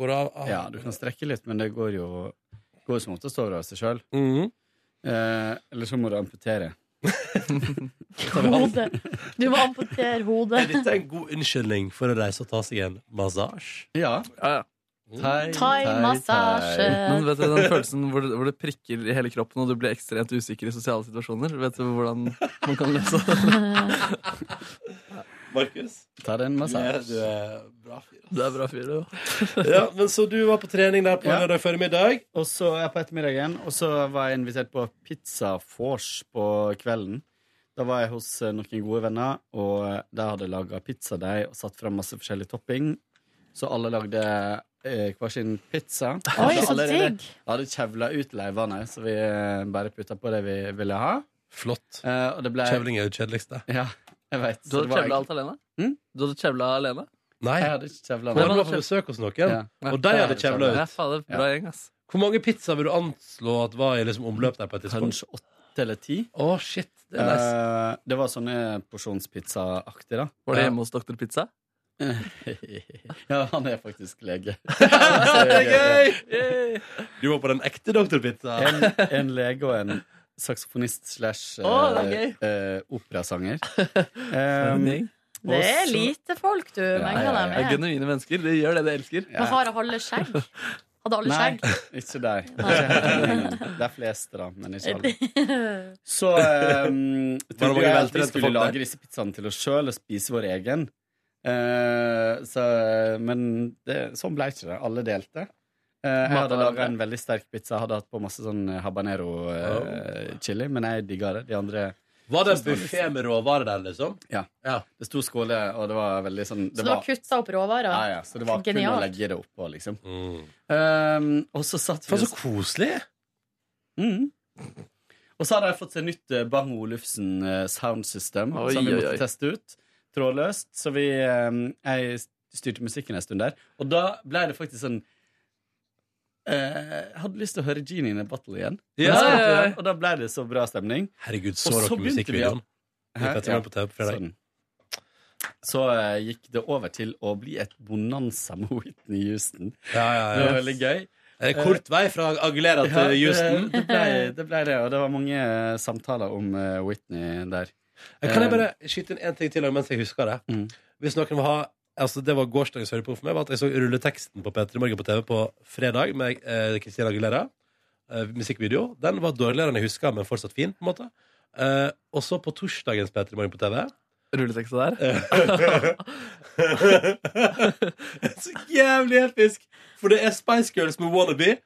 A: Går det av? av-
G: Ja, du kan strekke litt, men det går jo går som oftest over av seg sjøl.
A: Mhm.
G: Eh, eller så må du amputere.
B: Hodet. Du må amputere
A: Er
B: hodet.
A: dette en god unnskyldning for å reise og ta seg en massasje?
G: Ja.
A: Ah,
C: Ja, ja.
G: Thai,
B: Thai-massasje.
C: Men vet du den følelsen hvor det, hvor det prikker i hele kroppen, og du blir ekstremt usikker i sosiale situasjoner? Vet du hvordan man kan løse det?
A: Markus?
G: Ta deg en
A: Du
G: massasje.
A: er bra fyr.
C: Det er bra fyr, det òg.
A: Ja, men Så du var på trening der på
G: Ja.
A: lørdag formiddag?
G: Og så er jeg på ettermiddagen, og så var jeg invitert på pizza vors på kvelden. Da var jeg hos eh, noen gode venner, og de hadde laga pizzadeig og satt fram masse forskjellig topping. Så alle lagde eh, hver sin pizza.
B: Oi,
G: Hadde
B: så
G: allerede-
B: digg!
G: hadde kjevla ut leivene, så vi eh, bare putta på det vi ville ha.
A: Flott.
G: Eh, og det ble
A: Kjevling er jo det kjedeligste.
G: Ja, jeg vet.
C: Du
G: Så det
C: hadde
G: var
C: kjevla
G: egentlig-
C: alt alene?
G: Hm?
C: Du hadde kjevla alene?
A: Nei.
G: Jeg hadde ikke kjevla
A: Men du
C: Hvem
G: noe.
C: hadde
A: var på besøk hos noen,
G: Ja.
A: og de hadde kjevla
C: Ja,
A: ut.
C: faen, det er bra gjeng, ass.
A: Hvor mange pizzaer vil du anslå at var i liksom omløp der på et tidspunkt?
G: Kanskje åtte eller ti.
A: Å, shit. Det er nice.
G: Eh, det var sånne porsjonspizzaaktig, da.
C: Var
A: Ja.
C: det hjemme hos Dr. Pizza?
G: ja, han er faktisk lege.
A: det er gøy! Du var på den ekte Dr. Pizza.
G: En, en lege og en saksofonist slash eh,
C: Å, det
G: eh, operasanger.
C: Gjeng.
G: Um,
B: Det er lite folk du
G: ja,
B: menger
G: ja.
B: deg
C: Det er
B: med.
C: genuine mennesker. De gjør det de elsker.
B: Men har alle skjegg? Hadde alle
G: Nei,
B: skjegg?
G: ikke deg.
B: Nei.
G: Det er fleste, da, men ikke alle. Så um,
A: Var det
G: trodde
A: mange
G: jeg at vi
A: veltrente
G: skulle
A: folk der?
G: lage disse pizzaene til oss sjøl og spise vår egen. Eh, så, men det, sånn ble ikke det. Alle delte. Eh, jeg
C: Matet
G: hadde laga
C: hverandre.
G: en veldig sterk pizza. Hadde hatt på masse sånn
A: Oh.
G: habanero-chili, men jeg digga det. De andre
A: Var det en buffé med råvarer der, liksom?
G: Det sto skåle, og det var veldig sånn
B: Så
G: det
B: du har
G: var,
B: kutta opp
G: ja,
B: råvarer?
G: ja, Så det var kun å
B: Genialt.
G: legge det oppå, liksom.
A: Mm.
G: Um, og så satt vi
A: Faen, så koselig!
G: Mm. Og så har de fått seg nytt eh, Bang Olufsen eh, sound system,
C: Oi,
G: som vi
C: oi,
G: måtte
C: oi.
G: teste ut. Trådløst. Så vi eh, Jeg styrte musikken en stund der. Og da ble det faktisk sånn eh, Jeg hadde lyst til å høre Genie in a Bottle igjen. Men jeg
A: Ja,
C: ja,
G: spilte
C: ja.
G: den, Og da ble det så bra stemning.
A: Herregud,
G: Og
A: så
G: så
A: dere
G: begynte vi, ja.
A: musikkvideoen? Vi
G: Hæ?
A: fetter
G: Ja,
A: den på TV på fredag.
G: sånn. Så eh, gikk det over til å bli et bonanza med Whitney Houston.
A: Ja, ja,
G: Det var
A: ja.
G: veldig gøy.
A: Er det Eh, kort vei fra
C: eh,
A: Aguilera til
G: Ja,
A: Houston?
G: Det, det, ble, det ble det, og det var mange eh, samtaler om eh, Whitney der.
A: Eh, Kan jeg bare skyte inn en ting til mens jeg husker det?
G: Mm.
A: Hvis noen vil ha Altså, Det var gårsdagens høydepunkt for meg. var at Jeg så rulleteksten på P3 Morgen på TV på fredag med eh, Christina Aguilera. Eh, musikkvideo. Den var dårligere enn jeg husker, men fortsatt fin. på en måte eh, Og så på torsdagens P3 Morgen på TV
C: Rulleteksta der.
A: Så jævlig episk! For det er Spice Girls med Wannabe.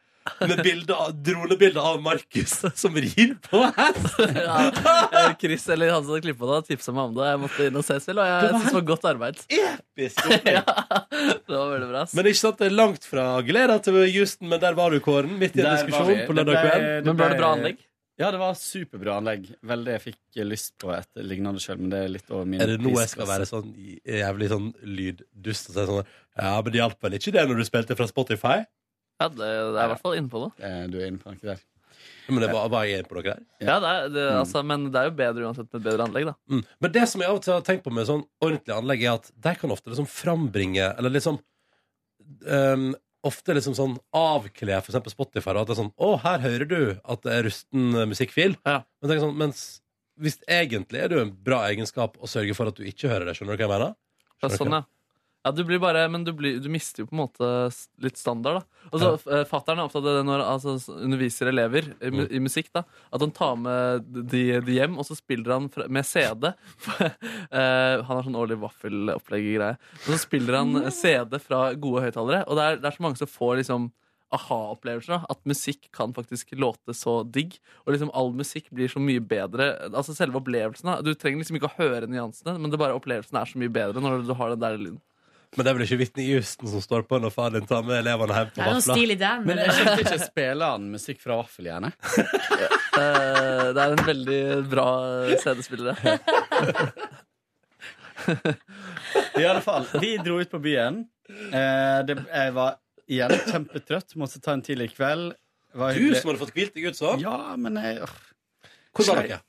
A: Med bilde av- dronebilde av Markus som rir på hest.
C: Eh, Chris eller han som hadde klippet det, tipsa meg om det. Jeg måtte inn og se selv, og jeg synes det var godt arbeid.
A: Episk opplegg.
C: Det var veldig bra. ass.
A: Men det er ikke sant, det er langt fra Aguilera til Houston, men der var du, Kåren. Midt i en diskusjon på lørdag kveld.
C: Men ble det bra anlegg?
G: Ja, det var superbra anlegg. Veldig jeg fikk eh, lyst på et lignende sjøl, men det er litt over min
A: Er det nå jeg
G: prisklasse.
A: skal være sånn jævlig sånn lyddust og si sånn Ja, men det hjalp vel ikke det når du spilte fra Spotify?
C: Ja, det, det er i hvert fall innpå noe.
G: Eh, Du er inne på noe der.
A: Men det var, var jeg inne på dere der?
C: Ja, det er, det, altså, men det er jo bedre uansett med et bedre anlegg, da.
A: Mm. Men det som jeg av og til har tenkt på med sånn ordentlig anlegg, er at de kan ofte liksom frambringe Eller liksom um, ofte liksom sånn avkle for eksempel Spotify, og at det er sånn Å, her hører du at det er rusten eh, musikkfil.
C: Ja.
A: Men tenk sånn, mens hvis egentlig er det jo en bra egenskap å sørge for at du ikke hører det. Skjønner du hva jeg mener?
C: Ja, sånn, ja. Ja, du blir bare, men du, blir, du mister jo på en måte s- litt standard, da. Altså, ja. Fattern er opptatt av det når han altså, s- underviser elever i, mu- i musikk, da. At han tar med de, de hjem, og så spiller han fra, med CD. Eh, han har sånn årlig vaffelopplegg-greie. Og så spiller han CD fra gode høyttalere, og det er, det er så mange som får liksom aha-opplevelser. da, At musikk kan faktisk låte så digg. Og liksom all musikk blir så mye bedre. Altså selve opplevelsen da, Du trenger liksom ikke å høre nyansene, men det bare opplevelsen er så mye bedre når du har den der lyden.
A: Men det er vel ikke Whitney Houston som står på når far din tar med elevene hjem
B: Det
A: på
B: er noe
A: vafler?
B: stil i den.
G: Men eh, jeg
B: eller?
G: skjønte ikke spiller han musikk fra vaffeljernet.
C: Eh, det er en veldig bra eh, CD-spillere.
G: I alle fall, vi dro ut på byen. Eh, det, jeg var igjen kjempetrøtt, måtte ta en tidlig kveld. Det var
A: Du
G: hyggelig.
A: som hadde fått hvilt deg ut sånn?
G: Ja, men jeg, åh,
A: Hvordan var dere?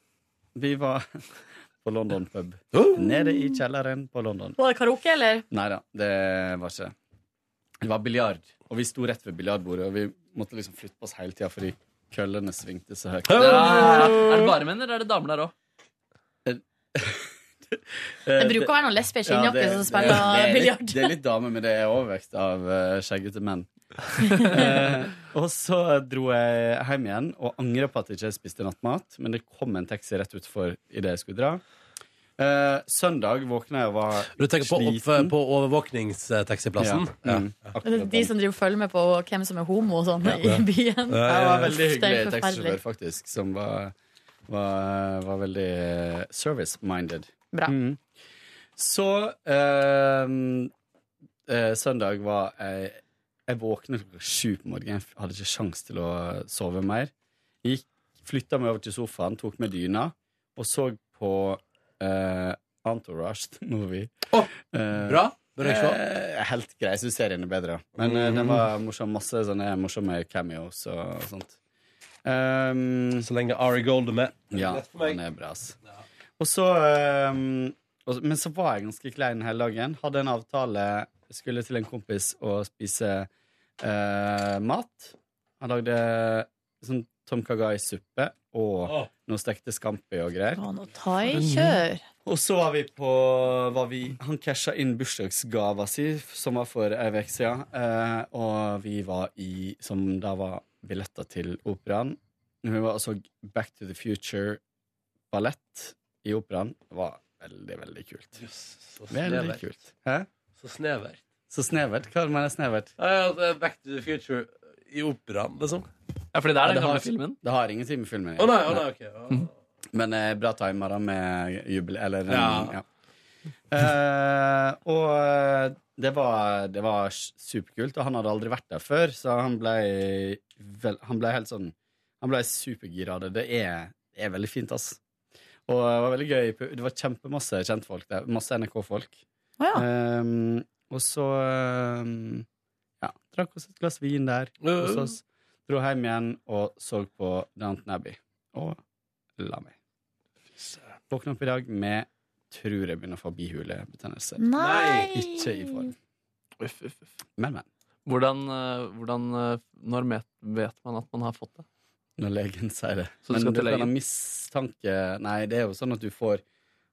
G: vi var på London pub.
A: Oh.
G: Nede i kjelleren på London.
B: Var det karaoke, eller?
G: Nei da, det var ikke det. Det var biljard, og vi sto rett ved biljardbordet, og vi måtte liksom flytte på oss hele tida fordi køllene svingte så høyt.
C: Ja, er det bare menn, eller er det damer der òg?
B: Det bruker å være noen lesber i
G: Ja,
B: skinnjakke
G: det-
B: som
G: det- det
B: spiller
G: er litt-
B: biljard.
G: Det er litt dame, men det er overvekt av eh, skjeggete menn. Eh, og så dro jeg hjem igjen og angra på at jeg ikke spiste nattmat, men det kom en taxi rett utfor idet jeg skulle dra. Eh, søndag våkna jeg og var
A: Du tenker på, opp,
G: Sliten.
A: på overvåkningstaxiplassen? Ja.
G: Mm, akkurat
B: De
G: den.
B: som driver og følger med på hvem som er homo og sånn i byen.
G: Jeg var
B: Uff,
G: veldig
B: det er
G: hyggelig
B: forferdelig.
G: taxisjåfør, faktisk, som var, var, var veldig eh, service-minded.
B: Bra.
G: Mm. Så eh, eh, søndag var jeg Jeg våknet klokka sju på morgenen. Jeg hadde ikke sjans til å sove mer. Gikk, flytta meg over til sofaen, tok med dyna og så på eh, Entourage the movie.
A: Å,
G: Eh,
A: Bra? Bør jeg se?
G: Eh, helt grei. Jeg syns serien er bedre. da. Men eh, den var morsom. Masse sånne morsomme cameos og sånt. Ehm,
A: Så lenge Ari Gold er med.
G: ja,
A: Lett for meg.
G: han er bra, ass. Og så ehm, og, Men så var jeg ganske klein hele dagen. Hadde en avtale. Skulle til en kompis og spise eh, mat. Han lagde sånn Tom Kagai-suppe og
A: Å.
G: noe stekte scampi og greier.
B: Å, nå thaikjør.
G: Og så var vi på var vi, Han casha inn bursdagsgava si, som var for ei uke siden. Eh, og vi var i Som da var billetter til operaen. Vi var og så Back to the Future-ballett i operaen. Det var veldig, veldig kult.
A: Så
G: Veldig
A: snevert.
G: kult. Hæ?
A: Så snevert.
G: Så snevert. Hva mener jeg snevert?
A: Ja, ja, Back to the future i operaen, liksom.
C: Ja, fordi det
G: Ja,
C: er den
G: det har-
C: gamle filmen.
G: Det har ingenting med filmen
A: Å nei, å nei, ok. Ja.
G: Men eh, bra timer da med jubel Eller
A: Ja.
G: ja. Eh, og eh, det var, det var s- superkult, og han hadde aldri vært der før, så han ble, vel, han ble helt sånn Han ble supergira av det. Det er, det er veldig fint, ass. Og det var veldig gøy. Det var kjempemasse kjentfolk der. Masse NRK-folk.
B: Å ja.
G: Ehm, og så ehm, ja, drakk oss et glass vin der
C: Mm.
G: hos oss. Dro hjem igjen og så på Downton Abbey. Og la meg. Våkna opp i dag med tror jeg begynner å få bihulebetennelse.
B: Nei!
G: Ikke i form.
C: Uff, uff, uff.
G: Men, men.
C: Hvordan, eh, hvordan eh, Når met- vet man at man har fått det?
G: Når legen sier det.
C: Så du
G: men
C: skal til
G: du kan ha
C: legen?
G: mistanke Nei, det er jo sånn at du får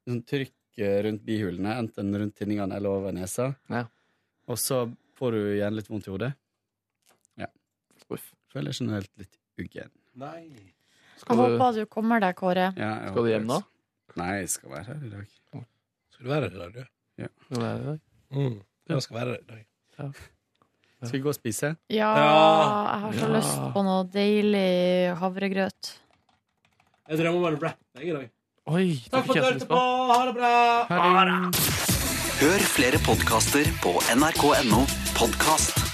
G: sånn trykk eh, rundt bihulene, enten rundt tinningene eller over nesa.
C: Ja.
G: Og så får du igjen litt vondt i hodet.
C: Uff.
G: Føler jeg generelt litt uggen.
A: Nei.
B: Jeg
C: Skal du,
B: håper du kommer deg, Kåre.
G: Ja, jeg
C: skal du
G: håper
C: hjem
G: det.
C: nå?
G: Nei, jeg skal være her i dag.
A: Skal du være her i dag, du?
C: Skal du være i dag?
A: Mm. Jeg skal være her i dag.
G: Skal vi gå og spise?
B: Ja,
A: Ja.
B: jeg har så
C: Ja.
B: lyst på noe deilig havregrøt.
A: Jeg drømmer om en rap jeg, i dag.
C: Oi, det fikk jeg så lyst på.
A: Ha det bra!
H: Hør flere podkaster på nrk.no podkast.